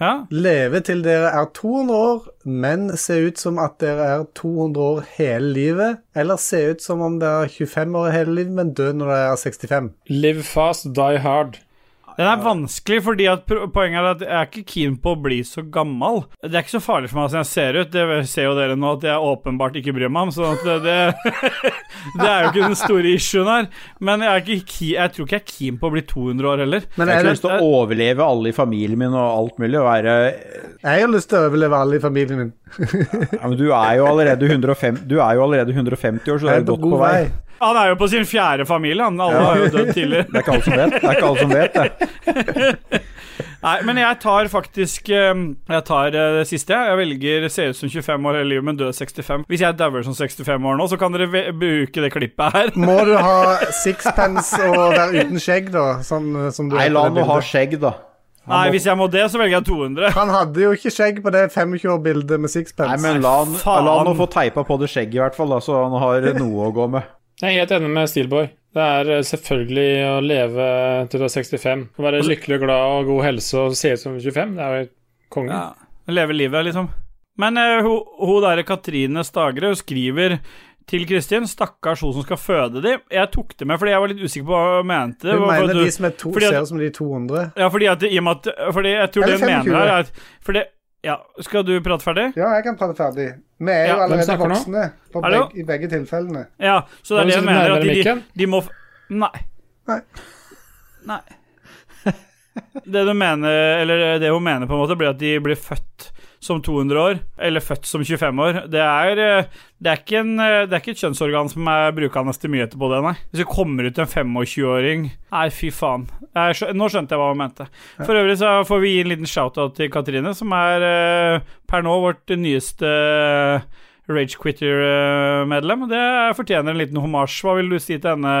Speaker 1: ja.
Speaker 2: Leve til dere er 200 år, men se ut som at dere er 200 år hele livet. Eller se ut som om dere er 25 år hele livet, men dø når dere er 65.
Speaker 4: Live fast, die hard.
Speaker 1: Den er vanskelig, fordi at pro- poenget er at jeg er ikke keen på å bli så gammel. Det er ikke så farlig for meg som jeg ser ut, det ser jo dere nå at jeg åpenbart ikke bryr meg om, så at det, det, det er jo ikke den store issuen her. Men jeg, er ikke, ki- jeg tror ikke jeg er keen på å bli 200 år heller.
Speaker 2: Men
Speaker 3: Jeg har
Speaker 2: jeg,
Speaker 3: ikke lyst til å overleve alle i familien min og alt mulig. Og være,
Speaker 2: jeg har lyst til å overleve alle i familien min.
Speaker 3: ja, men du, er jo allerede 105, du er jo allerede 150 år, så du
Speaker 2: Jeg
Speaker 3: er
Speaker 2: er
Speaker 3: jo
Speaker 2: på
Speaker 3: godt
Speaker 2: god vei.
Speaker 1: Han er jo på sin fjerde familie, han. Alle har jo dødd tidligere.
Speaker 3: Det er ikke alle som vet det. er ikke alle som vet det.
Speaker 1: Nei, men jeg tar faktisk eh, Jeg tar eh, det siste. Jeg Jeg velger se ut som 25 år hele livet, men dø 65. Hvis jeg dauer som 65 år nå, så kan dere ve- bruke det klippet her.
Speaker 2: Må du ha sixpence og være uten skjegg, da? Sånn eh, som du
Speaker 3: Nei,
Speaker 2: er på
Speaker 3: la
Speaker 2: det
Speaker 3: han nå ha
Speaker 2: bildet.
Speaker 3: skjegg, da.
Speaker 1: Nei, hvis jeg må det, så velger jeg 200.
Speaker 2: Han hadde jo ikke skjegg på det 25-år-bildet med
Speaker 3: Nei,
Speaker 2: sixpence.
Speaker 3: men la han,
Speaker 1: faen.
Speaker 3: la han nå få teipa på det skjegget, i hvert fall, da, så han har noe å gå med.
Speaker 4: Jeg er helt enig med Steelboy. Det er eh, selvfølgelig å leve til du er 65. Å være lykkelig og glad og god helse og se ut som 25, det er jo helt konge.
Speaker 1: Ja. Leve livet, liksom. Men eh, hun hun derre Katrine Stagre hun skriver til Kristin Stakkars hun som skal føde de. Jeg tok det med fordi jeg var litt usikker på hva hun mente. Det
Speaker 2: Hun
Speaker 1: var for at
Speaker 2: mener
Speaker 1: du-
Speaker 2: de som er to,
Speaker 1: fordi at-
Speaker 2: ser ut som de er 200.
Speaker 1: Ja, fordi at i og med at Fordi jeg tror
Speaker 2: Eller
Speaker 1: det hun mener
Speaker 2: 25.
Speaker 1: her, er at fordi, Ja, skal du prate ferdig?
Speaker 2: Ja, jeg kan prate ferdig. Vi er
Speaker 1: Ja,
Speaker 2: jo
Speaker 1: hvem
Speaker 2: allerede
Speaker 4: snakker nå?
Speaker 2: voksne på
Speaker 1: Hallo?
Speaker 2: begge, i begge tilfellene.
Speaker 1: Ja, så det er det
Speaker 4: Kan du
Speaker 1: jeg
Speaker 4: sitte
Speaker 1: mener. At
Speaker 4: nærmere
Speaker 1: de,
Speaker 4: mikken?
Speaker 1: de må f- Nei.
Speaker 2: Nei.
Speaker 1: Nei. Det du mener, eller det hun mener, på en måte, blir at de blir født som 200 år, eller født som 25 år. Det er, eh, det er, ikke, en, eh, det er ikke et kjønnsorgan som er brukende til mye etterpå det, nei. Hvis det kommer ut en 25-åring Nei, fy faen. Jeg skjø nå skjønte jeg hva hun mente. For øvrig så får vi gi en liten shout-out til Katrine, som er eh, per nå vårt nyeste eh, Rage Quitter-medlem. Det fortjener en liten homasj. Hva vil du si til henne,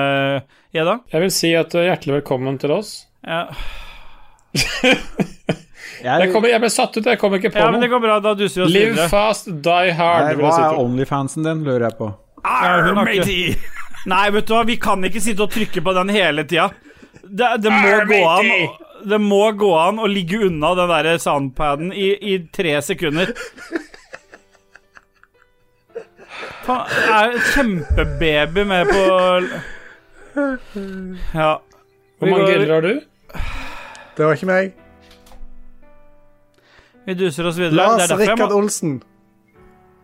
Speaker 1: Jedda?
Speaker 4: Jeg vil si at eh, hjertelig velkommen til oss.
Speaker 1: Ja.
Speaker 4: Jeg,
Speaker 3: Jeg,
Speaker 4: kommer, jeg ble satt ut, jeg kom ikke på
Speaker 1: ja, men det
Speaker 4: noe.
Speaker 1: går bra. Da duser vi oss
Speaker 4: Live
Speaker 1: videre.
Speaker 4: fast, die hard.
Speaker 3: Nei,
Speaker 4: vil
Speaker 3: hva
Speaker 4: jeg si
Speaker 3: er
Speaker 4: til.
Speaker 3: onlyfansen din, lurer jeg på.
Speaker 1: Ja, hun har ikke- Nei, vet du hva, vi kan ikke sitte og trykke på den hele tida. Det, det, må
Speaker 4: Arr,
Speaker 1: gå an,
Speaker 4: matey!
Speaker 1: å- det må gå an å ligge unna den der soundpaden i, i tre sekunder. Faen, det er en kjempebaby med på Ja.
Speaker 4: Hvor mange griller har du?
Speaker 2: Det var ikke meg.
Speaker 1: Vi duser oss videre. Det
Speaker 2: Lars
Speaker 1: er derfor jeg
Speaker 2: Rikard
Speaker 1: må
Speaker 2: Olsen.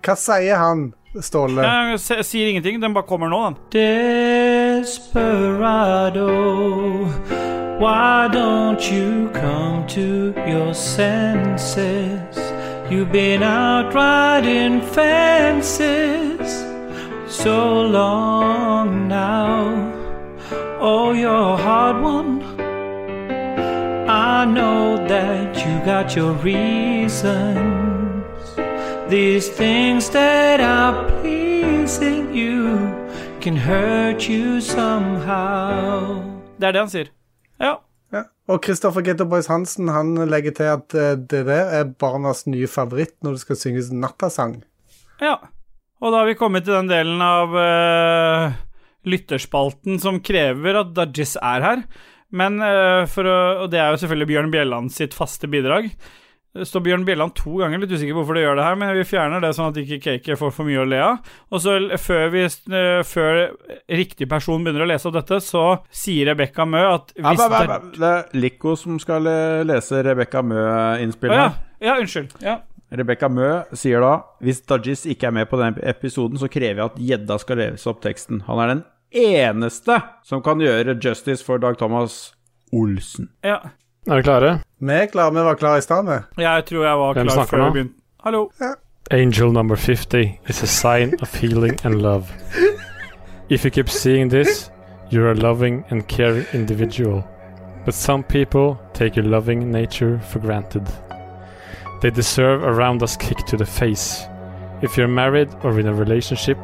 Speaker 2: Hva sier han, Ståle?
Speaker 1: Jeg se- sier ingenting. Den bare kommer nå, den. Desperado.
Speaker 9: Why don't you come to your senses? You've been out riding fences so long now. Oh, you're a hard one. I know that you got your reasons. These things that are pleasing you can hurt you somehow.
Speaker 1: Det er det han sier. Ja.
Speaker 2: Ja. Og Kristoffer Getto Boys Hansen han legger til at eh, det der er barnas nye favoritt når det skal synges nattasang.
Speaker 1: ja. Og da har vi kommet til den delen av eh, lytterspalten som krever at Dajis er her. Men eh, for å, Og det er jo selvfølgelig Bjørn Bjelland sitt faste bidrag. Det står Bjørn Bjelland to ganger, litt usikker på hvorfor det gjør det her, men vi fjerner det sånn at ikke Cake får for mye å le av. Og så l- før, vi, s- eh, før riktig person begynner å lese opp dette, så sier Rebekka Mø at hvis
Speaker 3: Ab, ab,
Speaker 1: det-
Speaker 3: ab, Det er Lico som skal eh, lese Rebekka
Speaker 1: Å
Speaker 3: Mø-innspillet.
Speaker 1: ja. ja, unnskyld. Ja.
Speaker 3: Rebekka Mø sier da Hvis Dajis ikke er med på denne episoden, så krever jeg at gjedda skal lese opp teksten. Han er den eneste som kan gjøre justice for Dag Thomas Olsen.
Speaker 1: ja.
Speaker 4: Er vi klare?
Speaker 2: Vi er klare, vi var klare i stad, vi.
Speaker 1: Jeg tror jeg var
Speaker 4: Hvem
Speaker 1: klar
Speaker 4: snakker
Speaker 1: før
Speaker 4: nå?
Speaker 1: vi begynte. Hallo.
Speaker 4: Angel number 50 is a sign of healing and love. If you keep seeing this, you're a loving and caring individual. But some people take your loving nature for granted. They deserve a roundhouse kick to the face. If you're married or in a relationship,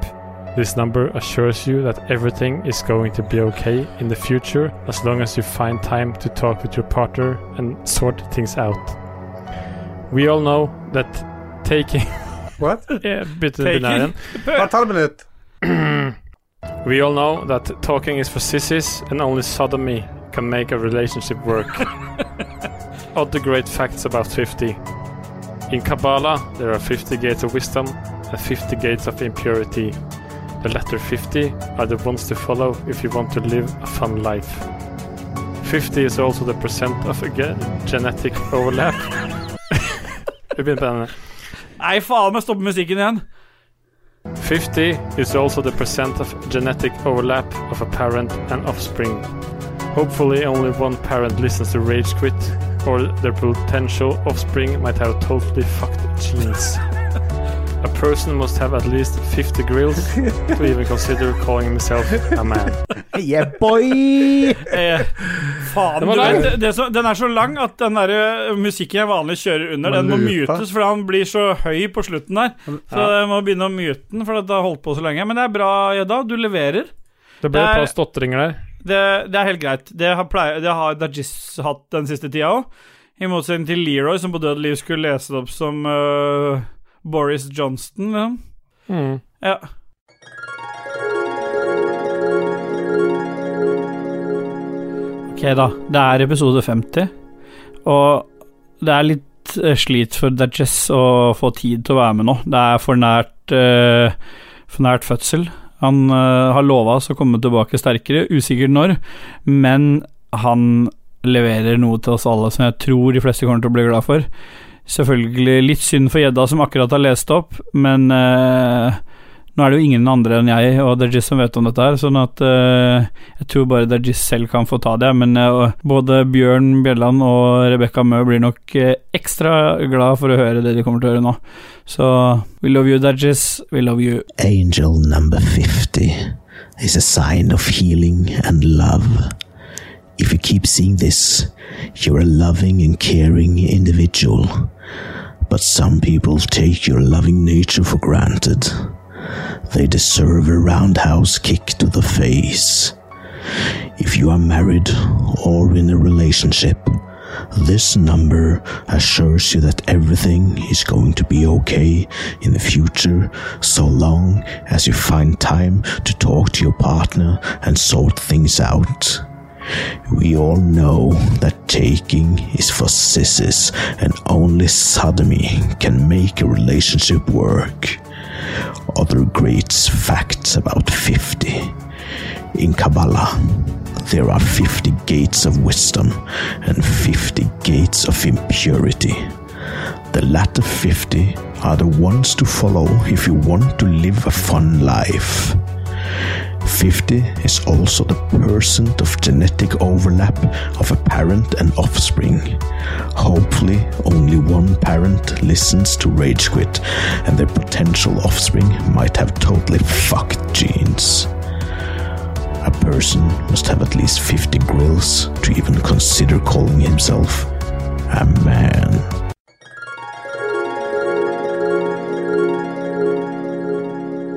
Speaker 4: this number assures you that everything is going to be okay in the future as long as you find time to talk with your partner and sort things out. We all know that taking
Speaker 2: What?
Speaker 4: Yeah, bytte
Speaker 1: Taken.
Speaker 4: binæren.
Speaker 2: Bare ta det minutt.
Speaker 4: We all know that talking is for sissies and only sodomy can make a relationship work. Other great facts about 50. In Kabbalah, there are 50 gates of wisdom and 50 gates of impurity. The latter 50 are the ones to follow if you want to live a fun life. 50 is also the percent of again, genetic overlap. Vi begynner på denne.
Speaker 1: Nei, faen meg, stopp musikken igjen.
Speaker 4: 50 is also the percent of genetic overlap of a parent and offspring. Hopefully, only one parent listens to Rage Quit, or their potential offspring might have totally fucked genes. A person must have at least 50 grills to even consider calling himself a man.
Speaker 3: Yeah, boy!
Speaker 1: Eh, faen, du
Speaker 4: Den var
Speaker 1: vet,
Speaker 4: lang.
Speaker 1: det, det, som- den er så lang at den der eh, musikken jeg vanlig kjører under, den må
Speaker 2: lupa.
Speaker 1: mutes, for han blir så høy på slutten der. Så jeg må begynne å mute den, for at det har holdt på så lenge. Men det er bra, Jedda. Du leverer.
Speaker 4: Det ble et
Speaker 1: Der-
Speaker 4: par stotringer der.
Speaker 1: Det, det er helt greit. Det har, pleier, det har Dajis hatt den siste tida òg. I motsetning til Leroy, som på død liv skulle lese det opp som eh, Boris Johnston. Liksom.
Speaker 4: Mm.
Speaker 1: Ja. Ok, da. Det er episode 50, og det er litt eh, slit for Dajess å få tid til å være med nå. Det er for nært, eh, for nært fødsel. Han eh, har lova oss å komme tilbake sterkere, usikkert når, men han leverer noe til oss alle som jeg tror de fleste kommer til å bli glad for. Selvfølgelig litt synd for gjedda som akkurat har lest opp, men eh, nå er det jo ingen andre enn jeg og Dajis som vet om dette her, sånn at eh, jeg tror bare Dajis selv kan få ta det. Men eh, både Bjørn Bjelland og Rebekka Mø blir nok eh, ekstra glad for å høre det de kommer til å høre nå. Så we love you, Dajis. We love you.
Speaker 5: Angel number 50 is a sign of healing and love. If you keep seeing this, you're a loving and caring individual. But some people take your loving nature for granted. They deserve a roundhouse kick to the face. If you are married or in a relationship, this number assures you that everything is going to be okay in the future so long as you find time to talk to your partner and sort things out. We all know that taking is for sissies and only sodomy can make a relationship work. Other great facts about 50. In Kabbalah, there are 50 gates of wisdom and 50 gates of impurity. The latter 50 are the ones to follow if you want to live a fun life. 50 is also the percent of genetic overlap of a parent and offspring. Hopefully, only one parent listens to Rage Quit, and their potential offspring might have totally fucked genes. A person must have at least 50 grills to even consider calling himself a man.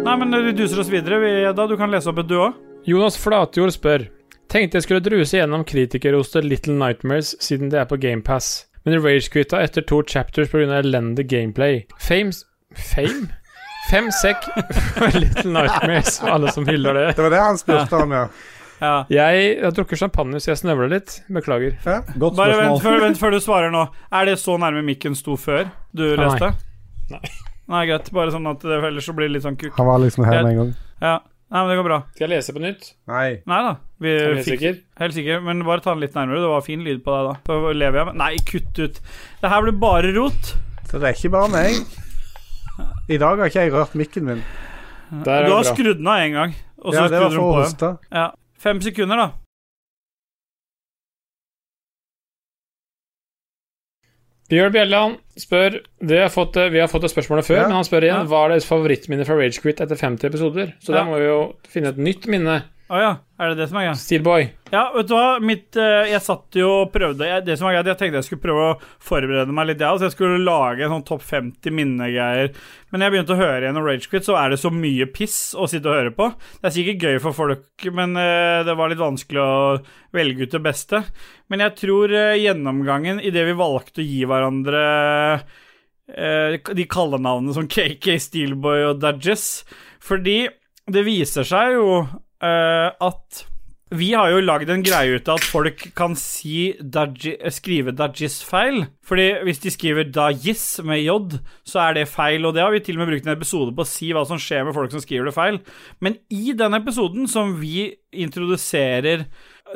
Speaker 1: Nei, men eh, vi duser oss videre. Vi, da, du kan lese opp et du òg.
Speaker 4: Jonas Flatjord spør Tenkte jeg skulle druse gjennom kritikerroste Little Nightmares siden det er på GamePass, men ragequitta etter to chapters pga. elendig gameplay. Fames Fame? Fem sekk for Little Nightmares, og alle som hyller det.
Speaker 2: Det var det han spurte om, ja.
Speaker 1: Ja.
Speaker 4: Jeg har drukket champagne, så jeg snøvler litt. Beklager.
Speaker 3: Godt
Speaker 1: Bare vent
Speaker 3: spørsmål.
Speaker 1: før, vent før du svarer nå. Er det så nærme mikken sto før du
Speaker 4: Nei.
Speaker 1: leste?
Speaker 4: Nei.
Speaker 1: Nei, greit. Bare sånn at det, ellers så blir det litt sånn kukk.
Speaker 2: Han var liksom her med en gang.
Speaker 1: Ja. Nei, men det går bra.
Speaker 4: Skal jeg lese på nytt?
Speaker 2: Nei.
Speaker 1: Nei da. Vi
Speaker 4: Er du helt
Speaker 1: Eh, fikk
Speaker 4: sikker?
Speaker 1: Helt sikker, men bare ta den litt nærmere. Det var fin lyd på deg da. Så lever jeg med Nei, kutt ut. Det her blir bare rot.
Speaker 2: Så det er ikke bare meg. I dag har ikke jeg rørt mikken min.
Speaker 4: Der er
Speaker 1: Mm. Du
Speaker 4: det
Speaker 1: har
Speaker 4: bra.
Speaker 1: skrudd den av én gang, og så
Speaker 2: Ja, det
Speaker 1: skrudde
Speaker 2: var
Speaker 1: du den
Speaker 2: for å
Speaker 1: på igjen.
Speaker 2: hoste.
Speaker 1: Ja. Fem sekunder, da.
Speaker 4: Bjørn Bjelland spør det har fått, eh, Vi har fått det spørsmålet før,
Speaker 2: Ja.
Speaker 4: men han spør igjen
Speaker 1: Ja.
Speaker 4: hva er deres favorittminne fra Ragequit etter 50 episoder. Så
Speaker 1: Ja.
Speaker 4: der må vi jo finne et nytt minne.
Speaker 1: Å ja. Er det det som er greia?
Speaker 4: Steelboy.
Speaker 1: Ja, vet du hva? Mitt, eh, jeg satt jo og prøvde jeg, Det som var greit, jeg tenkte jeg skulle prøve å forberede meg litt, jeg også. Jeg skulle lage en sånn topp 50 minnegreier. Men jeg begynte å høre gjennom Ragequit, så er det så mye piss å sitte og høre på. Det er sikkert gøy for folk, men eh, det var litt vanskelig å velge ut det beste. Men jeg tror eh, gjennomgangen i det vi valgte å gi hverandre eh, de kallenavnene som KK, Steelboy og Dudges Fordi det viser seg jo eh, at vi har jo lagd en greie ut av at folk kan si daji, skrive dajis feil. Fordi hvis de skriver dajis med j, så er det feil. Og det har vi til og med brukt en episode på å si hva som skjer med folk som skriver det feil. Men i den episoden som vi introduserer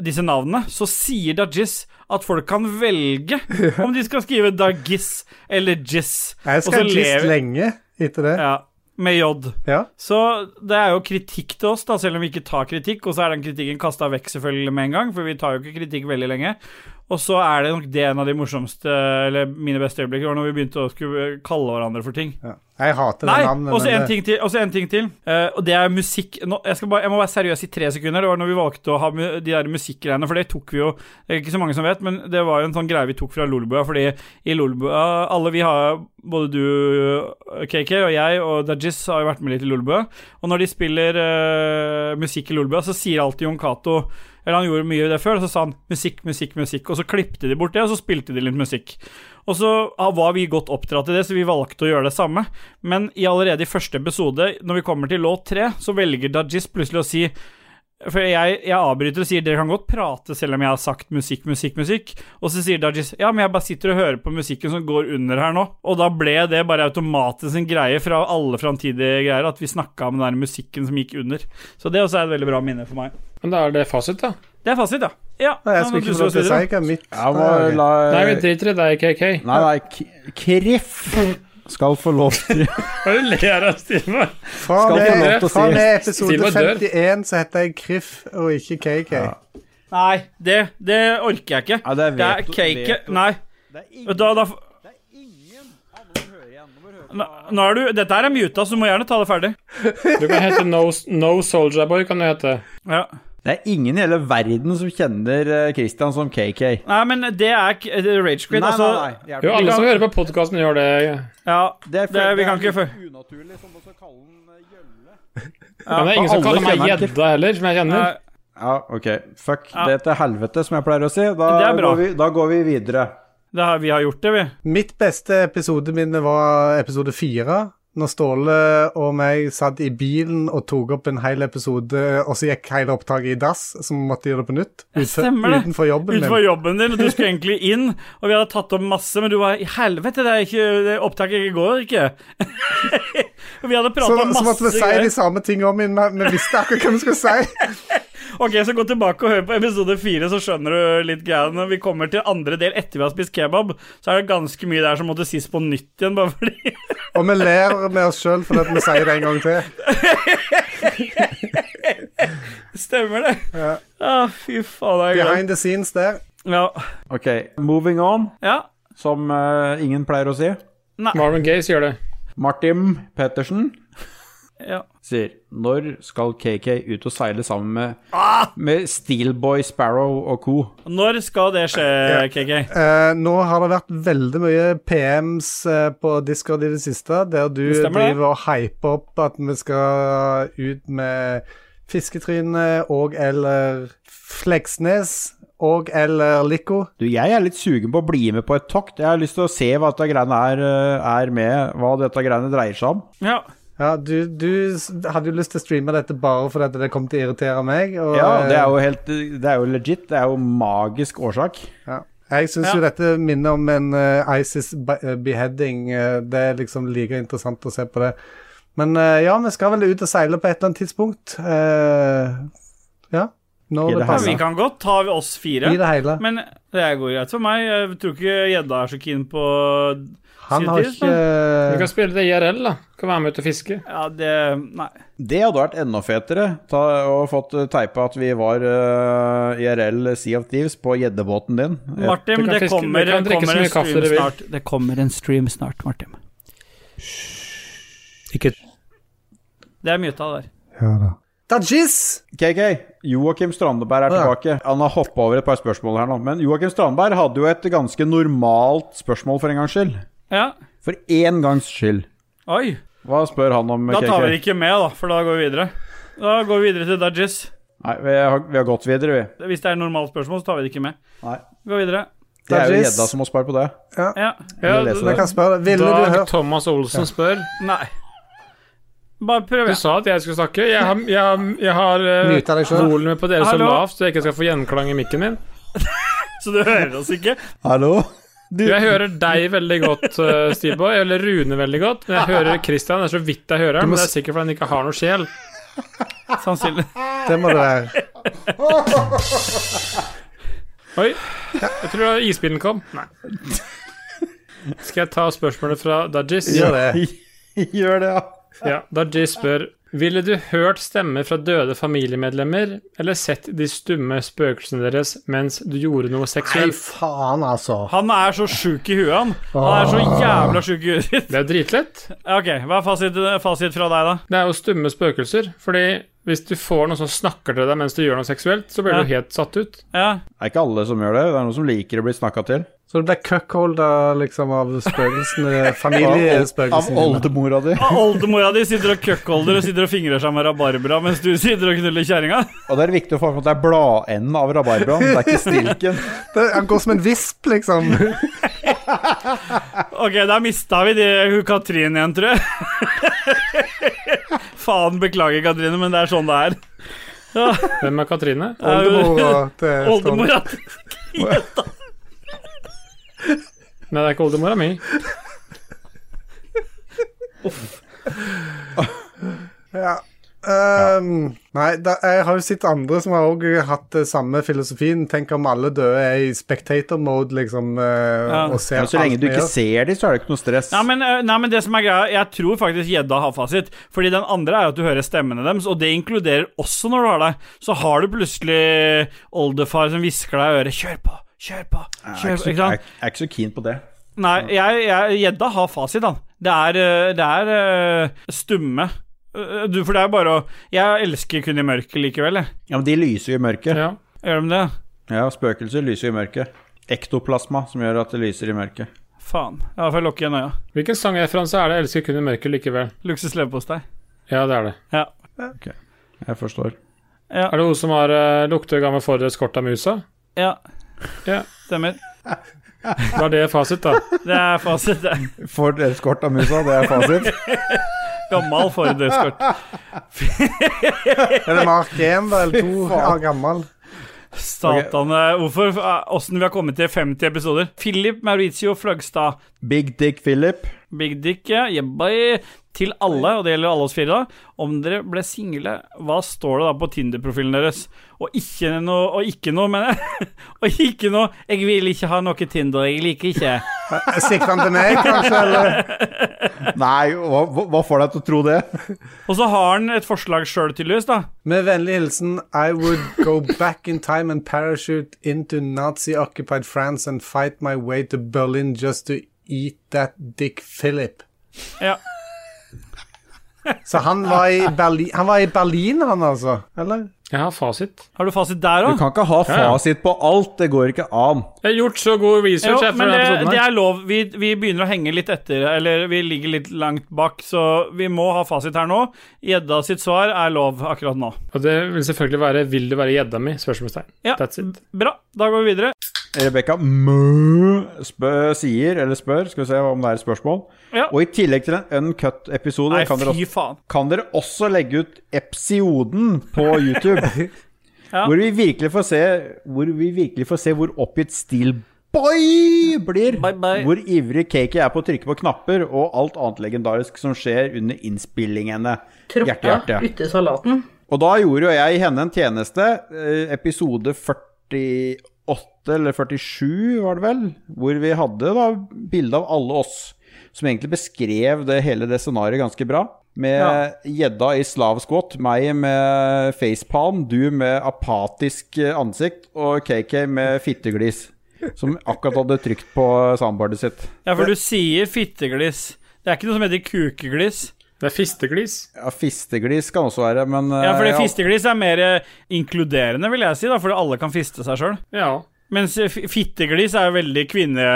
Speaker 1: disse navnene, så sier dajis at folk kan velge om de skal skrive dagis eller jis.
Speaker 2: Jeg
Speaker 1: Og så
Speaker 2: skal
Speaker 1: lever-
Speaker 2: gist lenge etter det.
Speaker 1: Ja, med j.
Speaker 2: Ja.
Speaker 1: Så det er jo kritikk til oss, da, selv om vi ikke tar kritikk. Og så er den kritikken kasta vekk selvfølgelig med en gang, for vi tar jo ikke kritikk veldig lenge. Og så er det nok det en av de morsomste, eller mine beste øyeblikk, var når vi begynte å skulle kalle hverandre for ting.
Speaker 2: ja. Jeg hater
Speaker 1: Nei,
Speaker 2: det navnet.
Speaker 1: og så
Speaker 2: men
Speaker 1: en
Speaker 2: det-
Speaker 1: ting til. og så en ting til Eh, og det er musikk nå, jeg, skal bare, jeg må være seriøs i tre sekunder. Det var når vi valgte å ha mu de der musikkgreiene, for det tok vi jo Det er ikke så mange som vet, men det var en sånn greie vi tok fra Lolbua. Fordi i Lolbua Alle vi har Både du, KK, og jeg og Dajis har jo vært med litt i Lolbua. Og når de spiller eh, musikk i Lolbua, så sier alltid Jon Cato eller han gjorde mye av det før, og så sa han musikk, musikk, musikk. Og så klippte de bort det, og så spilte de litt musikk. Og så ah, var vi godt oppdratt i det, så vi valgte å gjøre det samme. Men i allerede i første episode, når vi kommer til låt tre, så velger Dajis plutselig å si for jeg, jeg avbryter og sier dere kan godt prate selv om jeg har sagt musikk, musikk, musikk. Og så sier Dajis ja, men jeg bare sitter og hører på musikken som går under her nå. Og da ble det bare automatisk en greie fra alle framtidige greier at vi snakka om den der musikken som gikk under. Så det også er et veldig bra minne for meg.
Speaker 4: Men da er det fasit, da.
Speaker 1: Det er fasit, ja. ja
Speaker 2: Nei, jeg
Speaker 1: nå
Speaker 2: skulle ikke
Speaker 1: duser
Speaker 2: få lov til å
Speaker 1: vi oss
Speaker 2: si hva mitt
Speaker 3: Jeg må
Speaker 2: Nei, ok.
Speaker 3: la
Speaker 4: Nei, vi driter i deg, KK.
Speaker 3: Eh, Nei, nei, K- Kriff skal få lov til
Speaker 4: Hva er det du ler av, Stine?
Speaker 2: Fra
Speaker 3: Skal ikke lov
Speaker 2: med,
Speaker 3: til å
Speaker 2: fra
Speaker 3: si-
Speaker 2: med
Speaker 4: Silva
Speaker 2: episode
Speaker 4: dør.
Speaker 2: 51 så heter jeg Kriff og ikke KK.
Speaker 1: videre. Nei, det, det orker jeg ikke.
Speaker 3: Ja, det er
Speaker 1: Det er
Speaker 3: veto-
Speaker 1: cake
Speaker 3: veto.
Speaker 1: Nei.
Speaker 3: ingen-
Speaker 1: Da, da, nå, nå er du Dette her er muta, så du må gjerne ta det ferdig.
Speaker 4: Du kan hete No, no Soldier Boy, kan du hete.
Speaker 1: Ja.
Speaker 3: Det er ingen i hele verden som kjenner eh, Christian som KK.
Speaker 1: Nei, men det er k- det er rage quit, altså.
Speaker 3: nei.
Speaker 4: Jo, alle som hører på podkasten, gjør det.
Speaker 1: Ja,
Speaker 3: Det,
Speaker 1: det, vi kan ikke før.
Speaker 3: unaturlig som også kalle den eh, gjølle.
Speaker 4: Men det er ingen
Speaker 3: for
Speaker 4: som
Speaker 3: alle
Speaker 4: kaller meg
Speaker 3: kjenner ikke.
Speaker 4: gjedda heller, som jeg kjenner.
Speaker 1: Nei,
Speaker 3: Ja, ok. Fuck
Speaker 1: Ja.
Speaker 3: det til helvete, som jeg pleier å si. Da,
Speaker 1: Det er bra.
Speaker 3: går, vi, da går vi videre.
Speaker 1: det har, vi har gjort det, vi.
Speaker 2: Mitt beste episodeminne var episode 4. Når Ståle og meg satt i bilen og tok opp en hel episode, og så gikk hele opptaket i dass, så vi måtte gjøre det på nytt.
Speaker 1: Stemmer det.
Speaker 2: Utenfor jobben min.
Speaker 1: Utenfor jobben din, og du skulle egentlig inn, og vi hadde tatt opp masse, men du var I helvete, det er ikke det Opptaket går ikke. Og vi hadde
Speaker 2: Så,
Speaker 1: prata
Speaker 2: så
Speaker 1: masse
Speaker 2: måtte vi si de samme tingene om igjen, men vi visste akkurat hva vi skulle si.
Speaker 1: Ok, så gå tilbake og hør på episode fire, så skjønner du litt greia. Når vi kommer til andre del etter vi har spist kebab, så er det ganske mye der som måtte sies på nytt igjen, bare fordi
Speaker 2: Og vi ler med oss sjøl fordi at vi sier det en gang til.
Speaker 1: Stemmer det?
Speaker 2: Ja.
Speaker 1: Ah, fy faen, det er gøy.
Speaker 2: Behind the scenes der.
Speaker 1: Ja.
Speaker 3: Ok, moving on,
Speaker 1: ja.
Speaker 3: som eh, ingen pleier å si.
Speaker 4: Marvin Gaye sier det.
Speaker 3: Martin Pettersen
Speaker 1: Ja.
Speaker 3: sier Når skal KK ut og seile sammen med,
Speaker 1: Ah!
Speaker 3: med Steelboy Sparrow og co.?
Speaker 1: Når skal det skje, KK?
Speaker 2: Eh, nå har det vært veldig mye PMs eh, på Discord i det siste, der du
Speaker 1: Det stemmer det.
Speaker 2: driver og hyper opp at vi skal ut med fisketryne og eller Fleksnes og eller Lico.
Speaker 3: Du, jeg er litt sugen på å bli med på et tokt. Jeg har lyst til å se hva dette greiene er, eh, er med, hva dette greiene dreier seg om.
Speaker 1: Ja.
Speaker 2: Ja, du, du s- hadde jo lyst til å streame dette bare fordi at det kom til å irritere meg. Og,
Speaker 3: Ja, det er jo helt Det er jo legit. Det er jo magisk årsak.
Speaker 2: Ja. Jeg syns jo dette minner om en eh, ISIS be- eh, beheading. eh, det er liksom like interessant å se på det. Men eh, ja, vi skal vel ut og seile på et eller annet tidspunkt. Eh, ja. Når
Speaker 3: I det
Speaker 2: det
Speaker 3: hele.
Speaker 1: Vi
Speaker 2: passer.
Speaker 1: kan godt ta oss fire.
Speaker 2: I det hele.
Speaker 1: Men det går greit for meg. Jeg tror ikke gjedda er så keen på
Speaker 2: Han har
Speaker 1: sitt
Speaker 2: ikke
Speaker 1: liv,
Speaker 4: Du
Speaker 3: Eh.
Speaker 4: kan spille det IRL, da. Du kan være med ut og fiske.
Speaker 1: Ja, det Nei.
Speaker 3: Det hadde vært enda fetere ta, og fått eh, teipa at vi var eh, IRL Sea of Thieves på gjeddebåten din. Ja.
Speaker 1: Martin,
Speaker 4: Du kan
Speaker 1: det
Speaker 4: fiske-
Speaker 1: kommer,
Speaker 4: du kan
Speaker 1: det
Speaker 4: drikke så
Speaker 1: kommer en
Speaker 4: mye kaffe
Speaker 1: stream
Speaker 4: du vil.
Speaker 1: snart. Det kommer en stream snart, Martin.
Speaker 10: Ikke
Speaker 1: Det er mye av det der.
Speaker 2: Ja da. Dajis!
Speaker 3: KK, Eh, Joakim Strandeberg
Speaker 2: Å,
Speaker 3: er
Speaker 2: ja.
Speaker 3: tilbake. Han har hoppa over et par spørsmål her nå. Men Joakim Strandeberg hadde jo et ganske normalt spørsmål for en gangs skyld.
Speaker 1: Ja.
Speaker 3: For én gangs skyld.
Speaker 1: Oi.
Speaker 3: Hva spør han om,
Speaker 1: Da
Speaker 3: KK?
Speaker 1: tar vi det ikke med, da, for da går vi videre. Da går vi videre til Dudges.
Speaker 3: Nei, vi har, vi har gått videre, vi.
Speaker 1: Hvis det er normalt spørsmål, så tar vi det ikke med.
Speaker 3: Nei.
Speaker 1: Vi går videre.
Speaker 3: Det er jo
Speaker 2: Dajis.
Speaker 3: gjedda som må spare på det.
Speaker 1: Ja.
Speaker 4: Ja,
Speaker 2: Jeg
Speaker 3: lese det.
Speaker 4: Dag
Speaker 2: kan spørre deg. Ville du hørt
Speaker 4: Thomas Olsen spør.
Speaker 1: Nei. Bare prøv.
Speaker 4: Du sa at jeg skulle snakke. Jeg har, jeg har, jeg har eh,
Speaker 2: Mute deg selv.
Speaker 4: volumet på dere så
Speaker 1: Hallo?
Speaker 4: lavt, så jeg ikke skal få gjenklang i mikken min.
Speaker 1: Så du hører oss ikke?
Speaker 3: Hallo?
Speaker 4: Jeg hører deg veldig godt, eh, Steelboy, eller Rune veldig godt. Men jeg hører Christian, det er så vidt jeg hører han, men det er sikkert fordi han ikke har noe sjel.
Speaker 1: Sannsynlig.
Speaker 2: Det må det være.
Speaker 4: Oi, jeg tror det var isbilen kom. Nei. Skal jeg ta spørsmålet fra Dajis?
Speaker 2: Gjør det.
Speaker 3: Gjør det, ja.
Speaker 4: Ja, Dajis spør Ville du hørt stemmer fra døde familiemedlemmer, eller sett de stumme spøkelsene deres mens du gjorde noe
Speaker 2: Fy
Speaker 4: seksuelt?
Speaker 2: faen, altså.
Speaker 1: Han er så sjuk i huet, han. Han er så jævla sjuk i huet sitt.
Speaker 4: Det er jo dritlett.
Speaker 1: Ok, hva er fasit, fasit fra deg, da?
Speaker 4: Det er jo stumme spøkelser. Fordi hvis du får noen som snakker til deg mens du gjør noe seksuelt, så blir du helt satt ut.
Speaker 1: Ja.
Speaker 3: Det er ikke alle som gjør det. Det er noen som liker å bli snakka til.
Speaker 2: Så du ble cuckolda liksom, av spøkelsene,
Speaker 3: Av
Speaker 2: familiespøkelsene dine.
Speaker 3: oldemora di.
Speaker 1: Og Oldemora di sitter og cuckolder og sitter og fingrer seg med rabarbra mens du sitter og knuller kjerringa.
Speaker 3: Og det er viktig å få med at det er bladenden av rabarbraen, det er ikke stilken.
Speaker 2: Det- Han går som en visp, liksom.
Speaker 1: Ok, da mista vi de, hun Katrin igjen, tror jeg. Faen, beklager, Katrine, men det er sånn det er.
Speaker 4: Hvem er Katrine?
Speaker 2: Oldemora til Ståle.
Speaker 1: Oldemora
Speaker 4: Nei, det er ikke oldemora mi.
Speaker 2: Ja. Ehm, Nei, da, jeg har jo sett andre som har også hatt eh, samme filosofien. Tenk om alle døde er i spectator-mode, liksom, eh,
Speaker 1: Ja.
Speaker 2: og ser
Speaker 3: Men så lenge
Speaker 2: alt
Speaker 3: du
Speaker 2: vi
Speaker 3: ikke
Speaker 2: gjør.
Speaker 3: ser de, så er det ikke noe stress.
Speaker 1: Ja, men, eh, nei, men det som er greia Jeg tror faktisk gjedda har fasit. Fordi den andre er at du hører stemmene deres, og det inkluderer også når du har det. Så har du plutselig oldefar som hvisker deg i øret 'Kjør på! Kjør på!'
Speaker 3: jeg,
Speaker 1: Kjør
Speaker 3: er
Speaker 1: på ikke
Speaker 3: ikke så, jeg,
Speaker 1: sant?
Speaker 3: jeg er ikke så keen på det.
Speaker 1: Nei, jeg- jeg- gjedda har fasit, han. Det er, eh, det er eh, stumme. Eh, Du, for det er bare å Jeg elsker kun i mørket likevel, jeg.
Speaker 3: Ja, men de lyser jo i mørket.
Speaker 4: Ja.
Speaker 1: Gjør de det?
Speaker 3: Ja, spøkelser lyser jo i mørket. Ektoplasma som gjør at det lyser i mørket.
Speaker 1: Faen. Da får jeg lukke igjen øya.
Speaker 4: Hvilken sangreferanse er det? Jeg elsker kun i mørket likevel.
Speaker 1: Luksus leverpostei.
Speaker 4: Ja, det er det.
Speaker 3: Jeg forstår.
Speaker 1: Ja,
Speaker 4: Er det hun som har uh, lukter gammel forrest kort av musa?
Speaker 1: ja.
Speaker 4: Ja.
Speaker 1: Stemmer.
Speaker 4: Da er det fasit, da.
Speaker 1: Det er fasit, det.
Speaker 3: For eskort av musa, det er fasit.
Speaker 1: Gammal Ford Escort.
Speaker 2: Er det Mark 1 da, eller 2? Ja, gammel.
Speaker 1: Satane. Hvorfor? eh, Åssen vi har kommet til 50 episoder. Philip Mauricio Flagstad.
Speaker 3: Big Dick Philip.
Speaker 1: Big dick, ja. Yeah, boy. til alle, og det gjelder alle oss fire, da. Om dere ble single, hva står det da på Tinder-profilen deres? Og ikke noe, og ikke noe, mener jeg. Og ikke noe 'Jeg vil ikke ha noe Tinder, jeg liker ikke'.
Speaker 2: Sikter han til meg, kanskje? Eller?
Speaker 3: Nei, hva, hva- hva får deg til å tro det?
Speaker 1: Og så har han et forslag sjøl, tydeligvis, da.
Speaker 2: Med vennlig hilsen I would go back in time and parachute into Nazi-occupied France and fight my way to Berlin just to eat that Dick Philip.
Speaker 1: Ja.
Speaker 2: Så han var i Berlin, han, var i Berlin, han altså? Eller?
Speaker 4: Jeg har fasit.
Speaker 1: Har du fasit der
Speaker 3: Du
Speaker 1: òg?
Speaker 3: kan ikke ha
Speaker 4: ja.
Speaker 3: fasit på alt, det går ikke an.
Speaker 4: Jeg har gjort så god
Speaker 1: Jo,
Speaker 4: research. jeg, for
Speaker 1: men
Speaker 4: denne
Speaker 1: det,
Speaker 4: episoden
Speaker 1: det
Speaker 4: her.
Speaker 1: er lov. Vi, vi begynner å henge litt etter, eller vi ligger litt langt bak, så vi må ha fasit her nå. Gjedda sitt svar er lov akkurat nå.
Speaker 4: Og det vil selvfølgelig være 'Vil du være gjedda mi?' spørsmålstegn.
Speaker 1: Ja.
Speaker 4: That's it.
Speaker 1: Bra, da går vi videre.
Speaker 3: Rebekka Mø spø- sier, eller spør, skal vi se om det er et spørsmål.
Speaker 1: Ja.
Speaker 3: Og i tillegg til en uncut-episode
Speaker 1: Nei,
Speaker 3: kan, dere
Speaker 1: fy
Speaker 3: også-
Speaker 1: faen.
Speaker 3: kan dere også legge ut episoden på YouTube.
Speaker 1: Ja.
Speaker 3: Hvor vi virkelig får se Hvor vi virkelig får se hvor oppgitt Steelboy blir.
Speaker 1: Bye, bye.
Speaker 3: Hvor ivrig Kaki er på å trykke på knapper, og alt annet legendarisk som skjer under innspillingene. Hjerte, hjerte.
Speaker 7: Troppa uti salaten.
Speaker 3: Og da gjorde jo jeg henne en tjeneste. eh, Episode 48 eller 47 var det vel, hvor vi hadde da bilde av alle oss. Som egentlig beskrev det, hele det scenarioet ganske bra. Med gjedda i slavskvott, meg med facepalm, du med apatisk eh, ansikt og KK med fitteglis. Som akkurat hadde trykt på soundboardet sitt.
Speaker 1: Ja, for du sier fitteglis. Det er ikke noe som heter kukeglis.
Speaker 4: Det er fisteglis.
Speaker 3: Ja, Fisteglis kan også være, men eh,
Speaker 1: Ja, for det
Speaker 3: ja,
Speaker 1: fisteglis er mer eh, inkluderende, vil jeg si, da, fordi alle kan fiste seg sjøl.
Speaker 4: Ja.
Speaker 1: Mens eh, fi- fitteglis er jo veldig kvinne...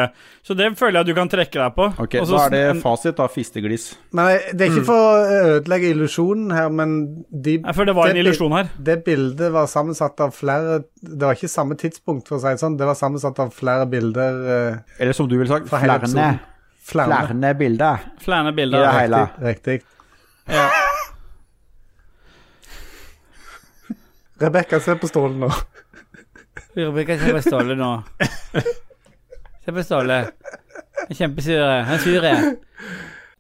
Speaker 1: Så det føler jeg at du kan trekke deg på.
Speaker 3: Ok,
Speaker 1: Og så
Speaker 3: Da er det
Speaker 1: sn-
Speaker 3: fasit, da. Fisteglis.
Speaker 2: Men jeg- det er ikke for å ødelegge illusjonen her, men de,
Speaker 1: Mm. Nei, for det var en
Speaker 2: det-
Speaker 1: illusjon her.
Speaker 2: det bildet var sammensatt av flere Det var ikke samme tidspunkt, for å si det sånn. Det var sammensatt av flere bilder. eh,
Speaker 3: Eller som du ville sagt,
Speaker 2: Fra hele episoden.
Speaker 3: flærne.
Speaker 2: Flere.
Speaker 3: Flærne bilder.
Speaker 1: Flere
Speaker 3: I det
Speaker 1: bilder.
Speaker 3: hele.
Speaker 2: Riktig. Rebekka, se på stolen nå.
Speaker 1: Rebekka, se på Ståle nå. Se på Ståle. Han er kjempesur. Han er sur.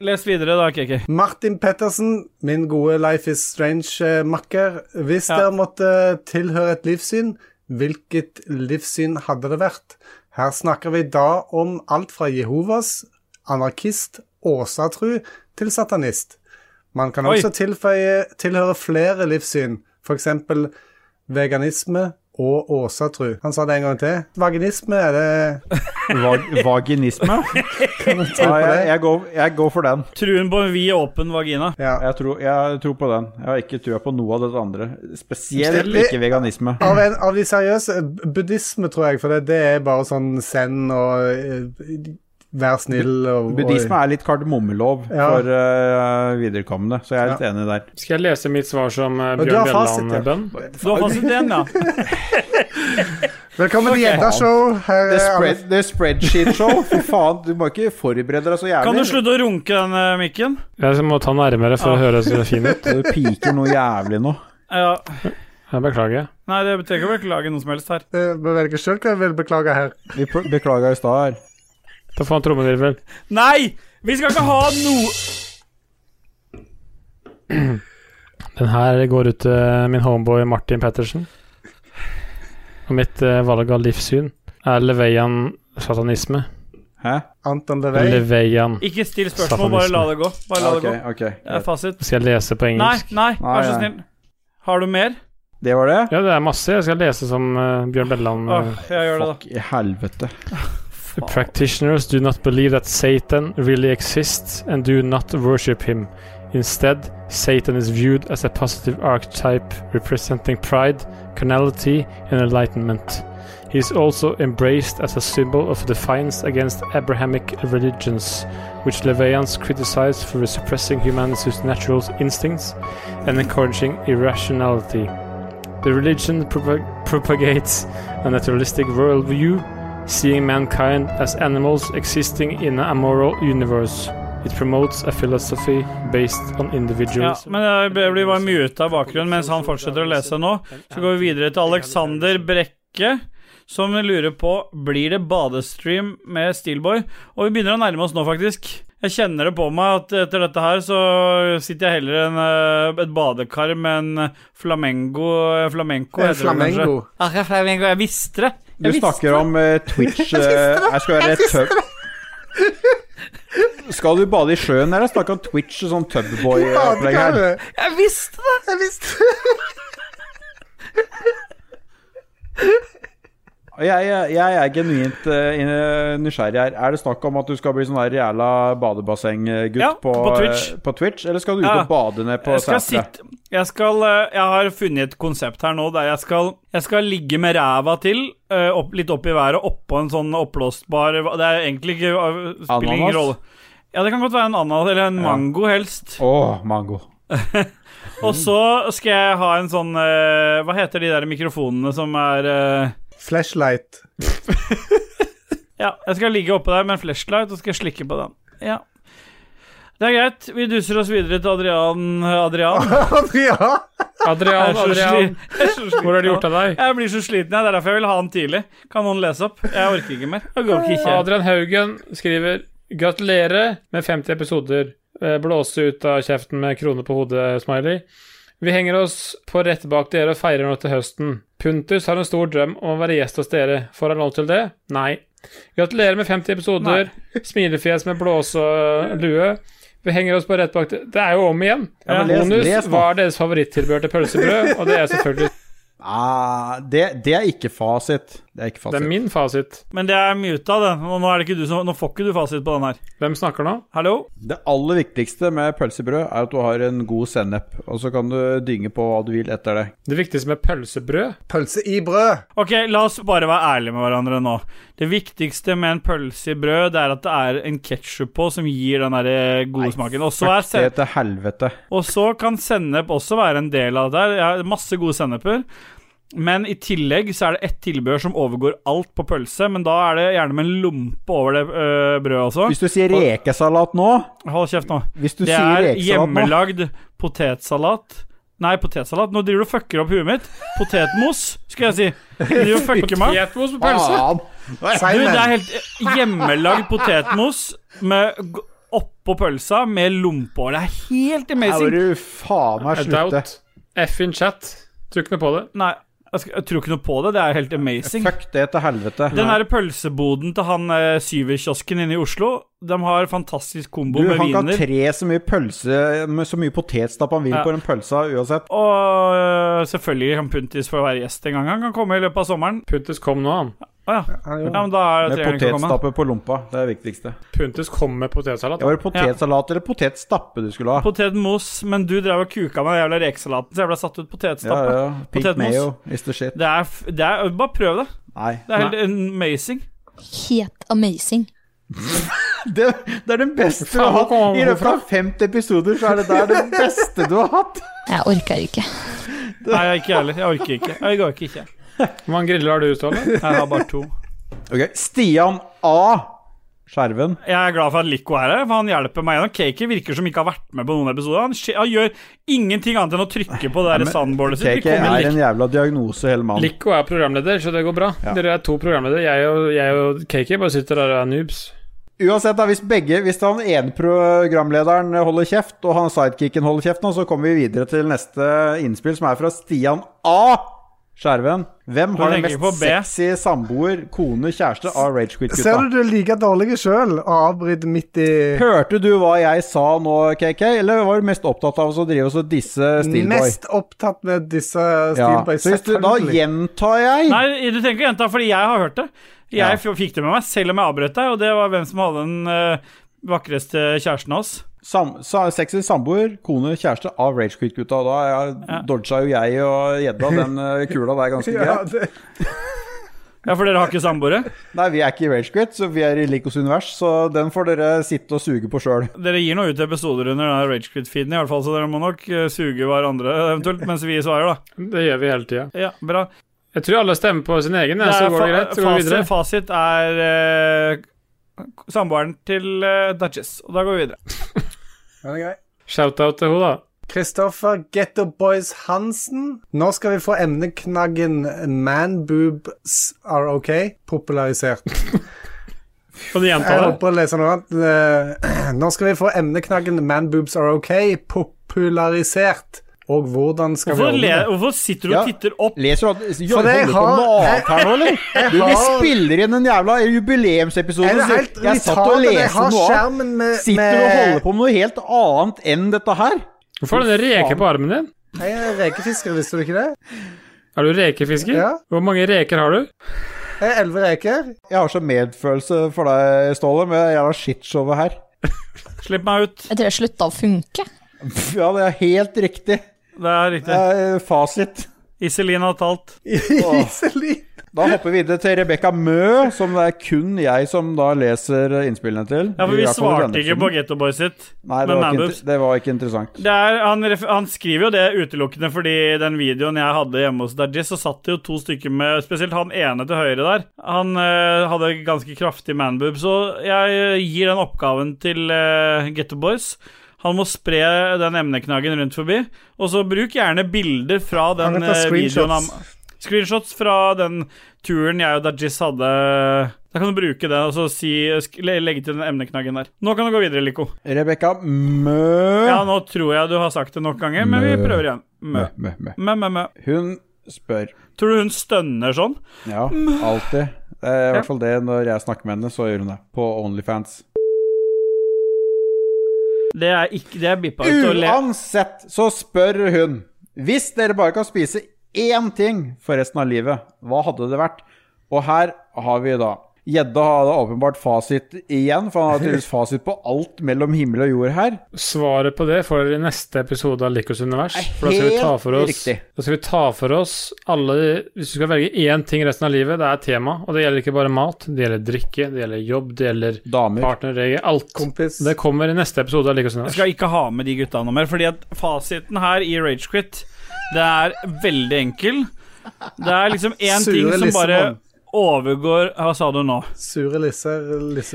Speaker 1: Les videre, da, Kiki.
Speaker 2: Martin Pettersen, min gode Life is Strange-makker. Hvis
Speaker 1: Ja.
Speaker 2: dere måtte tilhøre et livssyn, hvilket livssyn hadde det vært? Her snakker vi da om alt fra Jehovas, anarkist, åsatru til satanist. Man kan
Speaker 1: Oi.
Speaker 2: også tilføye, tilhøre flere livssyn, f.eks. veganisme og åsatru. Han sa det en gang til. Vaginisme er det
Speaker 3: Vag vaginisme?
Speaker 2: tro
Speaker 3: ja,
Speaker 2: på
Speaker 3: jeg,
Speaker 2: det?
Speaker 3: jeg, går, jeg går for den.
Speaker 1: Truen på en vid, åpen vagina.
Speaker 2: Ja.
Speaker 3: Jeg tror, jeg tror på den. Jeg har ikke trua på noe av det andre. Spesielt
Speaker 2: Stille-
Speaker 3: ikke veganisme.
Speaker 2: Av, en, av de seriøse b- Buddhisme, tror jeg, for det, det er bare sånn zen og eh, vær snill og
Speaker 3: Buddhisme
Speaker 2: og,
Speaker 3: er litt kardemommelov
Speaker 2: Ja.
Speaker 3: for eh, viderekommende, så jeg er litt enig der.
Speaker 4: Skal jeg lese mitt svar som eh,
Speaker 2: du
Speaker 4: Bjørn eh,
Speaker 2: har fasit, ja.
Speaker 4: Bjelland-bønn?
Speaker 1: Du har fasit den, ja.
Speaker 2: Velkommen til Gjedda-show. Her
Speaker 3: The,
Speaker 2: er alle
Speaker 3: spread, the spreadsheet show. Fy faen, du må ikke forberede deg så jævlig.
Speaker 1: Kan du slutte å runke den eh, mikken?
Speaker 4: Jeg må ta nærmere for å
Speaker 1: Ja.
Speaker 4: høre så fin ut.
Speaker 3: Du piker noe jævlig nå.
Speaker 1: Ja.
Speaker 4: Jeg beklager.
Speaker 1: Nei, det trenger ikke å beklage noe som helst her.
Speaker 2: eh, må velge sjøl hva jeg vil beklage her.
Speaker 3: Vi pr- beklaga i stad her.
Speaker 4: Da får han trommevirvel.
Speaker 1: Nei! Vi skal ikke ha noe
Speaker 4: Den her går ut til min homeboy Martin Pettersen. Og mitt eh, valg av livssyn er levejan satanisme.
Speaker 3: Hæ?
Speaker 2: Anton Levey.
Speaker 4: Levejan.
Speaker 1: Ikke still spørsmål, bare la det gå. Bare la
Speaker 3: Ok,
Speaker 1: det gå.
Speaker 3: ok.
Speaker 1: Det er fasit.
Speaker 4: Skal jeg lese på
Speaker 1: Nei,
Speaker 4: engelsk?
Speaker 1: nei, vær så
Speaker 3: Nei, nei.
Speaker 1: snill. Har du mer?
Speaker 3: Det var det?
Speaker 4: Ja, det er masse. Jeg skal lese som eh, Bjørn Belland.
Speaker 1: Åh, jeg gjør det, da.
Speaker 3: Fuck i helvete.
Speaker 4: The practitioners do not believe that Satan really exists and do not worship him. Instead, Satan is viewed as a positive archetype representing pride, carnality, and enlightenment. He is also embraced as a symbol of defiance against Abrahamic religions, which Levayans criticized for suppressing humanity's natural instincts and encouraging irrationality. The religion propag- propagates a naturalistic worldview seeing mankind as animals existing in a moral universe. It promotes a philosophy based on
Speaker 1: Ja,
Speaker 4: individuals.
Speaker 1: men jeg blir bare muta i bakgrunnen mens han fortsetter å lese nå. Så går vi videre til Alexander Brekke, som lurer på Blir det badestream med Steelboy. Og vi begynner å nærme oss nå, faktisk. Jeg kjenner det på meg at etter dette her så sitter jeg heller i en, eh, et badekar med en flamengo Flamenco,
Speaker 2: Eh,
Speaker 1: heter det kanskje.
Speaker 2: Flamengo.
Speaker 1: Ah, ja, flamengo. Jeg visste det.
Speaker 3: Du snakker om eh, Twitch eh, Jeg skal være tub... Skal du bade i sjøen, eller snakke om Twitch og sånn tubboy-opplegg her?
Speaker 2: Badekaret.
Speaker 1: Jeg visste det!
Speaker 2: Jeg visste det!
Speaker 3: Jeg, jeg, jeg er genuint eh, in- nysgjerrig her. Er det snakk om at du skal bli sånn der jævla badebassenggutt
Speaker 1: Ja,
Speaker 3: på,
Speaker 1: på Twitch.
Speaker 3: eh, på Twitch? Eller skal du ut
Speaker 1: Ja.
Speaker 3: og bade ned på
Speaker 1: Jeg skal
Speaker 3: seteret?
Speaker 1: sitte jeg, skal, eh, jeg har funnet et konsept her nå der jeg skal, jeg skal ligge med ræva til, eh, opp, litt opp i været, oppå en sånn oppblåsbar Det er egentlig ikke eh, spiller ingen
Speaker 3: Ananas?
Speaker 1: rolle. Ja, det kan godt være en ananas eller en mango, helst.
Speaker 3: Å, mango.
Speaker 1: Og så skal jeg ha en sånn eh, Hva heter de der mikrofonene som er eh,
Speaker 2: Flashlight.
Speaker 1: Ja, jeg skal ligge oppå der med en flashlight og skal slikke på den. Ja. Det er greit. Vi duser oss videre til Adrian. Adrian.
Speaker 2: Adrian!
Speaker 4: Adrian,
Speaker 1: Jeg er så
Speaker 4: Adrian,
Speaker 1: sli- jeg er så sliten.
Speaker 4: hvor har du gjort av deg?
Speaker 1: Jeg blir så sliten, jeg. Det er derfor jeg vil ha den tidlig. Kan noen lese opp? Jeg orker ikke mer. Jeg orker ikke.
Speaker 4: Adrian Haugen skriver Gratulerer med 50 episoder. Eh, Blåse ut av kjeften med krone på hodet-smiley. Vi henger oss på rett bak dere og feirer nå til høsten. Puntus har en stor drøm om å være gjest hos dere. Får han lov til det? Nei. Gratulerer med 50 episoder. Smilefjes med blåse og lue. Vi henger oss på rett bak dere Det er jo om igjen.
Speaker 3: Ja, men les-
Speaker 4: Bonus
Speaker 3: les nå.
Speaker 4: var deres favorittilbehør til pølsebrød, og det er selvfølgelig
Speaker 3: Ah, det, det er ikke fasit. Det er ikke
Speaker 4: det
Speaker 3: fasit.
Speaker 4: er min fasit.
Speaker 1: Men det er muta, det. Og nå, er det ikke du som, nå får ikke du fasit på den her.
Speaker 4: Hvem snakker nå?
Speaker 1: Hallo?
Speaker 3: Det aller viktigste med pølsebrød er at du har en god sennep, og så kan du dynge på hva du vil etter det.
Speaker 4: Det viktigste med pølsebrød
Speaker 2: Pølse i brød.
Speaker 1: Ok, la oss bare være ærlige med hverandre nå. Det viktigste med en pølse i brød, det er at det er en ketsjup på som gir den der eh, gode smaken. Og så er
Speaker 3: Det
Speaker 1: sen-
Speaker 3: til helvete.
Speaker 1: Og så kan sennep også være en del av det. her. Jeg har masse gode senneper. Men i tillegg så er det ett tilbehør som overgår alt på pølse, men da er det gjerne med en lompe over det øh, brødet også.
Speaker 3: Hvis du sier rekesalat nå
Speaker 1: Hold kjeft nå.
Speaker 3: Hvis du
Speaker 1: Det
Speaker 3: sier
Speaker 1: er
Speaker 3: rekesalat nå
Speaker 1: hjemmelagd potetsalat. Nei, potetsalat. Nå driver du og fucker opp huet mitt. Potetmos, skal jeg si. Du driver og fucker meg.
Speaker 4: Gjetmos på
Speaker 3: Ah,
Speaker 4: pølse!
Speaker 1: Du,
Speaker 2: Simon.
Speaker 1: det er helt hjemmelagd potetmos med g- oppå pølsa med lompe over. Det er helt
Speaker 3: Her
Speaker 1: amazing.
Speaker 3: må du faen meg
Speaker 4: I
Speaker 3: slutte.
Speaker 4: doubt. F in chat. Trykk nå på det.
Speaker 1: Nei, jeg, skal, jeg tror ikke noe på det. Det er helt amazing.
Speaker 3: Fuck det til helvete.
Speaker 1: Den der pølseboden til han eh, syverkiosken inne i Oslo, de har fantastisk
Speaker 3: Du,
Speaker 1: kombo med
Speaker 3: han kan
Speaker 1: viner.
Speaker 3: tre så mye pølse med så mye potetstapp han vil
Speaker 1: Ja.
Speaker 3: på den pølsa uansett.
Speaker 1: Og eh, selvfølgelig kan Puntis få være gjest en gang. Han kan komme i løpet av sommeren.
Speaker 4: Puntus kom nå, han.
Speaker 1: Å ja. ja, men da er
Speaker 3: Med
Speaker 1: det treeren kan komme.
Speaker 3: potetstappe på lompa. Det er det viktigste.
Speaker 4: Puntus kom med potetsalat.
Speaker 3: Ja, var det potetsalat eller potetstappe du skulle ha?
Speaker 1: Potetmos, men du drev og kuka med den jævla rekesalaten, så jeg ble satt ut
Speaker 3: Ja,
Speaker 1: potetstappe.
Speaker 3: ja. Pink
Speaker 1: Potetmos.
Speaker 3: mayo is the shit.
Speaker 1: Det er, f- det er Bare prøv det.
Speaker 3: Nei.
Speaker 1: Det er helt amazing.
Speaker 6: Helt amazing.
Speaker 3: Det, det er den beste du har
Speaker 4: Faen,
Speaker 3: hatt. I løpet av 50 episoder så er det der det beste du har hatt.
Speaker 6: Jeg orker ikke.
Speaker 1: Nei, jeg er ikke heller. Jeg orker ikke. Jeg orker ikke.
Speaker 4: Hvor mange griller har du, Ståle?
Speaker 1: Jeg har bare to.
Speaker 3: Ok, Stian A. Skjerven.
Speaker 1: Jeg er glad for at Lico er her, for han hjelper meg gjennom. Cakey virker som ikke har vært med på noen episoder. Han, skje- han gjør ingenting annet enn å trykke på det der sandbordet sitt. Vi
Speaker 3: KK
Speaker 1: kommer
Speaker 3: er
Speaker 1: likt.
Speaker 3: en jævla diagnose, hele mannen.
Speaker 4: Lico er programleder, så det går bra. Dere er to programledere. Jeg og, jeg og Kiki bare sitter der og er noobs.
Speaker 3: Uansett, da, hvis begge Hvis han ene programlederen holder kjeft, og han sidekicken holder kjeft nå, så kommer vi videre til neste innspill, som er fra Stian A. Skjerven. Hvem har den
Speaker 1: tenker på
Speaker 3: mest
Speaker 1: B.
Speaker 3: sexy samboer, kone, kjæreste
Speaker 2: Ser
Speaker 3: av
Speaker 2: du
Speaker 3: Ragequit-gutta?
Speaker 2: du er like dårlig sjøl og avbryter midt i
Speaker 3: Hørte du hva jeg sa nå, KK, eller var du mest opptatt av å drive oss og disse Steelboy?
Speaker 2: Mest opptatt med disse
Speaker 3: Ja.
Speaker 2: Steelboy.
Speaker 3: Så hvis du, da
Speaker 2: selvfølgelig.
Speaker 3: gjentar jeg
Speaker 1: Nei, du trenger ikke gjenta, fordi jeg har hørt det. Jeg f- fikk det med meg selv om jeg avbrøt deg, og det var hvem som hadde den eh, vakreste kjæresten av oss.
Speaker 3: Sam, sa, sexy samboer, kone, kjæreste av Ragequit-gutta. og Da er jeg, dodga jo jeg og gjedda den eh, kula der ganske
Speaker 2: ja,
Speaker 3: greit.
Speaker 2: det,
Speaker 1: Ja, for dere har ikke samboere.
Speaker 3: Nei, vi er ikke i Ragequit, så vi er i Likos univers, så den får dere sitte og suge på sjøl.
Speaker 1: Dere gir nå ut episoder under den Ragequit-feeden, i hvert fall, så dere må nok eh, suge hverandre eventuelt mens vi svarer, da.
Speaker 4: Det gjør vi hele tida.
Speaker 1: Ja, bra.
Speaker 4: Jeg tror alle stemmer på sin egen,
Speaker 1: Det
Speaker 4: ja, så
Speaker 1: er
Speaker 4: går det greit.
Speaker 1: fa
Speaker 4: Så går vi
Speaker 1: fasit,
Speaker 4: videre.
Speaker 1: fasit er eh, samboeren til eh, Duchess, og da går vi videre.
Speaker 2: Ja, det er greit.
Speaker 4: Shout-out til henne, da.
Speaker 2: Kristoffer Getto Boys Hansen. Nå skal vi få emneknaggen 'Man boobs are ok' popularisert.
Speaker 1: Kan du gjenta
Speaker 2: Jeg
Speaker 1: det?
Speaker 2: håper å lese noe annet. Eh, Nå skal vi få emneknaggen 'Man boobs are ok' popularisert. Og hvordan skal
Speaker 1: Hvorfor,
Speaker 2: vi
Speaker 1: le,
Speaker 2: ordne det?
Speaker 1: hvorfor sitter du
Speaker 3: Ja.
Speaker 1: og titter opp?
Speaker 3: Leser du
Speaker 2: For det
Speaker 3: Holder du på med noe
Speaker 2: har-
Speaker 3: annet her nå, eller? Du, vi
Speaker 2: har-
Speaker 3: spiller inn en jævla jubileumsepisode.
Speaker 2: Er det
Speaker 3: så
Speaker 2: helt
Speaker 3: jeg satt og
Speaker 2: retarded? Jeg
Speaker 3: leste
Speaker 2: har
Speaker 3: noe annet.
Speaker 2: skjermen med,
Speaker 3: Sitter du og holder på med noe helt annet enn dette her?
Speaker 4: Hvorfor har du en reke på armen din?
Speaker 2: Jeg er rekefisker, visste du ikke det?
Speaker 4: Er du rekefisker?
Speaker 2: Ja.
Speaker 4: Hvor mange reker har du?
Speaker 2: Jeg er elleve reker.
Speaker 3: Jeg har så medfølelse for deg, Ståle, med det jævla shitshowet her.
Speaker 1: Slipp meg ut.
Speaker 6: Jeg tror det slutta å funke.
Speaker 3: Pff, Ja, det er helt riktig.
Speaker 1: Det er
Speaker 3: Det
Speaker 1: riktig.
Speaker 3: er fasit.
Speaker 1: Iselin har talt.
Speaker 2: Iselin.
Speaker 3: Da hopper vi videre til Rebekka Mø, som det er kun jeg som da leser innspillene til.
Speaker 1: Ja, for vi
Speaker 3: I hvert fall i
Speaker 1: svarte
Speaker 3: denne
Speaker 1: ikke
Speaker 3: episoden.
Speaker 1: på Getto Boys sitt.
Speaker 3: Nei,
Speaker 1: med
Speaker 3: det var, ikke,
Speaker 1: Manboobs.
Speaker 3: inter- det var ikke interessant.
Speaker 1: Det er, han, ref- han skriver jo det utelukkende fordi den videoen jeg hadde hjemme hos Dajis, så satt det jo to stykker med Spesielt han ene til høyre der. Han eh, hadde ganske kraftig manboob, så jeg eh, gir den oppgaven til uh, Getto Boys. Han må spre den emneknaggen rundt forbi. Og så bruk gjerne bilder fra den
Speaker 2: kan ta
Speaker 1: eh, videoen.
Speaker 2: screenshots.
Speaker 1: Han, screenshots fra den turen jeg og Dajis hadde. Da kan du bruke det og så si, sk- le- legge til den emneknaggen der. Nå kan du gå videre, Lico.
Speaker 3: Rebekka Mø.
Speaker 1: Ja, nå tror jeg du har sagt det nok ganger, men vi prøver igjen. Mø.
Speaker 3: Mø, mø, mø.
Speaker 1: Mø, mø, mø.
Speaker 3: Hun spør
Speaker 1: Tror du hun stønner sånn?
Speaker 3: Ja, alltid. Det er i hvert fall det når jeg snakker med henne, så gjør hun det. På Onlyfans.
Speaker 1: Det er ikke Det er bippa ut og le.
Speaker 3: Uansett så spør hun Hvis dere bare kan spise én ting for resten av livet, hva hadde det vært? Og her har vi da Gjedda hadde åpenbart fasit igjen, for han har tydeligvis fasit på alt mellom himmel og jord her.
Speaker 4: Svaret på det får dere i neste episode av Likos univers.
Speaker 3: Nei,
Speaker 4: For da skal, vi ta
Speaker 3: helt
Speaker 4: for oss,
Speaker 3: riktig.
Speaker 4: da skal vi ta for oss alle Hvis du skal velge én ting resten av livet, det er tema. Og det gjelder ikke bare mat. Det gjelder drikke, det gjelder jobb, det gjelder
Speaker 3: Damer.
Speaker 4: partnerregel. Alt.
Speaker 2: Kompis.
Speaker 4: Det kommer i neste episode av Likos
Speaker 1: Jeg
Speaker 4: univers.
Speaker 1: skal ikke ha med de gutta noe mer, fordi at fasiten her i Ragequit, det er veldig enkel. Det er liksom én ting
Speaker 2: Sure
Speaker 1: som bare
Speaker 2: Lissabon.
Speaker 1: overgår Hva sa du nå?
Speaker 2: Sure lisser.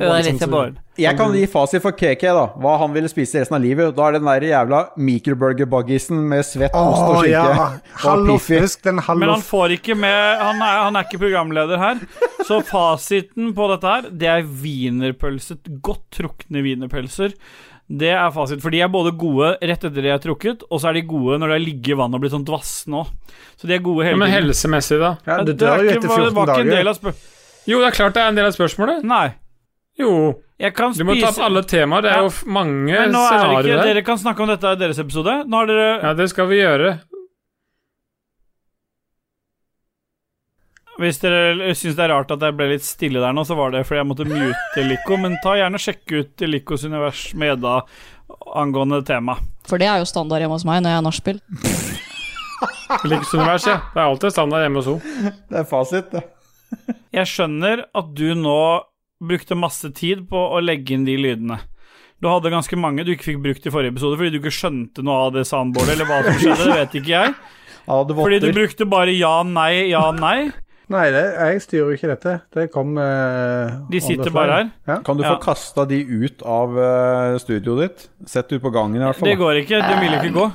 Speaker 1: Bare-
Speaker 2: Lissebonn.
Speaker 3: Jeg kan gi fasit for KK, da. Hva han ville spise resten av livet. Da er den der jævla microburger-buggisen med svett,
Speaker 2: Å
Speaker 3: ost og skinke.
Speaker 2: ja!
Speaker 3: Og
Speaker 2: Hallof,
Speaker 3: Piffi.
Speaker 2: husk den
Speaker 1: Men han
Speaker 2: hallof.
Speaker 1: får ikke med han er, han er ikke programleder her. Så fasiten på dette her, det er wienerpølse. Godt trukne wienerpølser. Det er fasit. For de er både gode rett etter de er trukket, og så er de gode når de har ligget i vannet og blitt sånn dvassende òg. Så de er gode
Speaker 4: Ja,
Speaker 1: hele
Speaker 4: men
Speaker 1: tiden.
Speaker 4: helsemessig, da?
Speaker 2: Ja,
Speaker 1: Det
Speaker 2: det dør jo
Speaker 1: er ikke-
Speaker 2: etter
Speaker 1: var-
Speaker 2: 14
Speaker 1: var ikke en del
Speaker 2: dager.
Speaker 1: av spør
Speaker 4: Jo, det er klart det er en del av spørsmålet.
Speaker 1: Nei.
Speaker 4: Jo.
Speaker 1: Jeg kan
Speaker 4: Du må ta opp
Speaker 1: spise
Speaker 4: alle temaer. Det er
Speaker 1: Ja.
Speaker 4: jo f- mange
Speaker 1: Men nå er det
Speaker 4: scenarioer
Speaker 1: ikke
Speaker 4: der.
Speaker 1: Dere kan snakke om dette i deres episode. Nå har dere
Speaker 4: Ja, det skal vi gjøre.
Speaker 1: Hvis dere syns det er rart at jeg ble litt stille der nå, så var det fordi jeg måtte mute Lico, men ta gjerne og sjekk ut Licos univers med Edda angående tema.
Speaker 8: For det er jo standard hjemme hos meg når jeg er nachspiel.
Speaker 4: Likos univers, ja. Det er alltid standard hjemme hos henne.
Speaker 3: Det er fasit, det.
Speaker 1: Jeg skjønner at du nå brukte masse tid på å legge inn de lydene. Du hadde ganske mange du ikke fikk brukt i forrige episode fordi du ikke skjønte noe av det soundboardet eller hva som skjedde, det vet ikke jeg.
Speaker 3: Ja, det
Speaker 1: Fordi du
Speaker 3: votter.
Speaker 1: brukte bare ja, nei, ja, nei.
Speaker 2: Nei, det, jeg styrer jo ikke dette. Det kom eh,
Speaker 1: De
Speaker 2: on the
Speaker 1: sitter
Speaker 2: fly.
Speaker 1: bare her.
Speaker 3: Kan du
Speaker 1: Ja.
Speaker 3: få kasta de ut av eh, studioet ditt? Sett ut på gangen, i hvert fall.
Speaker 1: Det går ikke. De vil ikke gå.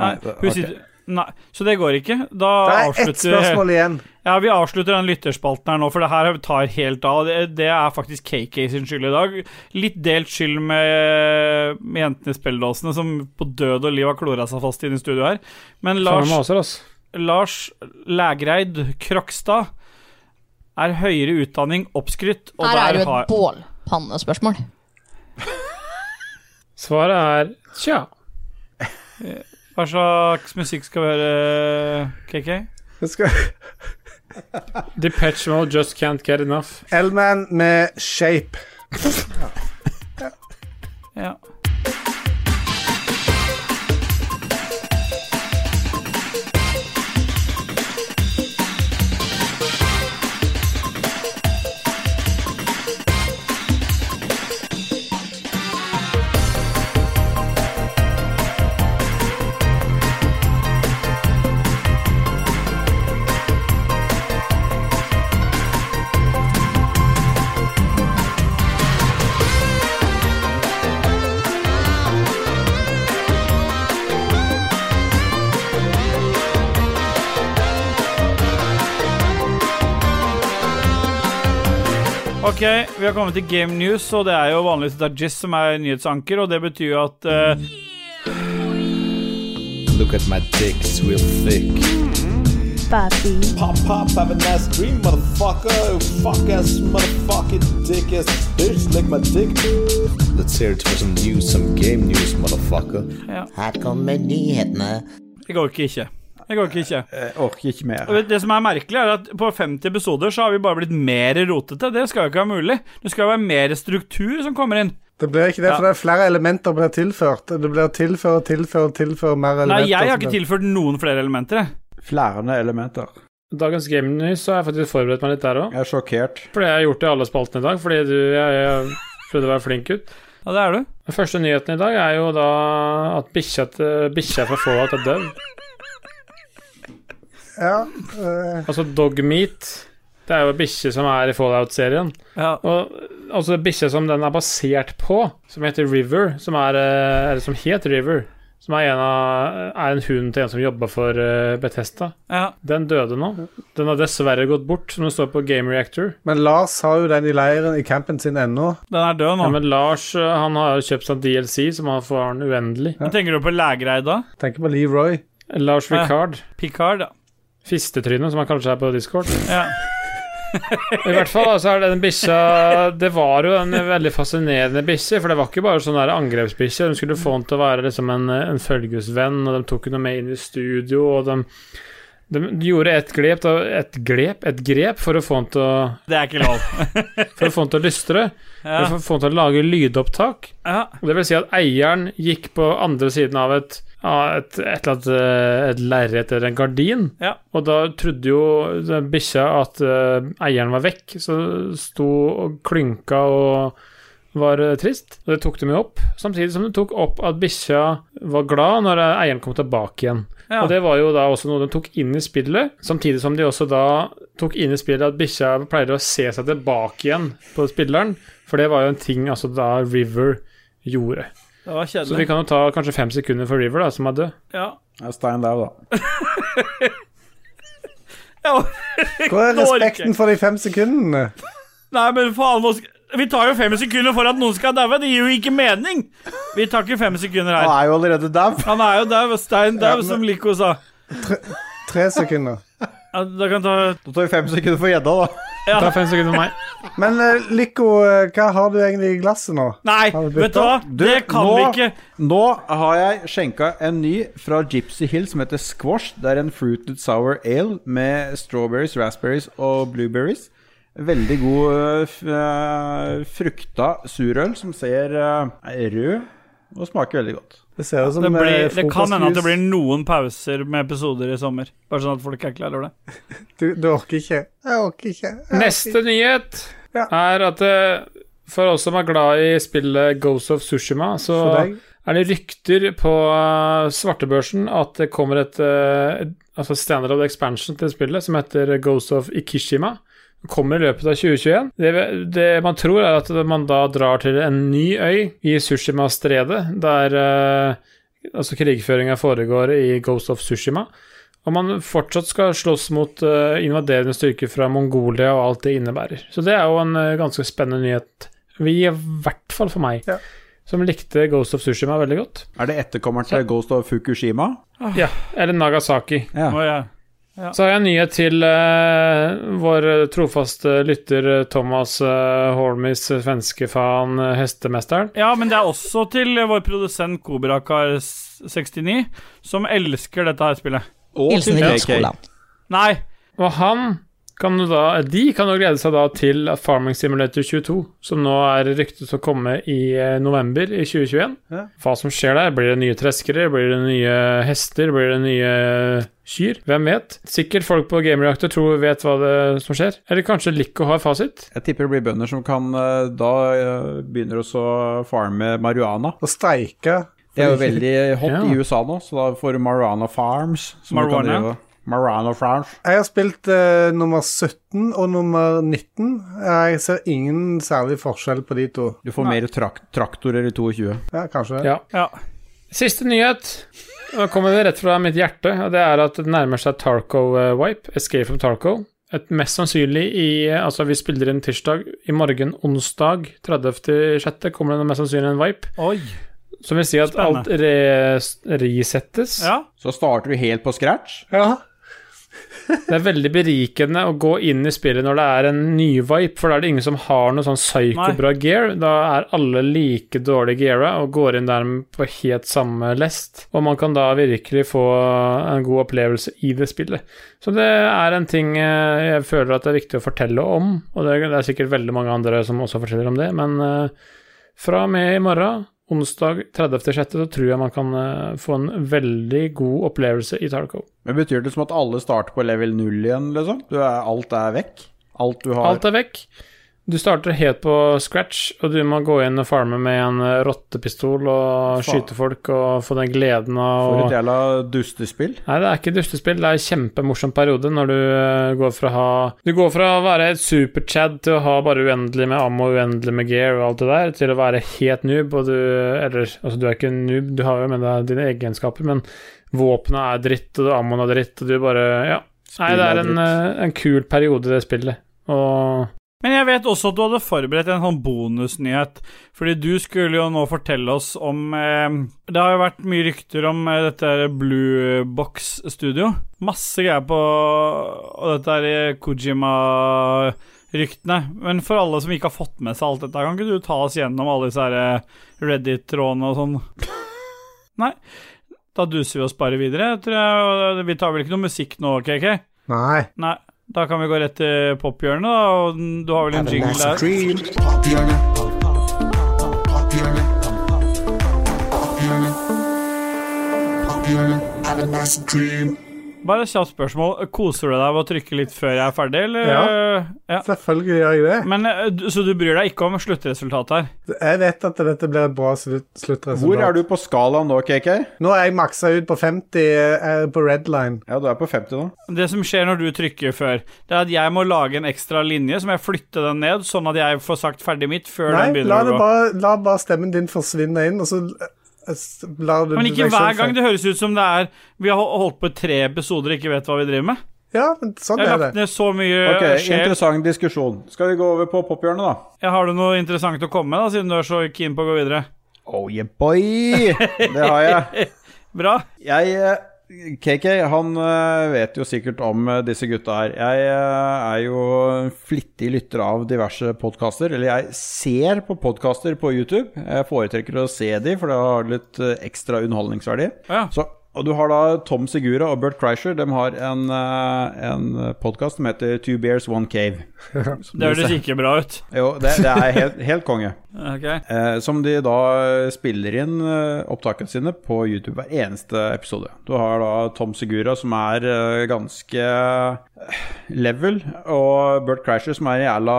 Speaker 1: Nei,
Speaker 3: det-
Speaker 1: hun
Speaker 3: ok.
Speaker 1: sitter Nei, så det går ikke. Da
Speaker 2: Det er ett
Speaker 1: avslutter
Speaker 2: spørsmål igjen.
Speaker 1: Ja, vi avslutter den lytterspalten her nå, for det her tar helt av. Det, det er faktisk KK sin skyld i dag. Litt delt skyld med, med jentene i spilledåsene, som på død og liv har klora seg fast inne i studio her. Men
Speaker 4: Samme
Speaker 1: Lars,
Speaker 4: med oss, altså.
Speaker 1: Lars Lægreid Krokstad er høyere utdanning oppskrytt, og
Speaker 6: Her er det
Speaker 1: der
Speaker 6: jo et
Speaker 1: har
Speaker 6: bålpannespørsmål.
Speaker 4: Svaret er tja.
Speaker 1: Hva slags musikk skal vi høre, KK?
Speaker 2: Det skal-
Speaker 4: Depeche Mode Just Can't Get Enough.
Speaker 2: Elman med Shape.
Speaker 1: Ja.
Speaker 9: Thank
Speaker 1: Ok, vi har kommet til Game News, og det er jo vanligvis det er Jizz som er nyhetsanker, og det betyr jo at eh,
Speaker 10: Look at my dick, it's real thick. Papi. Pop, pop, have a nice dream, motherfucker. Fuck ass, motherfucking dick ass bitch, lick my dick. Let's hear it for some news, some game news, motherfucker.
Speaker 5: Her kommer nyhetene.
Speaker 1: Jeg orker ikke. Jeg orker ikke.
Speaker 3: Jeg Eh, orker ikke mer.
Speaker 1: Og vet du, Det som er merkelig, er at på 50 episoder så har vi bare blitt mer rotete. Det skal jo ikke være mulig. Det skal jo være mer struktur som kommer inn.
Speaker 2: Det blir ikke det, for det er flere elementer blir tilført. Det blir tilført, tilført, tilført mer elementer.
Speaker 1: Nei, jeg har
Speaker 2: som
Speaker 1: ikke
Speaker 2: blir-
Speaker 1: tilført noen flere elementer, jeg.
Speaker 3: Flærende elementer.
Speaker 4: Dagens Game News så har jeg faktisk forberedt meg litt der òg.
Speaker 3: Jeg er sjokkert.
Speaker 4: For det har jeg gjort i alle spaltene i dag, fordi du, jeg, jeg prøvde å være flink gutt.
Speaker 1: Ja, det er du.
Speaker 4: Den første nyheten i dag er jo da at bikkja til- bikkja fra Fallout er død.
Speaker 2: Ja, eh,
Speaker 4: Altså Dogmeat. Det er jo bikkje som er i Fallout-serien.
Speaker 1: Ja.
Speaker 4: Og altså bikkja som den er basert på, som heter River, som er eh, Eller som het River. Som er en, av, er en hund til en som jobba for eh, Bethesda.
Speaker 1: ja.
Speaker 4: Den døde nå. Den har dessverre gått bort, som det står på Game Reactor.
Speaker 2: men Lars har jo den i leiren i campen sin ennå.
Speaker 1: Den er død
Speaker 4: Ja,
Speaker 1: nå.
Speaker 4: men Lars eh, han har jo kjøpt seg DLC, som han får han uendelig.
Speaker 1: Hva Tenker du på lægreid da?
Speaker 2: Tenker på Leroy.
Speaker 4: Lars
Speaker 1: Ja.
Speaker 4: Ricard.
Speaker 1: Picard, ja.
Speaker 4: Fistetryne, som han kaller seg på Discord.
Speaker 1: ja.
Speaker 4: I hvert fall da, så er det den bikkja Det var jo en veldig fascinerende bikkje, for det var ikke bare sånn der angrepsbikkje. De skulle få den til å være liksom en, en følgesvenn, og de tok henne med inn i studio, og de, de gjorde et grep, da, et grep, et grep for å få den til å,
Speaker 1: Det er ikke lov.
Speaker 4: for å, få den til å lystre.
Speaker 1: Ja.
Speaker 4: For å få den til å lage lydopptak.
Speaker 1: Ja.
Speaker 4: Og Det vil si at eieren gikk på andre siden av et, av et, et eller annet eh, et lerret eller en gardin,
Speaker 1: Ja.
Speaker 4: og da trodde jo den bikkja at eh, eieren var vekk, så sto og klynka og var eh, trist. Og det tok de jo opp, samtidig som de tok opp at bikkja var glad når eh, eieren kom tilbake igjen.
Speaker 1: Ja.
Speaker 4: Og det var jo da også noe de tok inn i spillet, samtidig som de også da tok inn i spillet at bikkja pleide å se seg tilbake igjen på spilleren, for det var jo en ting altså da River gjorde.
Speaker 1: Det var
Speaker 4: Så vi
Speaker 1: kjedelig.
Speaker 4: kan jo ta kanskje fem sekunder for River, da, som er død.
Speaker 1: Ja.
Speaker 3: Jeg er stein der, da.
Speaker 1: ja.
Speaker 2: Hvor er
Speaker 1: Nå orker
Speaker 2: respekten
Speaker 1: jeg.
Speaker 2: for de fem sekundene?
Speaker 1: Nei, men faen, nå skal... Vi tar jo fem sekunder for at noen skal daue. Det gir jo ikke mening. Vi tar ikke fem sekunder
Speaker 3: Han
Speaker 1: her.
Speaker 3: er jo allerede dau.
Speaker 1: Han er jo dau. Stein dau, som Lico sa.
Speaker 2: Tre sekunder.
Speaker 1: Ja, da kan ta
Speaker 3: Da tar vi fem sekunder for gjedda, da.
Speaker 4: Ta fem sekunder med meg.
Speaker 2: Men uh, Lico, eh, hva har du egentlig i glasset nå?
Speaker 1: Nei,
Speaker 2: Har vi
Speaker 1: vet du
Speaker 2: bytta?
Speaker 1: hva?
Speaker 3: Du,
Speaker 1: det kan
Speaker 3: nå-
Speaker 1: vi ikke.
Speaker 3: Nå har jeg skjenka en ny fra Gypsy Hill som heter Squash. Det er en fruited sour ale med strawberries, raspberries og blueberries. Veldig god øh, f- øh, frukta surøl som ser øh, er rød og smaker veldig godt.
Speaker 2: Det ser ut som
Speaker 1: Det,
Speaker 2: eh,
Speaker 1: blir, det kan hende at det
Speaker 2: frokostjus.
Speaker 1: blir noen pauser med episoder i sommer. Bare sånn at folk er klar over det.
Speaker 2: du, du orker ikke. Jeg orker ikke. Jeg orker ikke.
Speaker 4: Neste nyhet
Speaker 2: Ja.
Speaker 4: er at eh, for oss som er glad i spillet Ghost of Sushima, så
Speaker 2: For deg.
Speaker 4: er det rykter på eh, svartebørsen at det kommer et, eh, et altså standard expansion til spillet som heter Ghost of Ikishima. Det Kommer i løpet av 2021. Det, det man tror, er at man da drar til en ny øy i Sushima-stredet, der eh, altså krigføringa foregår i Ghost of Sushima. Og man fortsatt skal slåss mot eh, invaderende styrker fra Mongolia og alt det innebærer. Så det er jo en eh, ganske spennende nyhet. Vi, I hvert fall for meg,
Speaker 2: Ja.
Speaker 4: som likte Ghost of Sushima veldig godt.
Speaker 3: Er det etterkommeren til Ghost of Fukushima?
Speaker 4: Ja, eller Nagasaki.
Speaker 3: Ja.
Speaker 1: Å, ja.
Speaker 4: Så har jeg en nyhet til eh, vår trofaste lytter eh, Thomas eh, Holmis, eh, svenske fan, eh, hestemesteren.
Speaker 1: ja, men det er også til vår produsent Kobrakar69, som elsker dette her spillet.
Speaker 3: Og
Speaker 6: Hilsen
Speaker 3: til
Speaker 6: Rune
Speaker 3: KK.
Speaker 6: Skoland.
Speaker 1: Nei,
Speaker 4: Og han kan jo da, de kan jo glede seg da til at Farming Simulator 22, som nå er ryktet å komme i eh, november i 2021
Speaker 2: Ja.
Speaker 4: Hva som skjer der? Blir det nye treskere? Blir det nye hester? Blir det nye kyr? Hvem vet? Sikkert folk på Gamereactor tror vet hva det som skjer. Eller kanskje Lico har fasit?
Speaker 3: Jeg tipper det blir bønder som kan øh, da øh, begynner også å farme marihuana.
Speaker 2: Å streike
Speaker 3: Det er jo veldig hot
Speaker 4: Ja.
Speaker 3: i USA nå, så da får du Marijuana Farms. som du kan
Speaker 1: Marijuana?
Speaker 3: drive- Marijuana Farms.
Speaker 2: Jeg har spilt eh, nummer 17 og nummer 19. Jeg ser ingen særlig forskjell på de to.
Speaker 3: Du får mer trak traktorer i 22.
Speaker 2: Ja, kanskje.
Speaker 4: Ja.
Speaker 1: Ja.
Speaker 4: Siste nyhet. Nå kommer det rett fra mitt hjerte, og det er at det nærmer seg Tarco eh, Wipe. Escape from Tarco. et mest sannsynlig i Altså, vi spiller inn tirsdag. I morgen, onsdag 30.6., kommer det mest sannsynlig en vipe.
Speaker 1: Oi.
Speaker 4: Som vil si at
Speaker 1: Spennende.
Speaker 4: alt re resettes.
Speaker 1: Ja.
Speaker 3: Så starter du helt på scratch?
Speaker 2: Ja.
Speaker 4: Det er veldig berikende å gå inn i spillet når det er en ny vibe, for da er det ingen som har noe sånn psyko-bra gear. Da er alle like dårlig geara og går inn der på helt samme lest. Og man kan da virkelig få en god opplevelse i det spillet. Så det er en ting eh, jeg føler at det er viktig å fortelle om, og det er- det er sikkert veldig mange andre som også forteller om det, men eh, fra og med i morgen, onsdag 30.6., så tror jeg man kan eh, få en veldig god opplevelse i Tarco.
Speaker 3: Men Betyr det som at alle starter på level 0 igjen, liksom? Du er, alt er vekk? Alt du har
Speaker 4: Alt er vekk. Du starter helt på scratch, og du må gå inn og farme med en eh, rottepistol og
Speaker 3: Faen.
Speaker 4: skyte folk og få den gleden av
Speaker 3: For
Speaker 4: å-
Speaker 3: et jævla dustespill.
Speaker 4: Nei, det er ikke dustespill. Det er en kjempemorsom periode når du eh, går fra å ha Du går fra å være et super-Chad til å ha bare uendelig med ammo, uendelig med gear og alt det der, til å være helt noob, og du Eller, altså, du er ikke en noob, du har jo med deg dine egenskaper, men våpenet er dritt, og ammoen er dritt, og du bare Ja. Nei, det
Speaker 3: Spillet
Speaker 4: er
Speaker 3: er
Speaker 4: en,
Speaker 3: dritt.
Speaker 4: eh, en kul periode, det spillet. Og
Speaker 1: Men jeg vet også at du hadde forberedt en sånn bonusnyhet. Fordi du skulle jo nå fortelle oss om eh, Det har jo vært mye rykter om eh, dette her Blue Box Studio. Masse greier på og dette her eh, Kojima-ryktene. Men for alle som ikke har fått med seg alt dette, kan ikke du ta oss gjennom alle disse her eh, Reddit-trådene og sånn? Nei. Da duser vi oss bare videre, tror jeg. Og Vi tar vel ikke noe musikk nå, KK?
Speaker 2: Nei.
Speaker 1: Nei. Da kan vi gå rett til pophjørnet, da. Og den- du har vel en jingle der? Bare et kjapt spørsmål. Koser du deg ved å trykke litt før jeg er ferdig, eller?
Speaker 2: Ja.
Speaker 1: Ja.
Speaker 2: Selvfølgelig gjør jeg det.
Speaker 1: Men, eh, du- så du bryr deg ikke om sluttresultatet her?
Speaker 2: Jeg vet at dette blir et bra slutt, sluttresultat.
Speaker 3: Hvor er du på skalaen nå, KK?
Speaker 2: Nå er jeg maksa ut på 50 eh, på red line.
Speaker 3: Ja, du er på 50 nå.
Speaker 1: Det som skjer når du trykker før, det er at jeg må lage en ekstra linje, så må jeg flytte den ned, sånn at jeg får sagt ferdig mitt før den
Speaker 2: Nei, la,
Speaker 1: begynner
Speaker 2: det
Speaker 1: å gå.
Speaker 2: bare, la bare stemmen din forsvinne inn, og så eh, s- lar du
Speaker 1: Men ikke
Speaker 2: deg selv
Speaker 1: hver gang
Speaker 2: fe-
Speaker 1: det høres ut som det er Vi har hol- holdt på i tre episoder og ikke vet hva vi driver med.
Speaker 2: Ja, men sånn
Speaker 1: Jeg har
Speaker 2: er
Speaker 1: lagt
Speaker 2: det.
Speaker 1: ned så mye
Speaker 3: Ok,
Speaker 1: sjel.
Speaker 3: Interessant diskusjon. Skal vi gå over på pophjørnet, da?
Speaker 1: Jeg har du noe interessant å komme med, da, siden du er så keen på å gå videre?
Speaker 3: Oh yeah, boy! Det har jeg.
Speaker 1: Bra.
Speaker 3: Jeg eh, KK, han eh, vet jo sikkert om eh, disse gutta her. Jeg eh, er jo en flittig lytter av diverse podkaster. Eller jeg ser på podkaster på YouTube. Jeg foretrekker å se de, for det har litt eh, ekstra underholdningsverdi.
Speaker 1: Ja.
Speaker 3: Så, og du har da Tom Segura og Bert Kreischer. De har en, eh, en podkast som heter Two Bears, One Cave.
Speaker 1: Det høres ikke bra ut.
Speaker 3: Jo, det, det er helt, helt konge.
Speaker 1: Ok.
Speaker 3: Eh, som de da eh, spiller inn eh, opptakene sine på YouTube hver eneste episode. Du har da Tom Segura, som er eh, ganske eh, level, og Bert Crasher, som er en jævla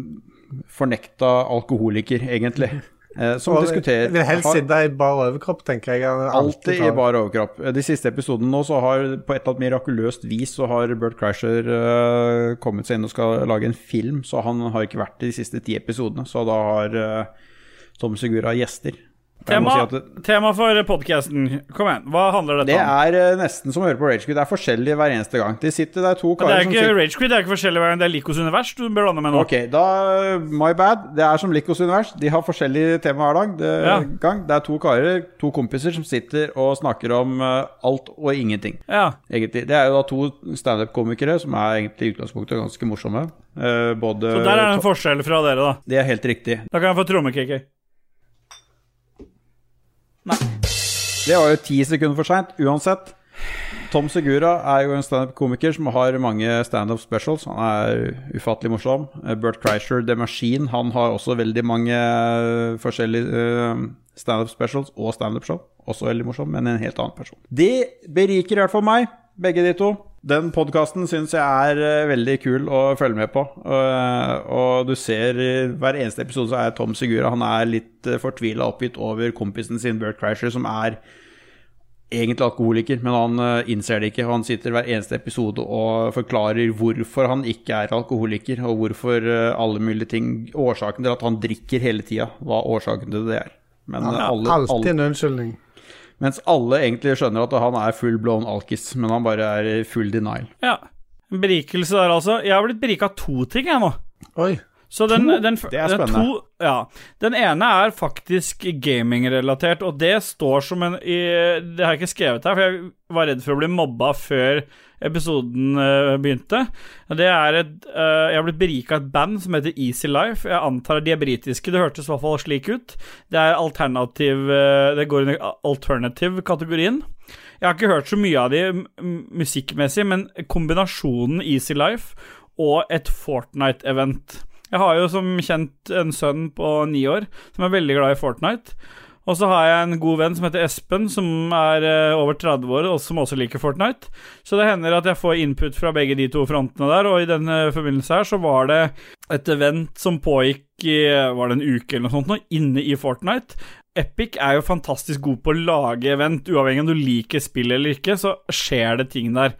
Speaker 3: eh, fornekta alkoholiker, egentlig. Eh, som
Speaker 2: Og
Speaker 3: diskuterer
Speaker 2: jeg vil helst
Speaker 3: har-
Speaker 2: sitte i bar overkropp, tenker jeg. Han
Speaker 3: Alltid i
Speaker 2: tar-
Speaker 3: bar overkropp. Eh, De siste episodene nå så har på et eller annet mirakuløst vis så har Bert Crasher eh, kommet seg inn og skal lage en film, så han har ikke vært i de siste ti episodene. Så da har eh, Tom Segura gjester. Og jeg
Speaker 1: Tema,
Speaker 3: må si at det,
Speaker 1: tema for podkasten. Kom igjen, hva handler dette
Speaker 3: det
Speaker 1: om?
Speaker 3: er eh, nesten som å høre på Ragequid. Det er forskjellig hver eneste gang. De sitter der to
Speaker 1: Men det
Speaker 3: karer
Speaker 1: er
Speaker 3: som
Speaker 1: ikke
Speaker 3: sitter
Speaker 1: Ragequid, det er ikke forskjellig hver gang. Det er Likos univers du bør blande med nå.
Speaker 3: Ok, da My bad. Det er som Likos univers. De har forskjellige tema hver dag. Det,
Speaker 1: Ja.
Speaker 3: gang. det er to karer, to kompiser, som sitter og snakker om eh, alt og ingenting.
Speaker 1: Ja.
Speaker 3: egentlig. Det er jo da to standup-komikere som er egentlig i utgangspunktet ganske morsomme. Eh, både
Speaker 1: Så der er det en forskjell fra dere, da.
Speaker 3: Det er helt riktig.
Speaker 1: Da kan jeg få trommekicker.
Speaker 3: Det var jo ti sekunder for seint, uansett. Tom Segura er jo en standup-komiker som har mange standup specials. Han er ufattelig morsom. Eh, Bert Kreischer, The Machine, han har også veldig mange eh, forskjellige eh, standup specials og standup-show. Også veldig morsom, men en helt annen person. Det beriker i hvert fall meg, begge de to. Den podkasten syns jeg er eh, veldig kul å følge med på. Eh, og du ser i hver eneste episode så er Tom Segura Han er litt uh, fortvila oppgitt over kompisen sin Bert Kreischer, som er egentlig alkoholiker, men han eh, innser det ikke. Han sitter hver eneste episode og forklarer hvorfor han ikke er alkoholiker, og hvorfor eh, alle mulige ting Årsaken til at han drikker hele tida, hva årsaken til det er. Men, eh, alle,
Speaker 2: Alltid
Speaker 3: alle,
Speaker 2: en unnskyldning.
Speaker 3: mens alle egentlig skjønner at han er full blown alkis, men han bare er i full denial.
Speaker 1: Ja. Berikelse der, altså. Jeg har blitt berika av to ting, jeg nå.
Speaker 2: Oi.
Speaker 1: Så den,
Speaker 3: To?
Speaker 1: den,
Speaker 3: Det er
Speaker 1: den
Speaker 3: spennende.
Speaker 1: To, ja. Den ene er faktisk gamingrelatert, og det står som en i, Det har jeg ikke skrevet her, for jeg var redd for å bli mobba før episoden eh, begynte. Og Det er et eh, Jeg har blitt berika av et band som heter Easy Life. Jeg antar de er britiske, det hørtes i hvert fall slik ut. Det er alternativ eh, Det går under alternative-kategorien. Jeg har ikke hørt så mye av de m- musikkmessig, men kombinasjonen Easy Life og et Fortnite-event Jeg har jo som kjent en sønn på ni år som er veldig glad i Fortnite. Og så har jeg en god venn som heter Espen, som er eh, over 30 år og som også liker Fortnite. Så det hender at jeg får input fra begge de to frontene der, og i den eh, forbindelse her så var det et event som pågikk i eh, var det en uke eller noe sånt nå, inne i Fortnite. Epic er jo fantastisk god på å lage event, uavhengig om du liker spill eller ikke, så skjer det ting der.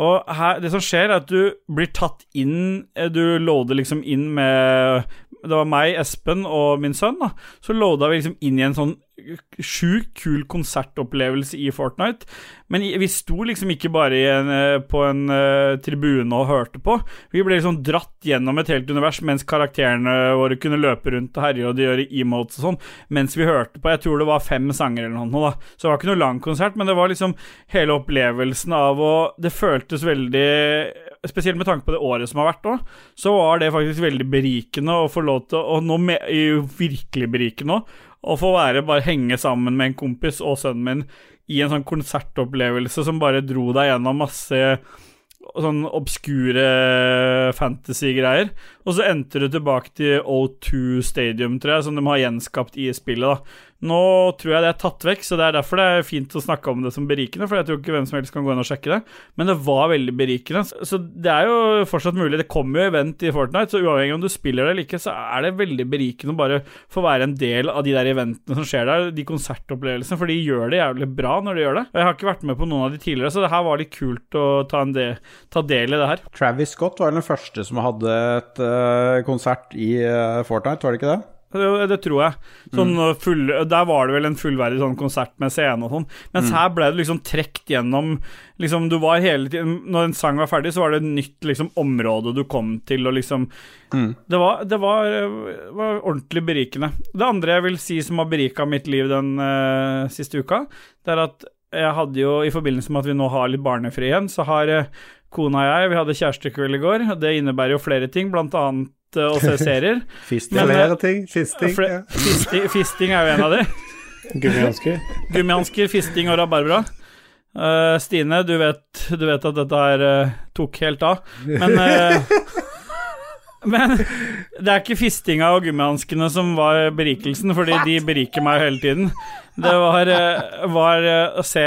Speaker 1: Og her, det som skjer, er at du blir tatt inn eh, Du loader liksom inn med Det var meg, Espen og min sønn, da. Så loada vi liksom inn i en sånn sjukt kul konsertopplevelse i Fortnite. Men i- vi sto liksom ikke bare i en, eh, på en eh, tribune og hørte på. Vi ble liksom dratt gjennom et helt univers mens karakterene våre kunne løpe rundt og herje og de gjøre emotes og sånn, mens vi hørte på. Jeg tror det var fem sanger eller noe, da. Så det var ikke noe lang konsert, men det var liksom hele opplevelsen av å Det føltes veldig Spesielt med tanke på det året som har vært òg, så var det faktisk veldig berikende å få lov til å nå me- Virkelig berikende òg. Å få være bare henge sammen med en kompis og sønnen min i en sånn konsertopplevelse som bare dro deg gjennom masse sånn obskure fantasy-greier. Og så endte du tilbake til O2 Stadium, tror jeg, som de har gjenskapt i spillet. da. Nå tror jeg det er tatt vekk, så det er derfor det er fint å snakke om det som berikende. For jeg tror ikke hvem som helst kan gå inn og sjekke det. Men det var veldig berikende. Så- Så det er jo fortsatt mulig. Det kommer jo event i Fortnite, så uavhengig om du spiller det eller ikke, så er det veldig berikende å bare få være en del av de der eventene som skjer der, de konsertopplevelsene, for de gjør det jævlig bra når de gjør det. Og jeg har ikke vært med på noen av de tidligere, så det her var litt kult å ta, en del, ta del i det her.
Speaker 3: Travis Scott var vel den første som hadde et eh, konsert i eh, Fortnite, var det ikke det?
Speaker 1: Det, det tror jeg. Sånn uh, full, der var det vel en fullverdig sånn konsert med scene og sånn. Mens her ble du liksom trukket gjennom liksom, Du var hele tiden Når en sang var ferdig, så var det et nytt liksom, område du kom til, og liksom Det, var, det var, uh, var ordentlig berikende. Det andre jeg vil si som har berika mitt liv den uh, siste uka, det er at jeg hadde jo, i forbindelse med at vi nå har litt barnefri igjen, så har eh, kona og jeg Vi hadde kjærestekveld i går, og det innebærer jo flere ting, blant annet eh, å se serier.
Speaker 3: Fisting.
Speaker 1: Men, eh,
Speaker 2: Flere ting. Fisting.
Speaker 1: Fle-
Speaker 2: Ja.
Speaker 1: Fisti, fisting er jo en av de.
Speaker 4: Gummihansker.
Speaker 1: Gummihansker, fisting og rabarbra. Eh, Stine, du vet, du vet at dette her eh, tok helt av, men eh, Men det er ikke fistinga og gummihanskene som var berikelsen, fordi de beriker meg hele tiden. Det var, eh, var eh, å se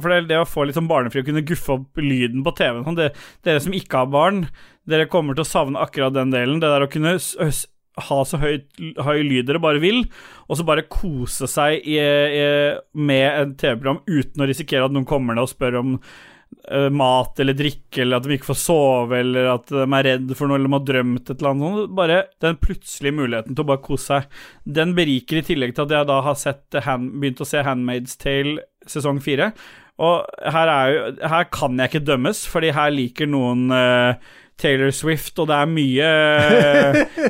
Speaker 1: For det, det å få litt sånn barnefri og kunne guffe opp lyden på TV-en sånn, det- Dere som ikke har barn, dere kommer til å savne akkurat den delen. Det der å kunne s- s- ha så høy, høy lyd dere bare vil, og så bare kose seg i, i, med et TV-program uten å risikere at noen kommer ned og spør om eh, mat eller drikke, eller at de ikke får sove, eller at de er redd for noe, eller de har drømt et eller annet sånt. Bare den plutselige muligheten til å bare kose seg, den beriker i tillegg til at jeg da har sett hand, begynt å se Handmaid's Tale sesong fire. Og her, er jo, her kan jeg ikke dømmes, fordi her liker noen eh, Taylor Swift, og det er mye,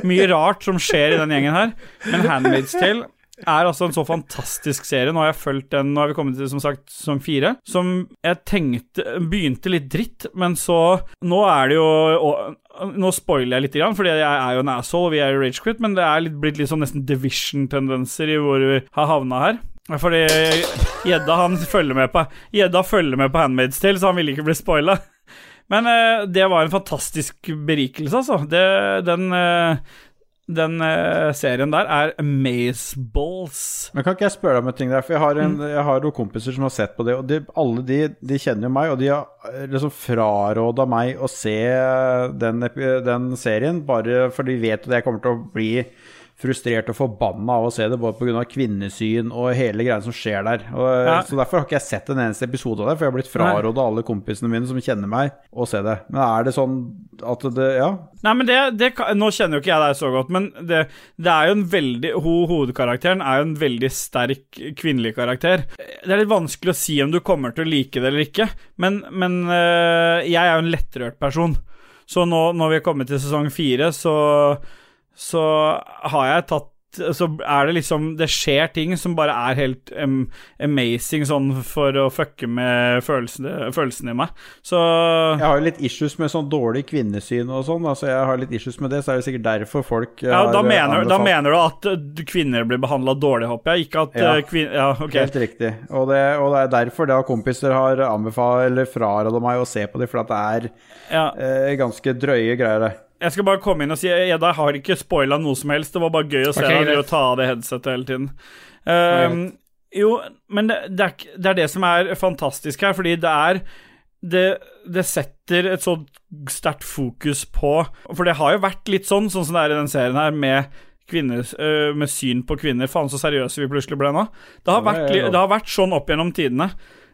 Speaker 1: mye rart som skjer i den gjengen her. Men Handmaid's Tale er altså en så fantastisk serie. Nå har jeg fulgt den, nå har vi kommet til som sagt som fire. Som jeg tenkte begynte litt dritt, men så Nå er det jo og, Nå spoiler jeg litt, grann, fordi jeg er jo en asshole, og vi er jo ragequit, men det er litt, blitt litt sånn nesten division-tendenser i hvor vi har havna her. Fordi gjedda han følger med på Gjedda følger med på Handmaid's Tale, så han ville ikke bli spoila. Men eh, det var en fantastisk berikelse, altså. Det, den eh, den eh, serien der er Amazeballs.
Speaker 3: Men kan ikke jeg spørre deg om en ting der? For jeg har, en, jeg har noen kompiser som har sett på det, og de, alle de, de kjenner jo meg, og de har eh, liksom fraråda meg å se den, epi- den serien, bare for de vet at jeg kommer til å bli frustrert og forbanna av å se det, både pga. kvinnesyn og hele greia som skjer der. Og, eh,
Speaker 1: Ja.
Speaker 3: Så Derfor har ikke jeg sett en eneste episode av det, for jeg har blitt fraråda alle kompisene mine som kjenner meg, å se det. Men er det sånn at det Ja.
Speaker 1: Nei, men det, det kan- Nå kjenner jo ikke jeg deg så godt, men det, det er jo en veldig ho, Hovedkarakteren er jo en veldig sterk kvinnelig karakter. Det er litt vanskelig å si om du kommer til å like det eller ikke, men, men øh, jeg er jo en lettrørt person. Så nå, når vi er kommet til sesong fire, så, så har jeg tatt så er det liksom Det skjer ting som bare er helt em, amazing sånn for å fucke med følelsene, følelsene i meg. Så
Speaker 3: Jeg har jo litt issues med sånn dårlig kvinnesyn og sånn. Altså jeg har litt issues med det, så er det sikkert derfor folk eh,
Speaker 1: Ja, da
Speaker 3: har
Speaker 1: mener, da
Speaker 3: anbefalt-
Speaker 1: mener du at eh, kvinner blir behandla dårlig, håper jeg. Ikke at
Speaker 3: Ja.
Speaker 1: eh, kvin- Ja, ok.
Speaker 3: Helt riktig. Og det, og det er derfor da kompiser har anbefalt eller fraråda meg å se på dem, for at det er
Speaker 1: Ja.
Speaker 3: eh, ganske drøye greier, det.
Speaker 1: Jeg skal bare komme inn og si Edda, jeg har ikke spoila noe som helst. Det var bare gøy å se deg
Speaker 3: Ok, greit.
Speaker 1: drive og ta av det headsetet hele tiden. Ehm, jo, men det, det, er, ikke- det er det som er fantastisk her, fordi det er det, det setter et så sterkt fokus på For det har jo vært litt sånn, sånn som det er i den serien her, med kvinner, øh, med syn på kvinner. Faen, så seriøse vi plutselig ble nå. Det har,
Speaker 3: Ja,
Speaker 1: vært,
Speaker 3: det er
Speaker 1: li-
Speaker 3: lov.
Speaker 1: det har vært sånn opp gjennom tidene.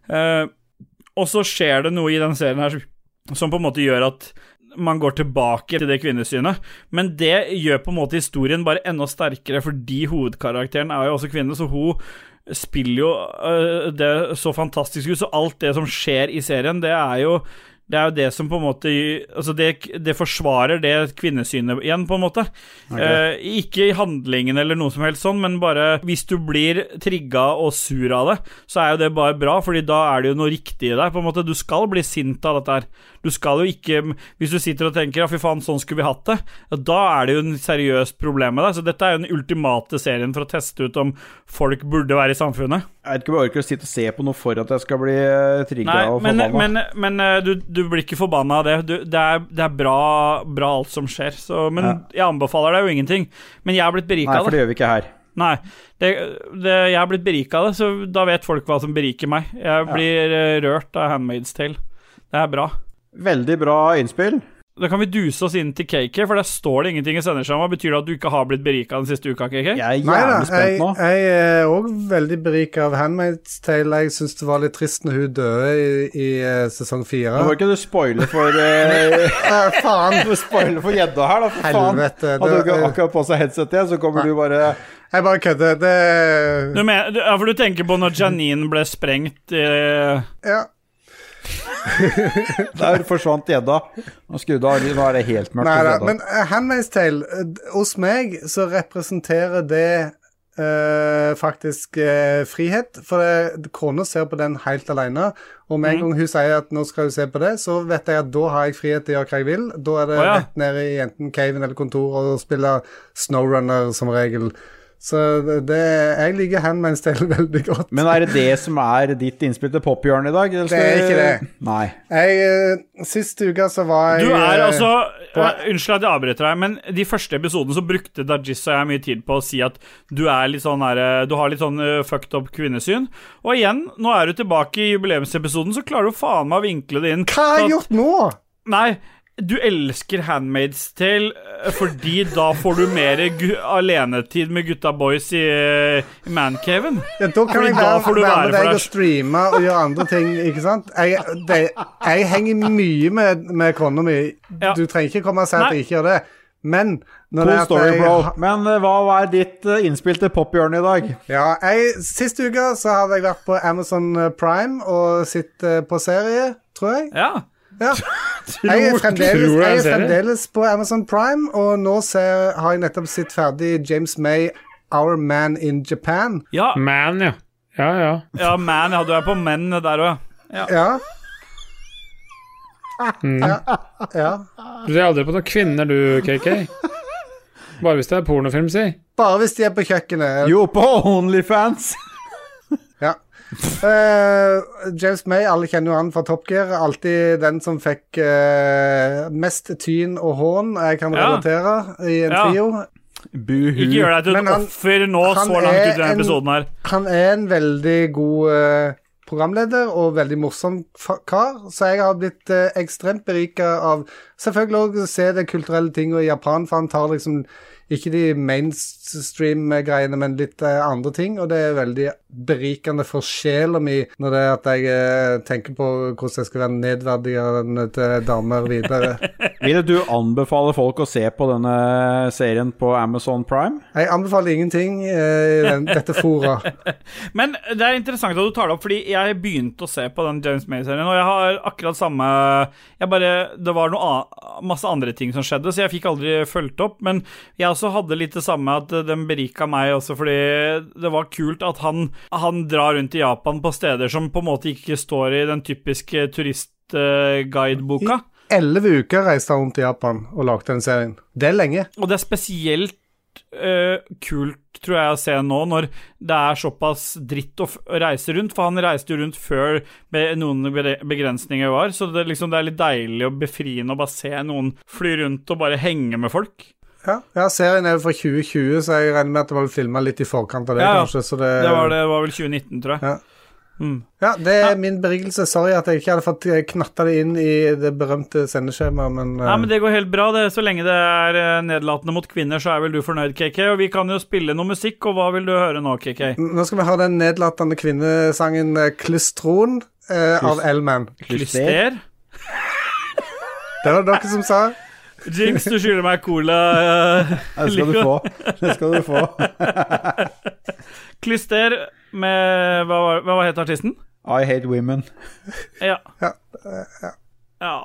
Speaker 1: Eh, og så skjer det noe i den serien her som- som på en måte gjør at man går tilbake til det kvinnesynet. Men det gjør på en måte historien bare enda sterkere, fordi hovedkarakteren er jo også kvinne, så hun spiller jo øh, det så fantastisk ut. Så alt det som skjer i serien, det er jo det er jo det som på en måte Altså, det, det forsvarer det kvinnesynet igjen, på en måte.
Speaker 3: Ok.
Speaker 1: Eh, ikke i handlingen eller noe som helst sånn, men bare hvis du blir trigga og sur av det, så er jo det bare bra, Fordi da er det jo noe riktig i deg, på en måte. Du skal bli sint av dette her. Du skal jo ikke Hvis du sitter og tenker 'ja, fy faen, sånn skulle vi hatt det', ja, da er det jo en seriøst problem med deg. Så dette er jo den ultimate serien for å teste ut om folk burde være i samfunnet.
Speaker 3: Jeg vet ikke om jeg orker å sitte og se på noe for at jeg skal bli eh, trigga
Speaker 1: Nei,
Speaker 3: og
Speaker 1: men,
Speaker 3: forbanna.
Speaker 1: men, men eh, du, du blir ikke forbanna av det. Du, det, er, det er bra, bra alt som skjer. Så, men jeg anbefaler deg jo ingenting. Men jeg har blitt berika
Speaker 3: Nei,
Speaker 1: av
Speaker 3: for
Speaker 1: det.
Speaker 3: det gjør vi ikke her.
Speaker 1: Nei, det, det, jeg har blitt berika av det, så da vet folk hva som beriker meg. Jeg blir eh, rørt av Handmaid's Tale. Det er bra.
Speaker 3: Veldig bra innspill.
Speaker 1: Da kan vi duse oss inn til KK, for der står det ingenting i senderskjemaet. Betyr det at du ikke har blitt berika den siste uka, KK?
Speaker 3: Jeg
Speaker 2: Nei
Speaker 3: er
Speaker 2: da,
Speaker 3: jævlig
Speaker 2: jeg,
Speaker 3: spent nå.
Speaker 2: jeg er òg veldig berika av Handmaid's Tale. Jeg syns det var litt trist når hun døde i, i eh, sesong fire.
Speaker 3: Nå må ikke du spoile for eh,
Speaker 2: Eh, faen!
Speaker 3: Du spoiler for gjedda her, da. For faen.
Speaker 2: Helvete, det-
Speaker 3: Hadde du ikke akkurat på seg headsetet, igjen, så kommer du bare
Speaker 2: Jeg bare kødder. Det
Speaker 1: Du mener, du, ja, for du tenker på når Janine ble sprengt eh,
Speaker 2: Ja.
Speaker 3: Der forsvant gjedda. Nå skrudde av, nå er det helt mørkt.
Speaker 2: Nei
Speaker 3: hos
Speaker 2: da.
Speaker 3: gjedda.
Speaker 2: Men eh, Handmaid's Tale, eh, d- hos meg så representerer det eh, faktisk eh, frihet. For det- kona ser på den helt alene. Og
Speaker 1: Mhm.
Speaker 2: med en gang hun sier at nå skal hun se på det, så vet jeg at da har jeg frihet til å gjøre hva jeg vil. Da er det
Speaker 1: Å, ja.
Speaker 2: rett ned i enten caven eller kontoret og spille Snowrunner som regel. Så det, det- jeg liker Handmaid's Tale veldig godt.
Speaker 3: Men er det det som er ditt innspill til pophjørnet i dag? eller skal
Speaker 2: Det er
Speaker 3: du-
Speaker 2: ikke det.
Speaker 3: Nei.
Speaker 2: Jeg, eh, Sist uke så var jeg
Speaker 1: Du er
Speaker 2: eh,
Speaker 1: altså eh, Unnskyld at jeg avbryter deg, men de første episodene så brukte Dajis og jeg mye tid på å si at du er litt sånn her, eh, Du har litt sånn eh, fucked up kvinnesyn. Og igjen, nå er du tilbake i jubileumsepisoden, så klarer du faen meg å vinkle det inn.
Speaker 2: Hva har
Speaker 1: Så at-
Speaker 2: jeg gjort nå?
Speaker 1: Nei, du elsker Handmaid's Tale eh, fordi da får du mer gu alenetid med gutta boys i, eh, i mancaven.
Speaker 2: Ja, da kan
Speaker 1: Fordi
Speaker 2: jeg
Speaker 1: da
Speaker 2: være,
Speaker 1: får du
Speaker 2: være
Speaker 1: være
Speaker 2: med
Speaker 1: for
Speaker 2: deg
Speaker 1: deg
Speaker 2: og streame og gjøre andre ting, ikke sant? Jeg, det, jeg henger mye med, med kona mi.
Speaker 1: Ja.
Speaker 2: Du trenger ikke komme og si at
Speaker 1: Nei.
Speaker 2: jeg ikke gjør det. Men når det
Speaker 3: Cool
Speaker 2: er at
Speaker 3: story,
Speaker 2: jeg
Speaker 3: bro.
Speaker 2: har-
Speaker 3: Men eh, hva er ditt eh, innspill til pophjørnet i dag?
Speaker 2: Ja, jeg, Sist uke så hadde jeg vært på Amazon eh, Prime og sett eh, på serie, tror jeg.
Speaker 1: Ja.
Speaker 2: Ja. Jeg er fremdeles,
Speaker 4: tror du det
Speaker 2: jeg
Speaker 4: er en
Speaker 2: er
Speaker 4: serie?
Speaker 2: fremdeles på Amazon Prime, og nå ser, har jeg nettopp sett ferdig James May, Our Man in Japan.
Speaker 1: Ja,
Speaker 4: Man, ja. Ja, ja.
Speaker 1: ja man, ja, du er på menn der òg, ja.
Speaker 2: Ja. Ja. ja.
Speaker 4: Du ser aldri på noen kvinner, du, KK. Bare hvis det er pornofilm, si.
Speaker 2: Bare hvis de er på kjøkkenet.
Speaker 3: Jo, på Onlyfans!
Speaker 2: Ja. Eh, James May, alle kjenner jo han fra Top Gear. Alltid den som fikk eh, mest tyn og hån jeg kan
Speaker 1: Ja.
Speaker 2: relatere i en
Speaker 1: Ja.
Speaker 2: trio.
Speaker 3: Buhu.
Speaker 1: Ikke gjør deg til
Speaker 2: Men
Speaker 1: et
Speaker 2: han-
Speaker 1: offer nå,
Speaker 2: han
Speaker 1: så langt ut
Speaker 2: er
Speaker 1: i denne
Speaker 2: en-
Speaker 1: episoden her.
Speaker 2: Han er en veldig god eh, programleder og veldig morsom fa- kar, så jeg har blitt eh, ekstremt berika av selvfølgelig også å se de kulturelle tingene i Japan, for han tar liksom ikke de mainstream-greiene, men litt eh, andre ting. Og det er veldig berikende for sjela mi når det er at jeg eh, tenker på hvordan jeg skal være nedverdigende til damer videre.
Speaker 3: Vil du anbefale folk å se på denne serien på Amazon Prime?
Speaker 2: Jeg anbefaler ingenting eh, i den, dette fora.
Speaker 1: Men det er interessant at du tar det opp, fordi jeg begynte å se på den James May-serien, og jeg har akkurat samme Jeg bare Det var noe an, masse andre ting som skjedde, så jeg fikk aldri fulgt opp. Men jeg også hadde litt det samme at den berika meg også, fordi det var kult at han, han drar rundt i Japan på steder som på en måte ikke står i den typiske eh, turistguideboka.
Speaker 2: Elleve uker reiste han rundt i Japan og lagde den serien. Det er lenge.
Speaker 1: Og det er spesielt eh, kult, tror jeg, å se nå, når det er såpass dritt å f reise rundt. For han reiste jo rundt før be- noen be- begrensninger var, så det, er liksom, det er litt deilig og befriende å bare se noen fly rundt og bare henge med folk.
Speaker 2: Ja, ja serien er jo fra 2020, så jeg regner med at det var filma litt i forkant av det,
Speaker 1: Ja, ja.
Speaker 2: kanskje. Så det,
Speaker 1: Det var, det var vel 2019, tror jeg.
Speaker 2: Ja. Ja, det er min berigelse. Sorry at jeg ikke hadde fått eh, knatta det inn i det berømte sendeskjemaet, men, eh,
Speaker 1: Nei, men Det går helt bra. det Så lenge det er eh, nedlatende mot kvinner, så er vel du fornøyd, KK. Og vi kan jo spille noe musikk, og hva vil du høre nå, KK?
Speaker 2: Nå skal vi ha den nedlatende kvinnesangen eh, 'Klystron' eh, av Elman.
Speaker 1: Klyster?
Speaker 2: Det var dere som sa.
Speaker 1: Jinx, du skylder meg cola. eh,
Speaker 3: Det skal du
Speaker 1: Lico.
Speaker 3: få. Det skal du få.
Speaker 1: Klyster med Hva, var- hva het artisten?
Speaker 3: I hate women.
Speaker 1: Ja.
Speaker 2: Ja,
Speaker 1: ja.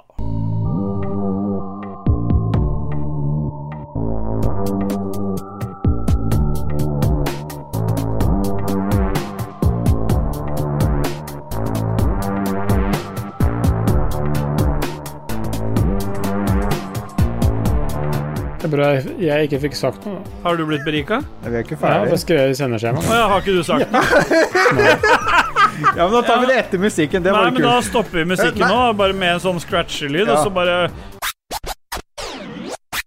Speaker 4: Det er bra jeg- jeg ikke fikk sagt noe. da.
Speaker 1: Har du blitt berika?
Speaker 3: Vi er ikke
Speaker 4: Jeg har bare
Speaker 3: ferdig.
Speaker 4: skrevet i sendeskjemaet.
Speaker 1: Å ja, har ikke du sagt det?
Speaker 3: Ja, men da tar vi det etter musikken.
Speaker 1: Nei,
Speaker 3: Det var
Speaker 1: men
Speaker 3: kult.
Speaker 1: da stopper vi musikken nå, bare med en sånn scratchelyd, og
Speaker 3: Ja.
Speaker 1: så bare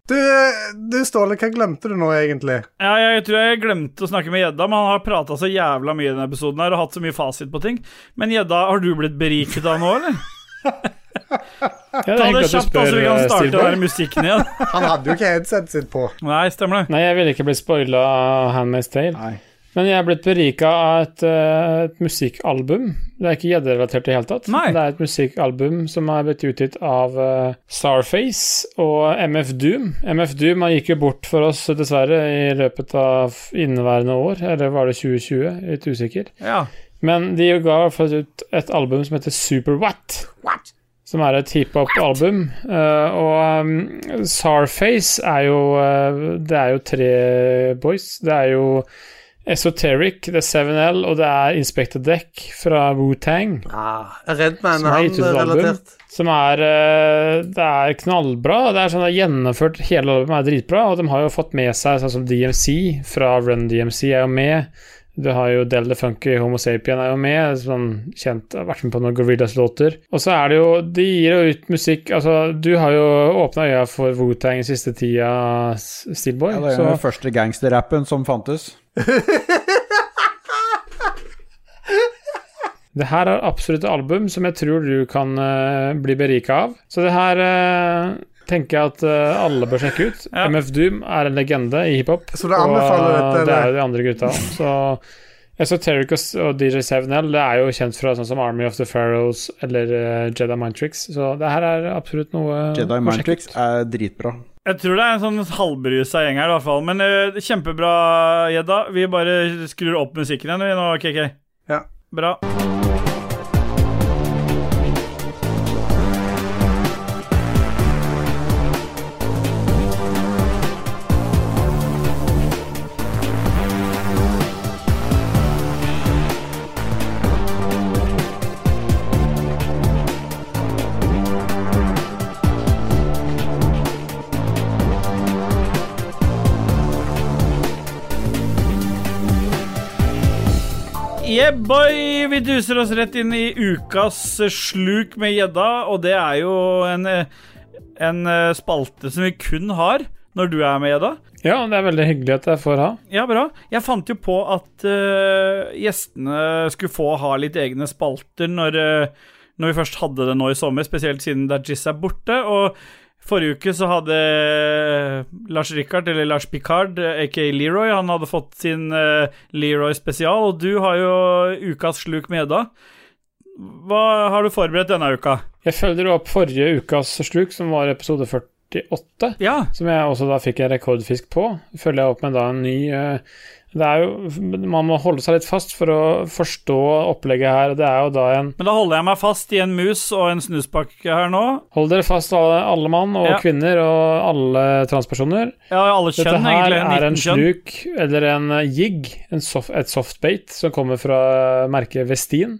Speaker 2: Du, eh, du Ståle, hva glemte du nå egentlig?
Speaker 1: Ja, jeg tror jeg glemte å snakke med gjedda, men han har prata så jævla mye i denne episoden her og hatt så mye fasit på ting. Men gjedda, har du blitt beriket av nå, eller?
Speaker 4: Ja, det er
Speaker 1: Ta det
Speaker 4: hyggelig at du
Speaker 1: kjapt, da, så vi kan
Speaker 4: spør, eh,
Speaker 1: starte den
Speaker 4: Stilborg.
Speaker 1: der musikken igjen.
Speaker 2: Han hadde jo ikke headsetet sitt på.
Speaker 1: Nei, stemmer det.
Speaker 4: Nei, jeg ville ikke blitt spoila av Handmaid's Tale.
Speaker 3: Nei.
Speaker 4: Men jeg er blitt berika av et, eh, et musikkalbum. Det er ikke gjedderelatert i det hele tatt.
Speaker 1: Nei.
Speaker 4: Det er et musikkalbum som er blitt utgitt av eh, Starface og MF Doom. MF Doom han gikk jo bort for oss, dessverre, i løpet av inneværende år. Eller var det 2020? Litt usikker.
Speaker 1: Ja.
Speaker 4: Men de ga i hvert fall ut et album som heter Super What. Som er et hiphop-album. Eh, og um, Sarface er jo eh, Det er jo tre boys. Det er jo Esoteric, det er 7L, og det er Inspector Deck fra Wu-Tang.
Speaker 2: Redd meg
Speaker 4: Som har gitt ut et album. Som er eh, Det er knallbra. Det er sånn det er gjennomført Hele albumet er dritbra, og de har jo fått med seg sånn som DMC fra Run DMC er jo med. Du har jo Del the Funky Homo Sapien er jo med, sånn kjent, har vært med på noen Gorillas-låter. Og så er det jo De gir jo ut musikk Altså, du har jo åpna øya for Wu-Tang den siste tida, S- Steelboy.
Speaker 3: Ja, det er jo
Speaker 4: så
Speaker 3: den første gangsterrappen som fantes.
Speaker 4: Det her er absolutt et album som jeg tror du kan eh, bli berika av. Så det her eh, tenker jeg at eh, alle bør sjekke ut.
Speaker 1: Ja.
Speaker 4: MF Doom er en legende i hiphop.
Speaker 2: Så du anbefaler
Speaker 4: og, eh,
Speaker 2: dette,
Speaker 4: Det er
Speaker 2: eller?
Speaker 4: jo de andre gutta. Så Esoteric og s- og DJ 7L det er jo kjent fra sånn som Army of the Pharaohs eller eh, Jedi Mind Tricks, så det her er absolutt noe
Speaker 3: Jedi
Speaker 4: å
Speaker 3: Mind
Speaker 4: sjekke
Speaker 3: Tricks
Speaker 4: ut.
Speaker 3: er dritbra.
Speaker 1: Jeg tror det er en sånn halvbrusa gjeng her, i hvert fall. Men eh, kjempebra, gjedda. Vi bare skrur opp musikken igjen vi nå, KK.
Speaker 2: Ja.
Speaker 1: Bra. Yeah, boy! Vi duser oss rett inn i ukas eh, sluk med gjedda, og det er jo en, eh, en eh, spalte som vi kun har når du er med, gjedda.
Speaker 4: Ja, det er veldig hyggelig at jeg får ha.
Speaker 1: Ja, bra. Jeg fant jo på at eh, gjestene skulle få ha litt egne spalter når, eh, når vi først hadde det nå i sommer, spesielt siden Dajis er borte. Og Forrige uke så hadde eh, Lars Rikard, eller Lars Picard, eh, aka Leroy, han hadde fått sin eh, Leroy spesial, og du har jo ukas sluk med Edda. Hva har du forberedt denne uka?
Speaker 4: Jeg følger opp forrige ukas sluk, som var episode 48, som jeg også da fikk en rekordfisk på. Følger jeg opp med da en ny eh, det er jo, Man må holde seg litt fast for å forstå opplegget her. Det er jo da en
Speaker 1: Men da holder jeg meg fast i en mus og en snuspakke her nå.
Speaker 4: Hold dere fast, alle, alle mann og
Speaker 1: Ja.
Speaker 4: kvinner og alle transpersoner.
Speaker 1: Ja, alle kjønn,
Speaker 4: Dette her
Speaker 1: egentlig.
Speaker 4: er en
Speaker 1: 19 kjønn.
Speaker 4: sluk, eller en eh, jig, en soft, et softbait, som kommer fra eh, merket Vestin.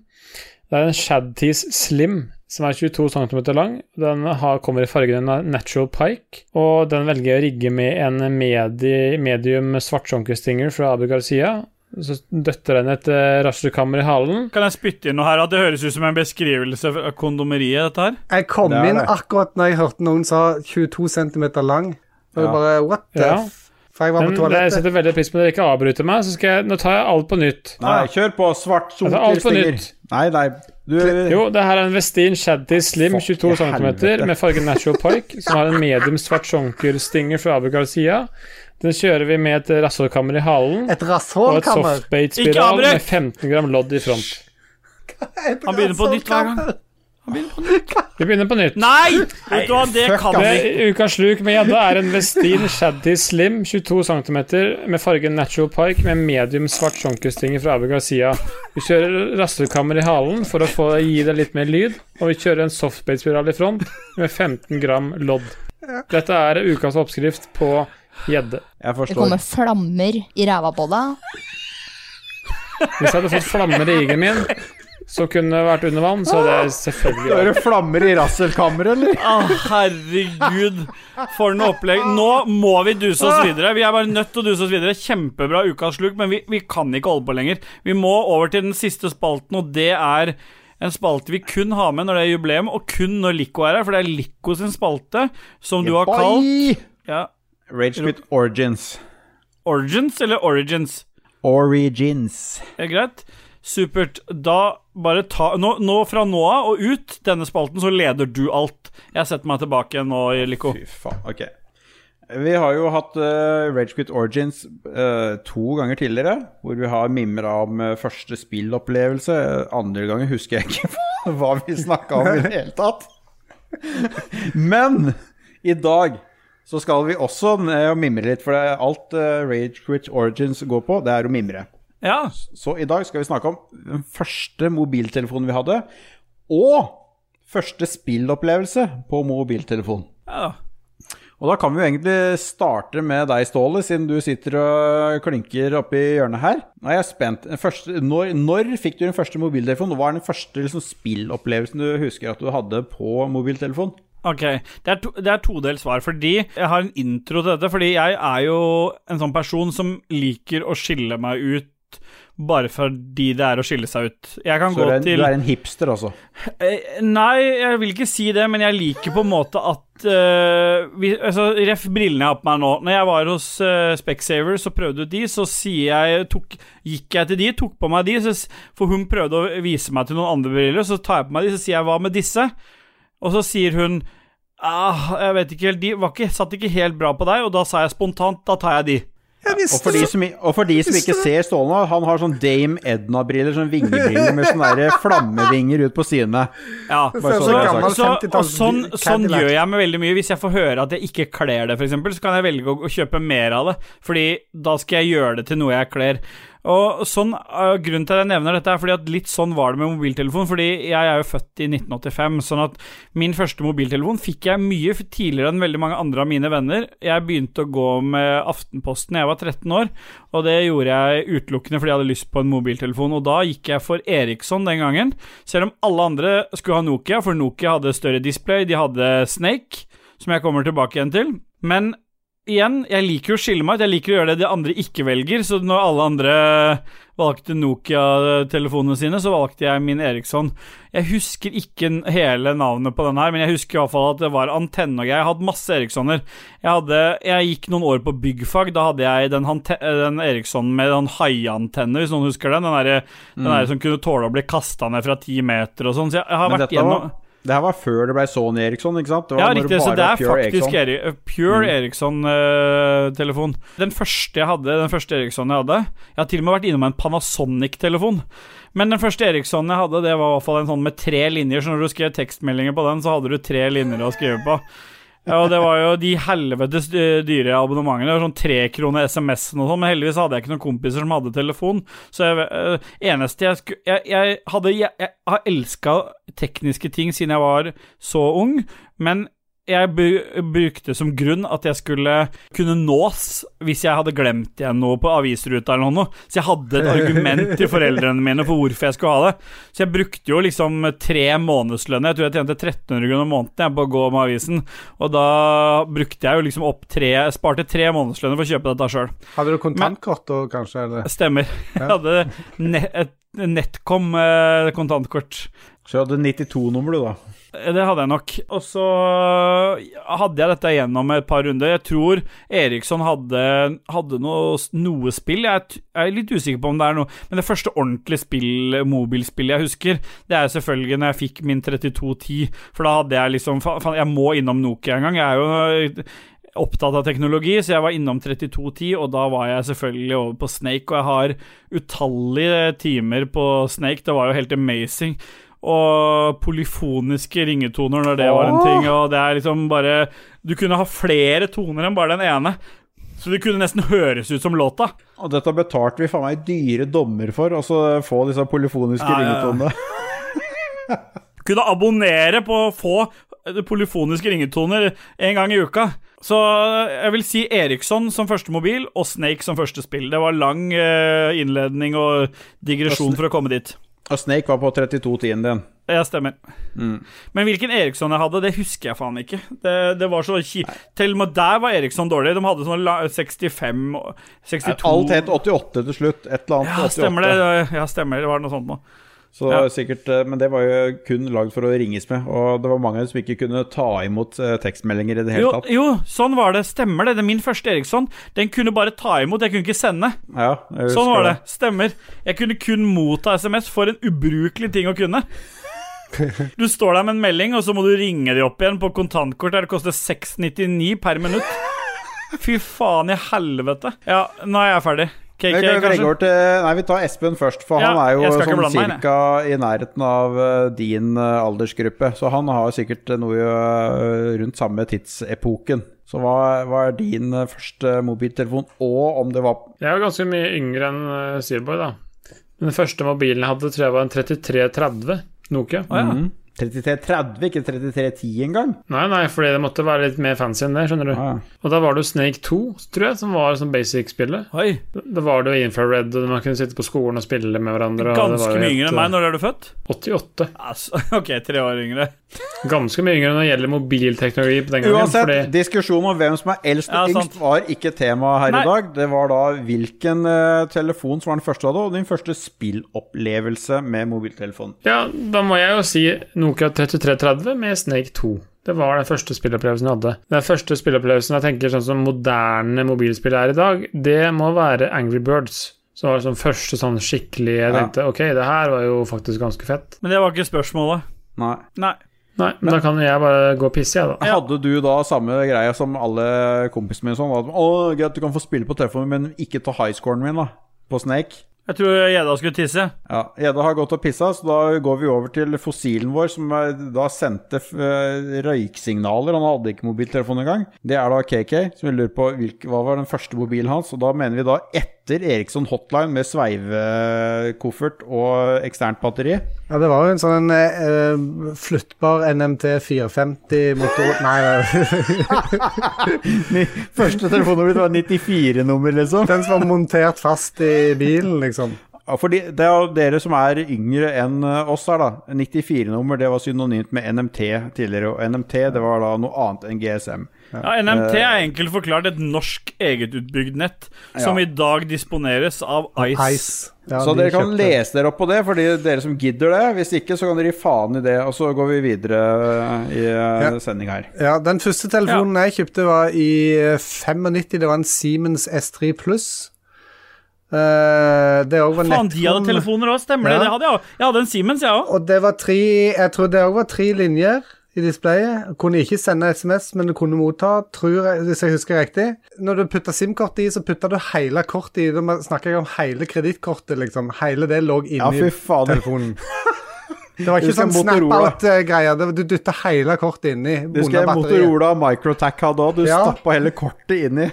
Speaker 4: Det er en Shadtees Slim, som er 22 cm lang. Den har, kommer i fargen na- Natural Pike, og den velger jeg å rigge med en medi, medium svartsjonkestinger fra Abu Garcia. Så døtter den et eh, raslekammer i halen.
Speaker 1: Kan jeg spytte inn noe her? At det høres ut som en beskrivelse av kondomeriet, dette her?
Speaker 2: Jeg kom
Speaker 1: Det er
Speaker 2: inn
Speaker 1: det.
Speaker 2: akkurat når jeg hørte noen sa 22 cm lang. Og
Speaker 1: Ja.
Speaker 2: jeg bare What the
Speaker 4: Ja.
Speaker 2: f... For jeg var på
Speaker 4: Men jeg
Speaker 2: toalettet.
Speaker 4: setter veldig pris på at dere ikke avbryter meg, så skal jeg, nå tar jeg alt på nytt.
Speaker 3: Nei, kjør på. Svart
Speaker 4: Ah. Altså, alt på
Speaker 3: sunkerstinger.
Speaker 4: nytt.
Speaker 3: Nei, nei. Du
Speaker 4: Jo, det her er en Vestin Shaddy Slim
Speaker 3: Fuck
Speaker 4: 22
Speaker 3: i
Speaker 4: cm
Speaker 3: helvete.
Speaker 4: med fargen Natural Park, som har en medium svart sjunkerstinger fra Abu Garcia. Den kjører vi med et rasshålkammer i halen
Speaker 2: Et
Speaker 4: og et
Speaker 2: rasshålkammer.
Speaker 1: Ikke
Speaker 4: softbait-spiral
Speaker 1: avbryt!
Speaker 4: med 15 gram lodd i front.
Speaker 1: Han begynner på nytt hver gang.
Speaker 4: Vi begynner på nytt.
Speaker 1: Nei! Vet du hva, det kan vi ikke.
Speaker 4: Det Ukas sluk med gjedde er en Vestin Shaddy Slim 22 cm med fargen Natural Park med medium svart sjunkerstinger fra Abu Garcia. Vi kjører rasshålkammer i halen for å få, gi det litt mer lyd, og vi kjører en softbait-spiral i front med 15 gram lodd. Dette er ukas oppskrift på gjedde.
Speaker 3: Jeg
Speaker 6: Det kommer flammer i ræva på deg.
Speaker 4: Hvis jeg hadde fått flammer i igelen min, som kunne vært under vann, så hadde jeg selvfølgelig
Speaker 3: Hører flammer i rasselkammeret, eller?
Speaker 1: Å, herregud, for noe opplegg. Nå må vi duse oss videre. Vi er bare nødt til å duse oss videre. Kjempebra ukas sluk, men vi, vi kan ikke holde på lenger. Vi må over til den siste spalten, og det er en spalte vi kun har med når det er jubileum, og kun når Lico er her, for det er Lico sin spalte, som du har kalt ja,
Speaker 3: Rage Quit Origins.
Speaker 1: Origins eller Origins?
Speaker 3: Origins.
Speaker 1: Ja, greit. Supert. Da bare ta nå, nå fra nå av og ut denne spalten, så leder du alt. Jeg setter meg tilbake igjen nå, Lico.
Speaker 3: Fy faen, ok Vi har jo hatt eh, Rage Quit Origins eh, to ganger tidligere Hvor vi har mimra om eh, første spillopplevelse Eh, Andre ganger husker jeg ikke hva vi snakket om i det hele tatt Men i dag så skal vi også ned og mimre litt For det er alt eh, Rage Quit Origins går på, det er å mimre
Speaker 1: Ja.
Speaker 3: Så i dag skal vi snakke om den første mobiltelefonen vi hadde Og første spillopplevelse på mobiltelefon
Speaker 1: ja.
Speaker 3: og da kan vi jo egentlig starte med deg, Ståle, siden du sitter og klinker oppi hjørnet her. Nå er jeg spent. Den Første, når, når fikk du din første mobiltelefon? Og Hva er den første liksom, spillopplevelsen du husker at du hadde på mobiltelefon?
Speaker 1: Ok, det er, to, det er todelt svar, fordi jeg har en intro til dette. Fordi jeg er jo en sånn person som liker å skille meg ut bare fordi det er å skille seg ut. Jeg kan
Speaker 3: Så du
Speaker 1: gå
Speaker 3: er, en,
Speaker 1: til
Speaker 3: du er en hipster, altså.
Speaker 1: Eh, Nei, jeg vil ikke si det, men jeg liker på en måte at eh, vi, altså, Ref brillene jeg har på meg nå. Når jeg var hos uh, Specsaver så prøvde ut de, så sier jeg tok, Gikk jeg til de, tok på meg de, så, s- for hun prøvde å vise meg til noen andre briller, så tar jeg på meg de, så sier jeg 'hva med disse?' Og så sier hun ah, 'jeg vet ikke helt, de var ikke, satt ikke helt bra på deg', og da sa jeg spontant 'da tar jeg de'.
Speaker 3: Og for, de som, i- og for de som ikke ser Ståle nå, han har sånn Dame Edna-briller, sånn vingebriller med sånne der flammevinger ut på sidene.
Speaker 1: Ja,
Speaker 3: Bare så det er sagt.
Speaker 1: så, og sånn,
Speaker 2: Cadillac.
Speaker 1: sånn gjør jeg med veldig mye. Hvis jeg får høre at jeg ikke kler det, f.eks., så kan jeg velge å, å kjøpe mer av det, Fordi da skal jeg gjøre det til noe jeg kler. Og sånn, øh, Grunnen til at jeg nevner dette, er fordi at litt sånn var det med mobiltelefon. Fordi jeg er jo født i 1985, sånn at min første mobiltelefon fikk jeg mye f- tidligere enn veldig mange andre av mine venner. Jeg begynte å gå med Aftenposten da jeg var 13 år, og det gjorde jeg utelukkende fordi jeg hadde lyst på en mobiltelefon. Og da gikk jeg for Eriksson den gangen, selv om alle andre skulle ha Nokia, for Nokia hadde større display, de hadde Snake, som jeg kommer tilbake igjen til. Men igjen, jeg liker jo å skille meg ut, jeg liker å gjøre det de andre ikke velger, så når alle andre valgte Nokia-telefonene sine, så valgte jeg min Eriksson. Jeg husker ikke n- hele navnet på den her, men jeg husker i hvert fall at det var antenne og greier. Jeg hadde masse Erikssoner. Jeg, hadde, jeg gikk noen år på byggfag, da hadde jeg den, hante- den Erikssonen med den haiantenne, hvis noen husker den. Den, der, den
Speaker 3: Mm.
Speaker 1: der som kunne tåle å bli kasta ned fra ti meter og sånn. Så jeg, jeg har
Speaker 3: Men
Speaker 1: vært
Speaker 3: dette var,
Speaker 1: gjennom
Speaker 3: Det her var før det ble Sony Eriksson, ikke sant? Det
Speaker 1: Ja,
Speaker 3: var når
Speaker 1: riktig. Så
Speaker 3: bare
Speaker 1: det
Speaker 3: var
Speaker 1: er
Speaker 3: Pure Mm.
Speaker 1: faktisk
Speaker 3: Ericsson.
Speaker 1: Eri uh, Pure Eriksson-telefon. den første jeg hadde, den første Eriksson jeg hadde Jeg har til og med vært innom en Panasonic-telefon. Men den første Eriksson jeg hadde, det var i hvert fall en sånn med tre linjer. Så når du skrev tekstmeldinger på den, så hadde du tre linjer å skrive på. Ja, og det var jo de helvetes dy- dyre abonnementene. Det var Sånn trekroner SMS-en og sånn. Men heldigvis hadde jeg ikke noen kompiser som hadde telefon. Så jeg, eh, eneste jeg skulle Jeg, jeg hadde Jeg, jeg har elska tekniske ting siden jeg var så ung, men jeg bru- brukte som grunn at jeg skulle kunne nås hvis jeg hadde glemt igjen noe på avisruta eller noe. Så jeg hadde et argument til foreldrene mine for hvorfor jeg skulle ha det. Så jeg brukte jo liksom tre månedslønner. Jeg tror jeg tjente 1300 kroner måneden jeg på å gå med avisen. Og da brukte jeg jo liksom opp tre Sparte tre månedslønner for å kjøpe dette sjøl.
Speaker 2: Hadde du kontantkort da, kanskje? Eller?
Speaker 1: Stemmer. Jeg hadde ne et Netcom eh, kontantkort.
Speaker 3: Så du hadde 92-nummer, du, da.
Speaker 1: Det hadde jeg nok. Og så hadde jeg dette gjennom et par runder. Jeg tror Eriksson hadde, hadde noe, noe spill. Jeg er, t- jeg er litt usikker på om det er noe Men det første ordentlige spill, mobilspillet jeg husker, det er selvfølgelig når jeg fikk min 3210. For da hadde jeg liksom fa- faen, Jeg må innom Nokia en gang. Jeg er jo opptatt av teknologi, så jeg var innom 3210, og da var jeg selvfølgelig over på Snake, og jeg har utallige timer på Snake, det var jo helt amazing. Og polyfoniske ringetoner når det var en ting, og det er liksom bare Du kunne ha flere toner enn bare den ene, så det kunne nesten høres ut som låta.
Speaker 3: Og dette betalte vi faen meg dyre dommer for, og så få disse polyfoniske
Speaker 1: Ja, ja, ja.
Speaker 3: ringetonene.
Speaker 1: kunne abonnere på å få eh, polyfoniske ringetoner en gang i uka. Så eh, jeg vil si Eriksson som første mobil og Snake som første spill. Det var lang eh, innledning og digresjon for å komme dit.
Speaker 3: Og Snake var på 32-tiden din.
Speaker 1: Jeg stemmer.
Speaker 3: Mm.
Speaker 1: Men hvilken Eriksson jeg hadde, det husker jeg faen ikke. Det, det var så kjipt. Til og med der var Eriksson dårlig. De hadde sånn la- 65 og 62
Speaker 3: Alt het 88 til slutt. Et eller annet.
Speaker 1: Ja,
Speaker 3: 88.
Speaker 1: stemmer det. Ja, stemmer. Det var noe sånt nå.
Speaker 3: Så det
Speaker 1: Ja.
Speaker 3: var sikkert, eh, men det var jo kun lagd for å ringes med, og det var mange som ikke kunne ta imot eh, tekstmeldinger i det hele
Speaker 1: Jo,
Speaker 3: tatt.
Speaker 1: jo, sånn var det. Stemmer det. det er min første Eriksson. Den kunne bare ta imot, jeg kunne ikke sende.
Speaker 3: Ja, jeg husker
Speaker 1: Sånn var det. Stemmer. Jeg kunne kun motta SMS. For en ubrukelig ting å kunne. Du står der med en melding, og så må du ringe de opp igjen på kontantkort der det koster 6,99 per minutt. Fy faen i helvete. Ja, nå er jeg ferdig. KK,
Speaker 3: Vi kan jo legge
Speaker 1: kanskje?
Speaker 3: over til, nei, vi tar Espen først, for
Speaker 1: Ja,
Speaker 3: han er jo
Speaker 1: jeg skal ikke
Speaker 3: sånn
Speaker 1: blande meg inn, jeg.
Speaker 3: cirka i nærheten av eh, din eh, aldersgruppe. Så han har sikkert noe eh, rundt samme tidsepoken. Så hva, hva er din eh, første mobiltelefon, og om det var
Speaker 4: Jeg er jo ganske mye yngre enn eh, Seaboy, da. Den første mobilen jeg hadde, tror jeg var en 3330 Nokia.
Speaker 1: Å, ja.
Speaker 3: mm, 3330, ikke 3310 engang?
Speaker 4: Nei, nei, fordi det måtte være litt mer fancy enn det, skjønner du.
Speaker 3: Ah,
Speaker 4: Og da var det jo Snake 2, tror jeg, som var sånn basic-spillet.
Speaker 1: Oi.
Speaker 4: Da var det jo infrared, og man kunne sitte på skolen og spille med hverandre. og det
Speaker 1: Ganske
Speaker 4: var jo
Speaker 1: mye
Speaker 4: helt,
Speaker 1: yngre enn meg. Når er du født?
Speaker 4: eh, 88.
Speaker 1: Altså, ok, tre år yngre.
Speaker 4: Ganske mye yngre når det gjelder mobilteknologi på den gangen.
Speaker 3: Uansett,
Speaker 4: fordi
Speaker 3: diskusjonen om hvem som er eldst og
Speaker 1: Ja,
Speaker 3: yngst
Speaker 1: sant.
Speaker 3: var ikke tema her
Speaker 1: Nei.
Speaker 3: i dag. Det var da hvilken eh, telefon som var den første du hadde, og din første spillopplevelse med mobiltelefon.
Speaker 4: Ja, da må jeg jo si Nokia 3330 med Snake 2. Det var den første spillopplevelsen jeg hadde. Den første spillopplevelsen jeg tenker sånn som moderne mobilspill er i dag, det må være Angry Birds. Som var sånn første sånn skikkelig Jeg
Speaker 3: Ja.
Speaker 4: tenkte ok, det her var jo faktisk ganske fett.
Speaker 1: Men det var ikke spørsmålet.
Speaker 3: Nei.
Speaker 1: Nei.
Speaker 4: Nei, men, da kan jeg bare gå og pisse, jeg, da.
Speaker 3: Hadde du da samme greia som alle kompisene mine? Sånn, at, å, greit, du kan få spille på telefonen, men ikke ta highscoren min da, på Snake.
Speaker 1: Jeg tror gjedda skulle tisse.
Speaker 3: Ja, Gjedda har gått og pissa, så da går vi over til fossilen vår, som er, da sendte eh, røyksignaler. Han hadde ikke mobiltelefon engang. Det er da KK, som vi lurer på hvilk, hva var den første mobilen hans. Og da mener vi da etter Eriksson Hotline med sveivekoffert og eksternt batteri.
Speaker 2: Ja, det var jo en sånn eh, flyttbar NMT 450 motor Nei, nei.
Speaker 3: Første telefonen blitt var 94-nummer, liksom.
Speaker 2: den som var montert fast i bilen, liksom.
Speaker 3: Ja, fordi det er jo dere som er yngre enn eh, oss her, da. 94-nummer det var synonymt med NMT tidligere, og NMT det var da noe annet enn GSM.
Speaker 1: Ja, Eh. NMT er enkelt forklart et norsk egetutbygd nett som i dag disponeres av Ice.
Speaker 2: Ice. Ja,
Speaker 3: så
Speaker 2: de
Speaker 3: dere kan
Speaker 2: kjøpte.
Speaker 3: lese dere opp på det, fordi dere som gidder det. Hvis ikke, så kan dere gi faen i det, og så går vi videre eh, i ja. sending her.
Speaker 2: Ja, Den første telefonen jeg kjøpte, var i eh, 95. Det var en Siemens S3 Pluss. Eh, det òg var
Speaker 1: Faen, de hadde telefoner òg, stemmer det?
Speaker 2: Ja.
Speaker 1: det hadde jeg, også. jeg hadde en Siemens, jeg òg.
Speaker 2: Og det var tre Jeg tror det òg var tre linjer i displayet. Kunne ikke sende SMS, men du kunne motta, tror jeg, hvis jeg husker riktig. Når du putta SIM-kortet i, så putta du hele kortet i. Da snakker jeg om hele kredittkortet, liksom. Hele det lå inni
Speaker 3: Ja, fy fader.
Speaker 2: telefonen. Det var ikke
Speaker 3: Husker
Speaker 2: sånn
Speaker 3: Motorola.
Speaker 2: snap-out-greier. Du dytta hele kortet inni.
Speaker 3: Det husker jeg
Speaker 2: under batteriet.
Speaker 3: Motorola og Microtac hadde òg. Du
Speaker 2: Ja.
Speaker 3: stappa hele kortet inni.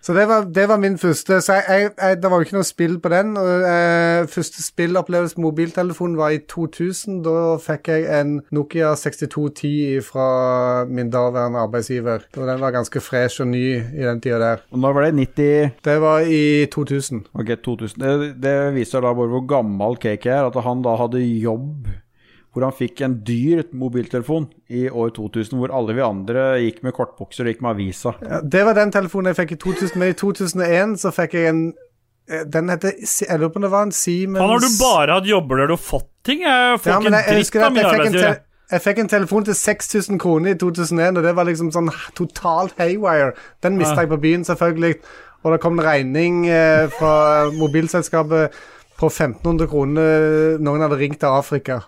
Speaker 2: Så det var, det var min første så jeg, jeg, jeg, Det var jo ikke noe spill på den. Og, eh, første spillopplevelse på mobiltelefon var i 2000. Da fikk jeg en Nokia 6210 fra min daværende arbeidsgiver. Og den var ganske fresh og ny i den tida der.
Speaker 3: Og Når var det? 90
Speaker 2: Det var i 2000.
Speaker 3: Ok, 2000. Det, det viser da bare hvor gammel KK er, at han da hadde jobb hvor han fikk en dyr mobiltelefon i år 2000, hvor alle vi andre gikk med kortbukser og gikk med avisa.
Speaker 2: Ja, det var den telefonen jeg fikk i 2000, men i 2001 så fikk jeg en eh, Den heter Si- Jeg lurer på om det var en Siemens
Speaker 1: Faen, har du bare hatt jobber der du har fått ting? Jeg får
Speaker 2: Ja,
Speaker 1: ikke
Speaker 2: men jeg, jeg
Speaker 1: en
Speaker 2: husker
Speaker 1: dritt av
Speaker 2: at
Speaker 1: min
Speaker 2: jeg fikk, en
Speaker 1: arbeidsgiver.
Speaker 2: te- jeg fikk en telefon til 6000 kroner i 2001, og det var liksom sånn totalt haywire. Den mista
Speaker 1: Ja.
Speaker 2: jeg på byen, selvfølgelig. Og det kom en regning eh, fra mobilselskapet på 1500 kroner. Noen hadde ringt til Afrika.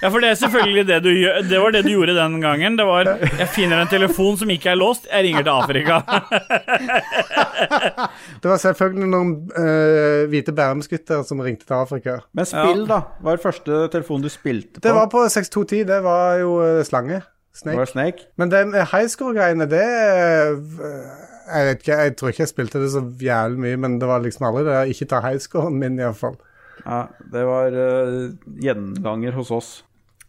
Speaker 1: Ja, for det er selvfølgelig det du gjør. Det var det du gjorde den gangen. Det var Jeg finner en telefon som ikke er låst, jeg ringer til Afrika.
Speaker 2: Det var selvfølgelig noen eh, hvite bærumsgutter som ringte til Afrika.
Speaker 3: Men spill, da. Hva er første telefonen du spilte på?
Speaker 2: Det var på 6210. Det var jo eh, slange.
Speaker 3: Det
Speaker 2: Snake.
Speaker 3: var Snake.
Speaker 2: Men det med highscore-greiene, det eh, Jeg vet ikke, jeg tror ikke jeg spilte det så jævlig mye, men det var liksom aldri det der ikke ta highscoren min, iallfall.
Speaker 3: Ja, det var eh, gjenganger hos oss.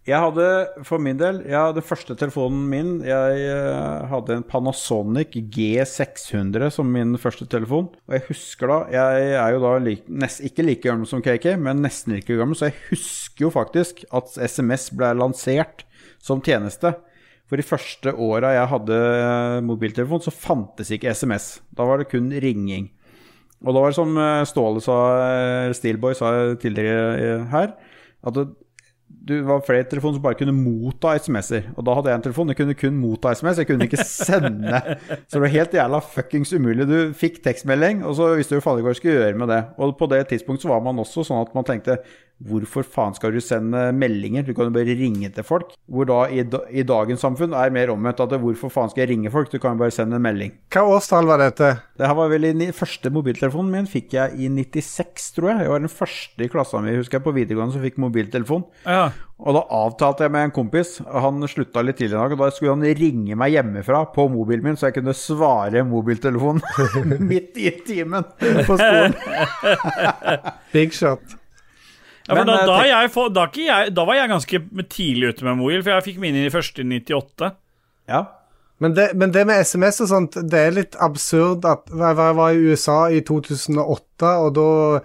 Speaker 3: Jeg hadde for min del ja, Den første telefonen min Jeg eh, hadde en Panasonic G600 som min første telefon. Og jeg husker da Jeg er jo da lik, nest, ikke like gammel som KK, men nesten like gammel, så jeg husker jo faktisk at SMS ble lansert som tjeneste. For de første åra jeg hadde eh, mobiltelefon, så fantes ikke SMS. Da var det kun ringing. Og da var det som eh, Ståle sa, eh, Steelboy sa tidligere eh, her, at det, du var flere telefoner som bare kunne motta SMS-er. Og da hadde jeg en telefon, jeg kunne kun motta SMS, jeg kunne ikke sende. Så det var helt jævla fuckings umulig. Du fikk tekstmelding, og så visste du faen ikke hva du skulle gjøre med det. Og på det tidspunktet så var man også sånn at man tenkte hvorfor faen skal du sende meldinger, du kan jo bare ringe til folk. Hvor da i, da, i dagens samfunn er mer omvendt at det, hvorfor faen skal jeg ringe folk, du kan jo bare sende en melding.
Speaker 2: Hva årstall var dette?
Speaker 3: Det her var vel i, ni- Første mobiltelefonen min fikk jeg i 96, tror jeg. Jeg var den første i klassen min husker jeg, på videregående som fikk mobiltelefon.
Speaker 1: Ja.
Speaker 3: Og da avtalte jeg med en kompis, og han slutta litt tidligere i dag, og da skulle han ringe meg hjemmefra på mobilen min, så jeg kunne svare mobiltelefonen midt i timen på skolen.
Speaker 2: Big shot.
Speaker 1: Ja, for
Speaker 3: Men,
Speaker 1: da,
Speaker 3: eh,
Speaker 1: da,
Speaker 3: tenk-
Speaker 1: jeg, få- da, ikke jeg, da var jeg ganske tidlig ute med mobil, for jeg fikk mine i første i 98.
Speaker 3: Ja.
Speaker 2: Men det, men det med SMS og sånt, det er litt absurd at Jeg var, jeg var i USA i 2008, og da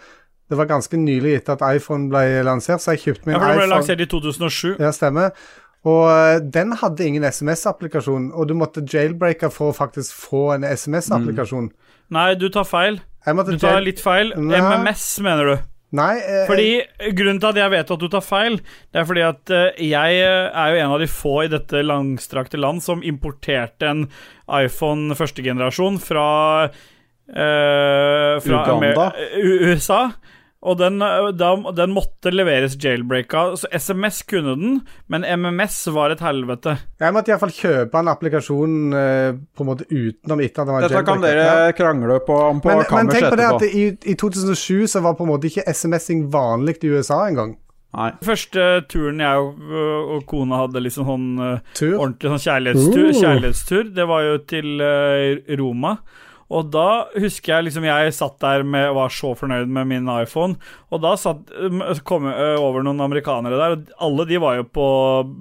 Speaker 2: Det var ganske nylig etter at iPhone ble lansert, så jeg kjøpte min
Speaker 1: Ja, for det ble
Speaker 2: iPhone.
Speaker 1: lansert i 2007.
Speaker 2: Ja, stemmer. Og eh, den hadde ingen SMS-applikasjon, og du måtte jailbreake for å faktisk få en SMS-applikasjon.
Speaker 1: Nei, du tar feil.
Speaker 2: Jeg måtte
Speaker 1: Du tar
Speaker 2: jail-
Speaker 1: litt feil.
Speaker 2: Nei.
Speaker 1: MMS, mener du.
Speaker 2: Nei, eh,
Speaker 1: Fordi Grunnen til at jeg vet at du tar feil, det er fordi at eh, jeg eh, er jo en av de få i dette langstrakte land som importerte en iPhone første generasjon fra eh, fra
Speaker 3: Uganda?
Speaker 1: Amer- U- USA. Og den, eh, da, den måtte leveres jailbreaka. Så SMS kunne den, men MMS var et helvete.
Speaker 2: jeg måtte iallfall kjøpe en applikasjon eh, på en måte utenom etter at den var
Speaker 3: Dette kan
Speaker 2: jailbreaket. Ja.
Speaker 3: dere krangle på om på
Speaker 2: men, men
Speaker 3: kammers
Speaker 2: tenk på det at
Speaker 3: etterpå.
Speaker 2: i, i 2007 så var på en måte ikke SMS-ing vanlig i USA engang.
Speaker 3: Nei.
Speaker 1: Første turen jeg og, og kona hadde liksom sånn eh,
Speaker 2: Tur.
Speaker 1: ordentlig sånn kjærlighetstur,
Speaker 2: Uh.
Speaker 1: kjærlighetstur. Det var jo til eh, Roma. Og da husker jeg liksom jeg satt der med var så fornøyd med min iPhone. Og da satt, um, kom jeg eh, over noen amerikanere der, og alle de var jo på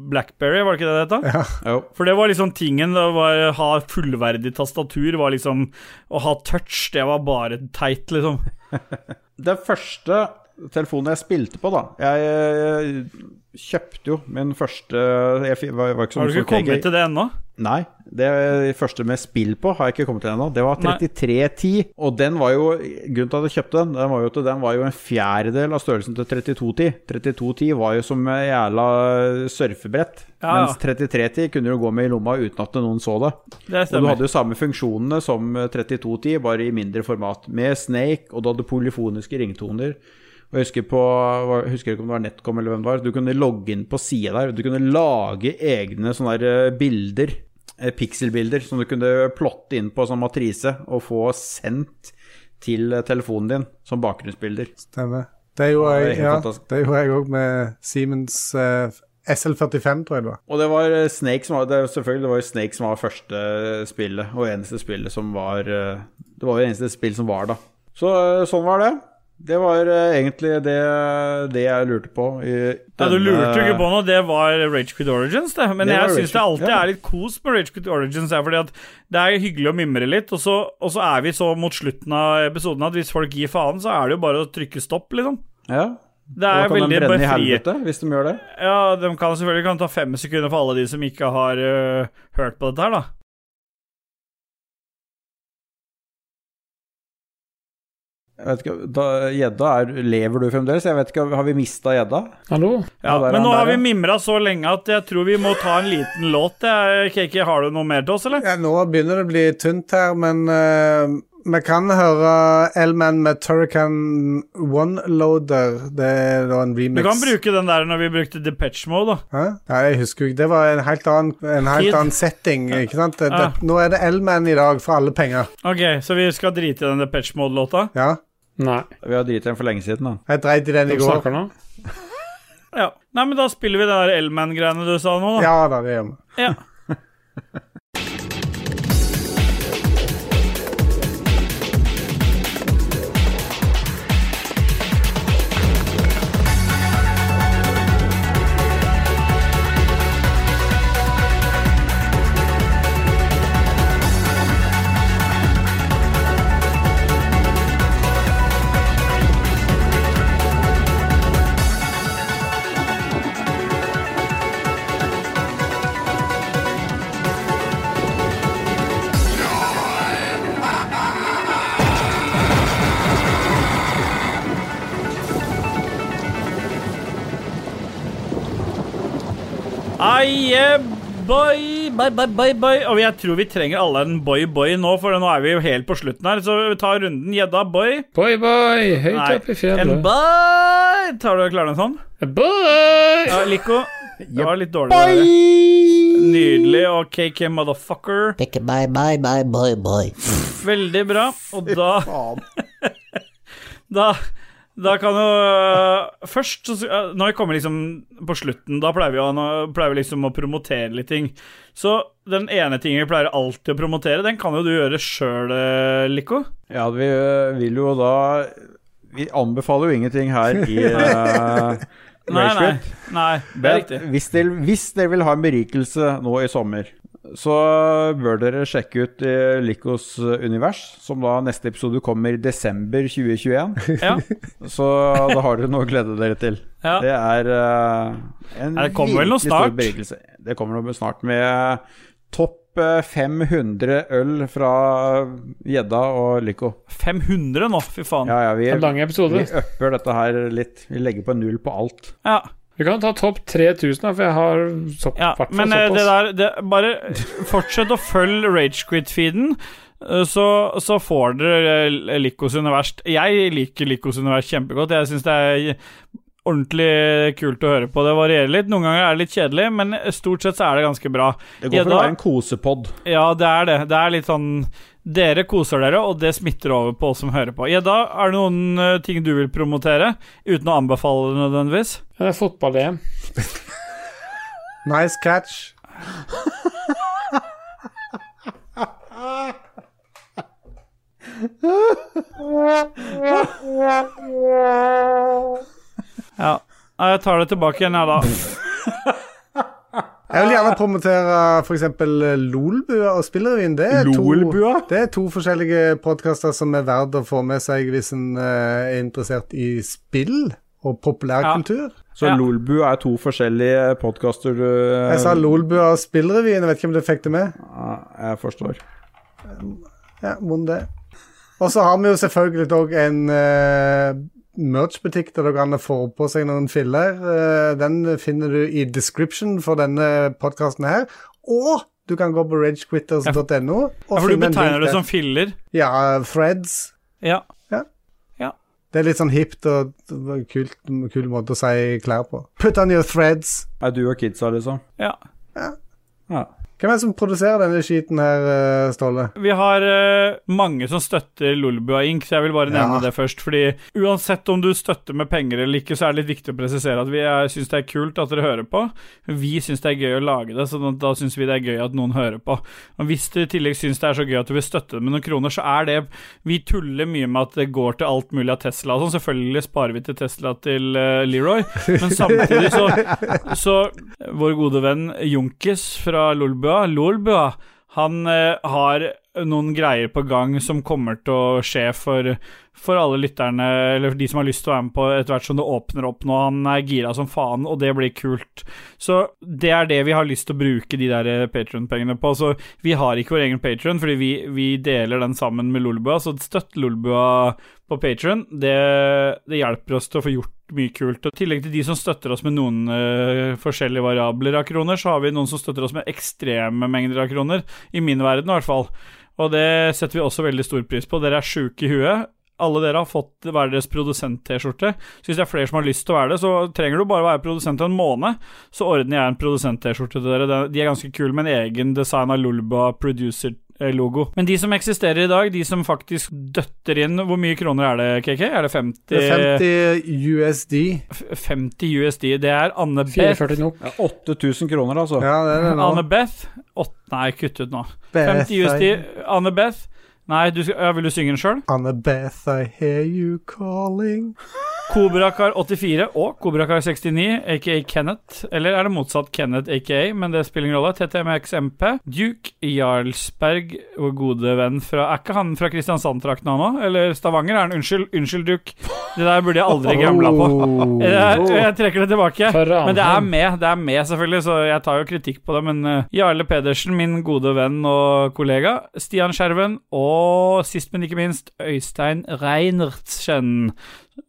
Speaker 1: Blackberry, var det ikke det det het? da?
Speaker 3: Jo.
Speaker 1: For det var liksom tingen. Det var, ha fullverdig tastatur var liksom Å ha touch, det var bare teit, liksom.
Speaker 3: Det første telefonen jeg spilte på, da Jeg eh, kjøpte jo min første jeg, fi- var, var ikke så
Speaker 1: Har du ikke kommet til det ennå?
Speaker 3: Nei. Det første med spill på har jeg ikke kommet til ennå. Det var 3310, og den var jo Grunnen til at jeg kjøpte den, den var jo, at den var jo en fjerdedel av størrelsen til 3210. 3210 var jo som en jævla surfebrett,
Speaker 1: Ja, ja.
Speaker 3: mens 3310 kunne du gå med i lomma uten at noen så det.
Speaker 1: Det
Speaker 3: Og du
Speaker 1: stemmer.
Speaker 3: hadde jo samme funksjonene som 3210, bare i mindre format. Med Snake, og du hadde polyfoniske ringtoner. Og jeg husker, på, jeg husker ikke om det var NetCom eller hvem det var. Du kunne logge inn på sida der. og Du kunne lage egne sånne der eh, bilder, eh, pikselbilder, som du kunne plotte inn på sånn matrise og få sendt til eh, telefonen din som bakgrunnsbilder.
Speaker 2: Stemmer. Det gjorde
Speaker 3: Ja, det er
Speaker 2: jeg
Speaker 3: helt
Speaker 2: ja,
Speaker 3: fantastisk.
Speaker 2: det gjorde jeg òg med Siemens eh, SL45, tror jeg det var.
Speaker 3: Og det var eh, Snake som var, det, er jo selvfølgelig, det var jo Snake som var første eh, spillet, og eneste spillet som var eh, Det var jo eneste spill som var da. Så eh, sånn var det. Det var eh, egentlig det, det jeg lurte på. I
Speaker 1: Ja, du lurte jo ikke på noe, det var Rage Quit Origins, det. Men
Speaker 3: eh, Det var
Speaker 1: jeg
Speaker 3: Rage
Speaker 1: syns det
Speaker 3: Quit,
Speaker 1: alltid
Speaker 3: ja.
Speaker 1: er litt kos med Rage Quit Origins, er fordi at det er hyggelig å mimre litt, og så, og så er vi så mot slutten av episoden at hvis folk gir faen, så er det jo bare å trykke stopp, liksom.
Speaker 3: Ja.
Speaker 1: Det
Speaker 3: Da
Speaker 1: er
Speaker 3: kan de
Speaker 1: veldig
Speaker 3: brenne i
Speaker 1: befriende.
Speaker 3: helvete hvis de gjør det.
Speaker 1: Ja, de kan selvfølgelig kan ta fem sekunder for alle de som ikke har øh, hørt på dette her, da.
Speaker 3: Jeg vet ikke, da, gjedda er Lever du fremdeles? Jeg vet ikke, Har vi mista gjedda?
Speaker 4: Hallo?
Speaker 1: Ja,
Speaker 3: der
Speaker 1: men
Speaker 3: er han,
Speaker 1: nå
Speaker 3: der,
Speaker 1: har
Speaker 3: ja.
Speaker 1: vi mimra så lenge at jeg tror vi må ta en liten låt. jeg. KK, har du noe mer til oss, eller?
Speaker 2: Ja, nå begynner det å bli tynt her, men eh, vi kan høre L-Man med Turrican One-loader. Det er da en
Speaker 1: Du
Speaker 2: remix.
Speaker 1: kan bruke den der når vi brukte Depeche Mode, da.
Speaker 2: Hæ? Nei, jeg husker jo ikke. Det var en helt annen, en
Speaker 1: Tid.
Speaker 2: helt annen setting. ikke sant? Det,
Speaker 1: Ja.
Speaker 2: det, nå er det L-Man i dag, for alle penger.
Speaker 1: Ok, så vi skal drite i den Depeche Mode-låta?
Speaker 2: Ja,
Speaker 4: Nei.
Speaker 3: Vi har driti den for lenge siden, da.
Speaker 2: Jeg dreit i den i
Speaker 4: Hvem
Speaker 2: går.
Speaker 4: snakker nå?
Speaker 1: Ja. Nei, men da spiller vi det der Elman-greiene du sa nå, da.
Speaker 2: Ja da, det gjør vi.
Speaker 1: Ja. Ai, yeah, boy, bye, bye, bye, bye. Og jeg tror vi trenger alle en boy-boy nå, for nå er vi jo helt på slutten her. Så vi tar runden gjedda boy.
Speaker 4: Boy, boy, høyt opp i
Speaker 1: en
Speaker 4: fjellet.
Speaker 1: boy. Tar du og klarer den sånn?
Speaker 4: Boy!
Speaker 1: Ja, Lico. Det var litt dårlig. dere. Nydelig. Og KK motherfucker.
Speaker 5: Pick a bye bye bye boy boy.
Speaker 1: Veldig bra. Og da Da, da kan jo øh, Først så, øh, Når vi kommer liksom på slutten, da pleier vi, å, nå pleier vi liksom å promotere litt ting. Så den ene tingen vi pleier alltid å promotere, den kan jo du gjøre sjøl, Lico.
Speaker 3: Ja, vi øh, vil jo da Vi anbefaler jo ingenting her i uh,
Speaker 1: Nei, nei. nei det er riktig.
Speaker 3: Hvis dere, hvis dere vil ha en berikelse nå i sommer, så bør dere sjekke ut eh, Likos univers, som da neste episode kommer i desember 2021.
Speaker 1: Ja.
Speaker 3: Så da har dere noe å glede dere til.
Speaker 1: Ja.
Speaker 3: Det er eh, en
Speaker 1: Ja, det kommer vel noe
Speaker 3: virkelig stor
Speaker 1: snart?
Speaker 3: berikelse. Det kommer noe snart med eh, topp eh, 500 øl fra eh, Gjedda og Lico.
Speaker 1: 500 nå, fy faen.
Speaker 3: Ja, ja, vi,
Speaker 4: En lang
Speaker 3: vi
Speaker 4: episode.
Speaker 3: upper dette her litt. Vi legger på null på alt.
Speaker 1: Ja,
Speaker 4: Vi kan ta topp 3000, da, for jeg har sopp,
Speaker 1: ja.
Speaker 4: hvertfall
Speaker 1: Men øh, det
Speaker 4: såpass.
Speaker 1: der det, Bare fortsett å følge Ragequit-feeden. øh, Så, så får dere øh, Licos univers. Jeg liker Licos univers kjempegodt. Jeg syns det er ordentlig kult å høre på. Det varierer litt. Noen ganger er det litt kjedelig, men stort sett så er det ganske bra.
Speaker 3: Det går for å
Speaker 1: Gjedda-
Speaker 3: være en kosepod.
Speaker 1: Ja, det er det. Det er litt sånn Dere koser dere, og det smitter over på oss som hører på. Gjedda, er det noen eh, ting du vil promotere? Uten å anbefale det nødvendigvis?
Speaker 4: Ja, Det er fotball-EM.
Speaker 2: Nice catch.
Speaker 1: Ja. Nei, Jeg tar det tilbake igjen, jeg, da.
Speaker 2: Jeg vil gjerne promotere f.eks. Lolbua og Spillrevyen. Det, er to-
Speaker 3: Lolbua?
Speaker 2: det er to forskjellige podkaster som er verdt å få med seg hvis en eh, er interessert i spill og populærkultur.
Speaker 3: Så Lolbu er to forskjellige podkaster du
Speaker 2: Jeg sa Lolbua og Spillrevyen, jeg vet ikke om du fikk det med?
Speaker 3: Ja, jeg forstår.
Speaker 2: Ja, mon det. Og så har vi jo selvfølgelig òg en eh, merch-butikk der dere kan få på seg noen filler. Eh, den finner du i description for denne podkasten her. Og du kan gå på ragequitters.no.
Speaker 1: Ja, for du betegner det som filler.
Speaker 2: Ja, threads.
Speaker 1: Ja.
Speaker 2: Det er litt sånn hipt og og kult, kul måte å si klær på. Put on your threads.
Speaker 3: Er du og kidsa, liksom?
Speaker 1: Ja.
Speaker 3: Ja.
Speaker 2: Hvem er det som produserer denne skiten her, eh, Ståle?
Speaker 1: Vi har eh, mange som støtter Lolbua Inc., så jeg vil bare nevne
Speaker 2: Ja.
Speaker 1: det først. Fordi uansett om du støtter med penger eller ikke, så er det litt viktig å presisere at vi er- syns det er kult at dere hører på. Vi syns det er gøy å lage det, så da- da syns vi det er gøy at noen hører på. Og hvis du i tillegg syns det er så gøy at du vil støtte det med noen kroner, så er det Vi tuller mye med at det går til alt mulig av Tesla og sånn. Selvfølgelig sparer vi til Tesla til eh, Leroy, men samtidig så så vår gode venn Junkis fra Lolbua, Lolbua han eh, har noen greier på gang som kommer til å skje for, for alle lytterne, eller for de som har lyst til å være med på etter hvert som det åpner opp nå. Han er gira som faen, og det blir kult. Så det er det vi har lyst til å bruke de der Patron-pengene på. Så vi har ikke vår egen Patron, fordi vi, vi deler den sammen med Lolbua, så støtt Lolbua på Patron. Det, det hjelper oss til å få gjort mye kult. Og I tillegg til de som støtter oss med noen eh, forskjellige variabler av kroner, så har vi noen som støtter oss med ekstreme mengder av kroner. I min verden, i hvert fall. Og det setter vi også veldig stor pris på. Dere er sjuke i huet. Alle dere har fått hver deres produsent-T-skjorte. Så hvis det er flere som har lyst til å være det, så trenger du bare være produsent en måned, så ordner jeg en produsent-T-skjorte til dere. Den- De er ganske kule, med en egen design av Lulba producer-logo. Men de som eksisterer i dag, de som faktisk døtter inn Hvor mye kroner er det, KK? Er det 50?
Speaker 2: Det er 50 USD.
Speaker 1: F- 50 USD. Det er Anne Beth.
Speaker 4: 44 nok.
Speaker 3: Ja, 8000 kroner, altså.
Speaker 2: Ja, det er Eh, det nå.
Speaker 1: Anne Beth Åt, Nei, kutt ut nå.
Speaker 2: Beth,
Speaker 1: 50 USD. Anne Beth. Nei, du, skal- ja, vil du synge den sjøl?
Speaker 2: Annabeth, I hear you calling.
Speaker 1: Kobrakar 84 og Kobrakar 69, aka Kenneth. Eller er det motsatt Kenneth, aka, men det spiller ingen rolle. TTMXMP. Duke Jarlsberg, vår gode venn fra Er ikke han fra Kristiansand-trakten, han òg? Eller Stavanger? Er han Unnskyld, unnskyld, Duke. Det der burde jeg aldri gamla på.
Speaker 2: Oh.
Speaker 1: Jeg, jeg trekker det tilbake.
Speaker 4: For
Speaker 1: Eh,
Speaker 4: Ranheim.
Speaker 1: Men det er med, det er med selvfølgelig, så jeg tar jo kritikk på det. Men eh, Jarle Pedersen, min gode venn og kollega, Stian Skjerven, og sist, men ikke minst, Øystein Reinertsen.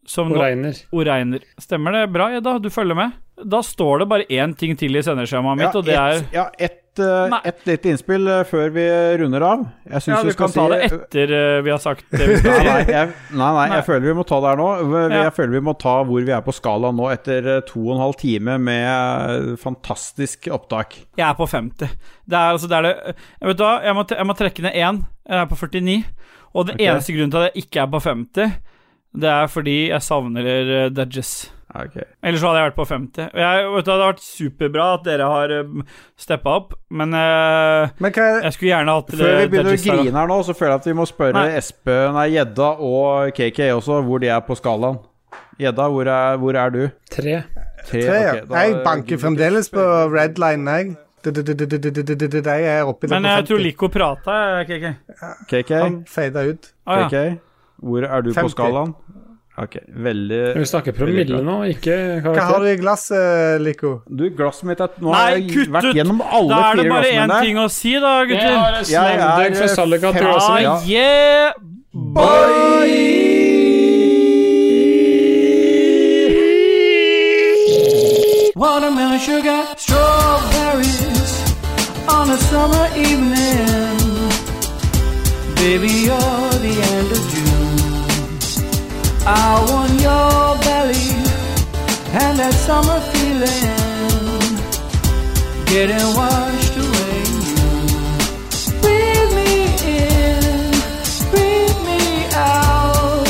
Speaker 1: Som nå
Speaker 4: Regner.
Speaker 1: Oreiner. Stemmer det bra, Edda? Du følger med? Da står det bare én ting til i sendeskjemaet mitt,
Speaker 3: Ja,
Speaker 1: og det er
Speaker 3: ett- ja, ett eh,
Speaker 1: Nei.
Speaker 3: ett lite innspill eh, før vi runder av. Jeg syns
Speaker 1: Ja,
Speaker 3: vi
Speaker 1: du
Speaker 3: skal
Speaker 1: kan
Speaker 3: si
Speaker 1: ta det etter eh, vi har sagt det vi
Speaker 3: Nei,
Speaker 1: skal
Speaker 3: nei,
Speaker 1: si.
Speaker 3: jeg, nei, nei, jeg føler vi må ta det her nå. Jeg,
Speaker 1: Ja.
Speaker 3: jeg føler vi må ta hvor vi er på skala nå, etter eh, to og en halv time med eh, fantastisk opptak.
Speaker 1: Jeg er på 50. Det er altså det er det jeg Vet du hva, jeg må, tre- jeg må trekke ned én. Jeg er på 49. Og den
Speaker 3: Ok.
Speaker 1: eneste grunnen til at jeg ikke er på 50, det er fordi jeg savner eh, Dudges.
Speaker 3: Ja, ok.
Speaker 1: Ellers så hadde jeg vært på 50. Og Jeg, vet du, hva, det har vært superbra at dere har steppa opp, men eh,
Speaker 2: Men hva er det?
Speaker 1: jeg skulle gjerne hatt
Speaker 3: Før vi
Speaker 1: eh,
Speaker 3: begynner å
Speaker 1: Dudges der, da.
Speaker 3: grine her nå, så føler jeg at vi må spørre
Speaker 1: Nei.
Speaker 3: Espen, nei, Gjedda og KK også, hvor de er på skalaen. Gjedda, hvor, er- hvor er du?
Speaker 4: Tre.
Speaker 3: Tre,
Speaker 1: Eh,
Speaker 2: Tre, ja.
Speaker 3: ok, da-
Speaker 2: jeg banker fremdeles på red line, jeg. Du-du-du-du-du-du-du-du-du, Jeg er oppi der
Speaker 1: Men eh, jeg
Speaker 2: på
Speaker 1: tror
Speaker 2: 50.
Speaker 1: Lico prata, jeg, KK.
Speaker 3: KK,
Speaker 2: Han fada ut.
Speaker 1: Å ja.
Speaker 3: KK, hvor er du
Speaker 2: 50.
Speaker 3: på skalaen? Ok, veldig
Speaker 4: Vi snakker promille nå, ikke
Speaker 2: Hva har
Speaker 4: karakter.
Speaker 2: du i glasset, eh, Lico?
Speaker 3: Du, glasset mitt er Nå
Speaker 1: Nei,
Speaker 3: har jeg
Speaker 1: kutt
Speaker 3: vært
Speaker 1: ut!
Speaker 3: gjennom alle
Speaker 1: Da er
Speaker 3: fire
Speaker 1: det bare
Speaker 3: glassene
Speaker 1: én
Speaker 3: mine.
Speaker 1: ting å si, da,
Speaker 4: Jeg
Speaker 1: gutter.
Speaker 4: har en snabdøk fra Salika
Speaker 3: fem-
Speaker 4: Tuasen.
Speaker 3: Ja.
Speaker 1: Ah, yeah,
Speaker 9: Watermelon sugar, strawberries on a summer evening. Baby, you're the end of June. I want your belly and that summer feeling getting washed away. Breathe me in, breathe me out.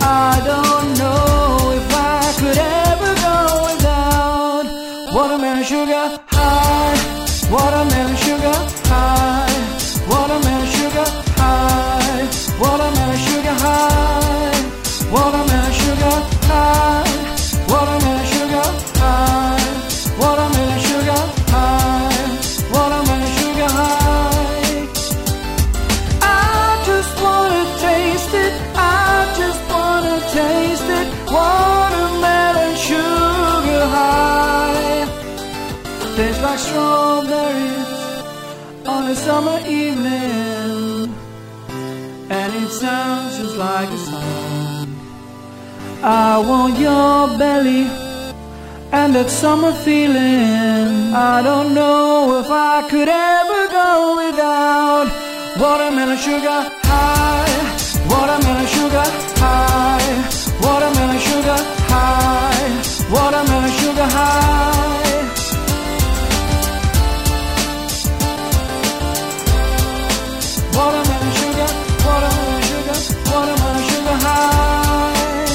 Speaker 9: I don't know if I could ever go without watermelon sugar high, watermelon sugar high, watermelon sugar high, watermelon sugar high, watermelon sugar high, watermelon sugar high, watermelon sugar high. like strawberries on a summer evening, and it sounds just like a song. I want your belly and that summer feeling. I don't know if I could ever go without watermelon sugar high, watermelon sugar high, watermelon sugar high, watermelon sugar high. Watermelon sugar, watermelon sugar, watermelon sugar high.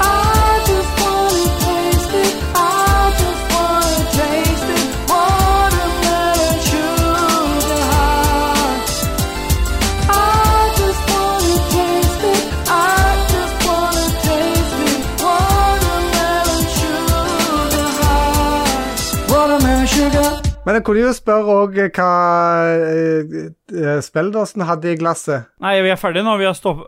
Speaker 9: I just wanna taste it, I just wanna taste it, watermelon sugar high. I just wanna taste it, I just wanna taste it, watermelon sugar high. Watermelon sugar.
Speaker 2: Men jeg kunne jo spørre òg hva eh, eh, Speldersen hadde i glasset.
Speaker 1: Nei, vi er ferdige nå. Vi har stopp-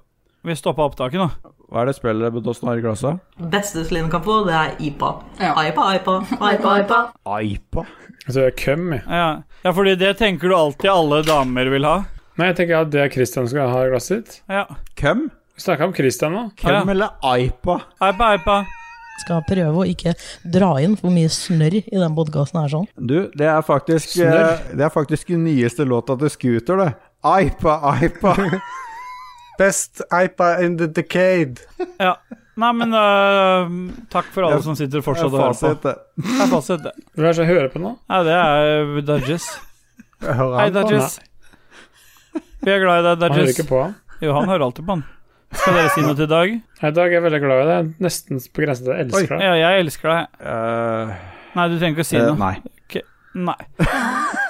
Speaker 1: vi stoppa opptaket nå.
Speaker 3: Hva er det spillet har i glasset?
Speaker 11: Beste Slinkampo, det er IPA. IPA, IPA, IPA, IPA.
Speaker 3: Aipa?
Speaker 4: Altså, jeg er køm, jeg.
Speaker 1: Ja. ja, fordi det tenker du alltid alle damer vil ha.
Speaker 4: Nei, jeg tenker at det er Christian som skal ha i glasset sitt.
Speaker 1: Ja.
Speaker 3: Hvem?
Speaker 4: Vi snakka om Christian nå.
Speaker 3: Hvem eller Aipa?
Speaker 1: Aipa, aipa.
Speaker 12: Skal prøve å ikke dra inn for mye snørr i den podkasten her sånn.
Speaker 3: Du, det er faktisk
Speaker 12: Snørr.
Speaker 3: eh, Det er faktisk den nyeste låta til Scooter, det. Aipa, aipa.
Speaker 2: Best Aipa in the decade.
Speaker 1: Ja. Nei, men øh, takk for alle
Speaker 2: Det er-
Speaker 1: som sitter fortsatt og
Speaker 2: det er
Speaker 1: hører på.
Speaker 2: fasit,
Speaker 1: Det er fasit, det.
Speaker 4: Hvem er det som hører på nå?
Speaker 1: Nei, det er øh, Dudges.
Speaker 2: hører
Speaker 1: Hei,
Speaker 2: han på?
Speaker 1: Dudges. Vi er glad i deg,
Speaker 4: Han
Speaker 1: Dudges.
Speaker 4: hører ikke på, han.
Speaker 1: Jo, han hører alltid på, han. Skal dere si noe til Dag?
Speaker 4: Nei, Dag er veldig glad i deg. Nesten på grensen til å elske deg.
Speaker 1: Ja, jeg elsker deg. Nei, du trenger ikke å si
Speaker 4: eh,
Speaker 1: noe.
Speaker 3: Eh, nei. Eh,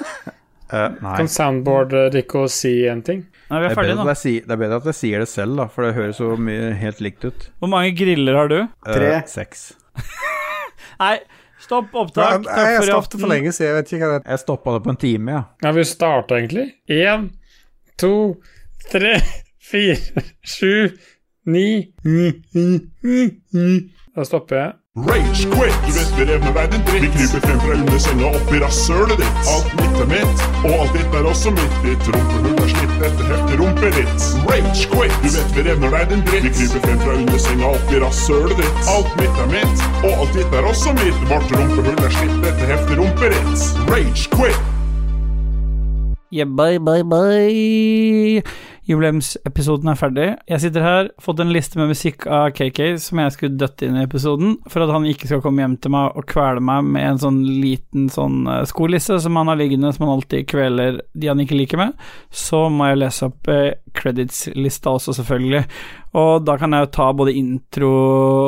Speaker 1: Ok, Nei.
Speaker 4: Kan soundboard eh, Rico si en ting?
Speaker 1: Nei, vi er
Speaker 3: det, er
Speaker 1: ferdige
Speaker 3: bedre
Speaker 1: nå.
Speaker 3: at jeg sier, det er bedre at jeg sier det selv, da, for det høres jo mye helt likt ut.
Speaker 1: Hvor mange griller har du?
Speaker 3: Eh, seks.
Speaker 1: Nei, stopp opptak. Takk for i aften.
Speaker 2: siden, jeg vet ikke hva det
Speaker 3: er. Jeg stoppa det på en time, ja.
Speaker 4: Ja, vi starta egentlig. Én, to, tre, fire, sju, ni Da stopper jeg.
Speaker 13: Rage quit! Du vet vi revner verden dritt. Vi kryper frem fra under senga opp i rasshølet ditt. Alt mitt er mitt, og alt ditt er også mitt. Ditt rumpehull er slitt etter heftig rumperitt. Rage quit! Du vet vi revner verden dritt. Vi kryper frem fra under senga opp i rasshølet ditt. Alt mitt er mitt, og alt ditt er også mitt. Vårt rumpehull er slitt etter heftig rumperitt. Rage quit!
Speaker 1: Yeah, bye, bye, bye. Jubileumsepisoden er ferdig. Jeg sitter her, fått en liste med musikk av KK som jeg skulle døtte inn i episoden, for at han ikke skal komme hjem til meg og kvele meg med en sånn liten sånn eh, skolisse som han har liggende, som han alltid kveler de han ikke liker med. Så må jeg lese opp eh, credits-lista også, selvfølgelig. Og da kan jeg jo ta både intro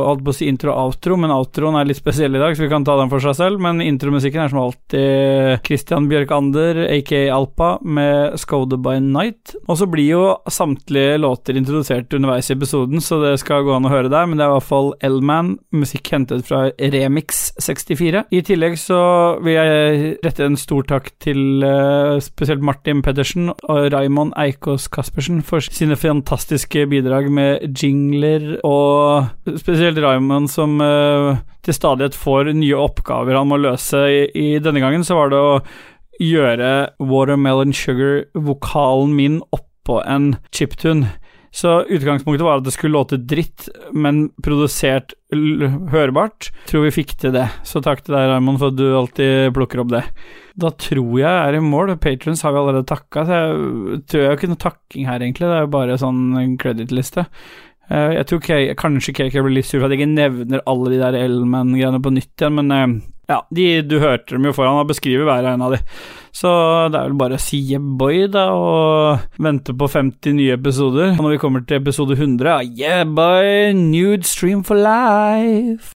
Speaker 1: Holdt på å si intro og outro, men outroen er litt spesiell i dag, så vi kan ta den for seg selv. Men intromusikken er som alltid Christian Bjørkander, aka Alpa, med Skoda by Night. Og så blir jo samtlige låter introdusert underveis i episoden, så det skal gå an å høre der, men det er i hvert fall L-Man, musikk hentet fra Remix 64. I tillegg så vil jeg rette en stor takk til eh, spesielt Martin Pettersen og Raymond Eikås Kaspersen for sine fantastiske bidrag med jingler, og spesielt Raymond som eh, til stadighet får nye oppgaver han må løse. I, i denne gangen så var det å gjøre Watermelon Sugar-vokalen min oppå en chiptune. Så utgangspunktet var at det skulle låte dritt, men produsert l hørbart. Tror vi fikk til det. Så takk til deg, Raymond, for at du alltid plukker opp det. Da tror jeg jeg er i mål. Patrons har vi allerede takka, så jeg tror jeg ikke noe takking her, egentlig. Det er jo bare sånn kredittliste. Eh, Jeg tror K- kanskje KK blir litt sur for at jeg ikke nevner alle de der Elman-greiene på nytt igjen, men eh, ja, de, du hørte dem jo foran, han beskriver hver og en av de. Så det er vel bare å si yeah boy, da, og vente på 50 nye episoder. Og når vi kommer til episode 100, ja, yeah boy, nude stream for life.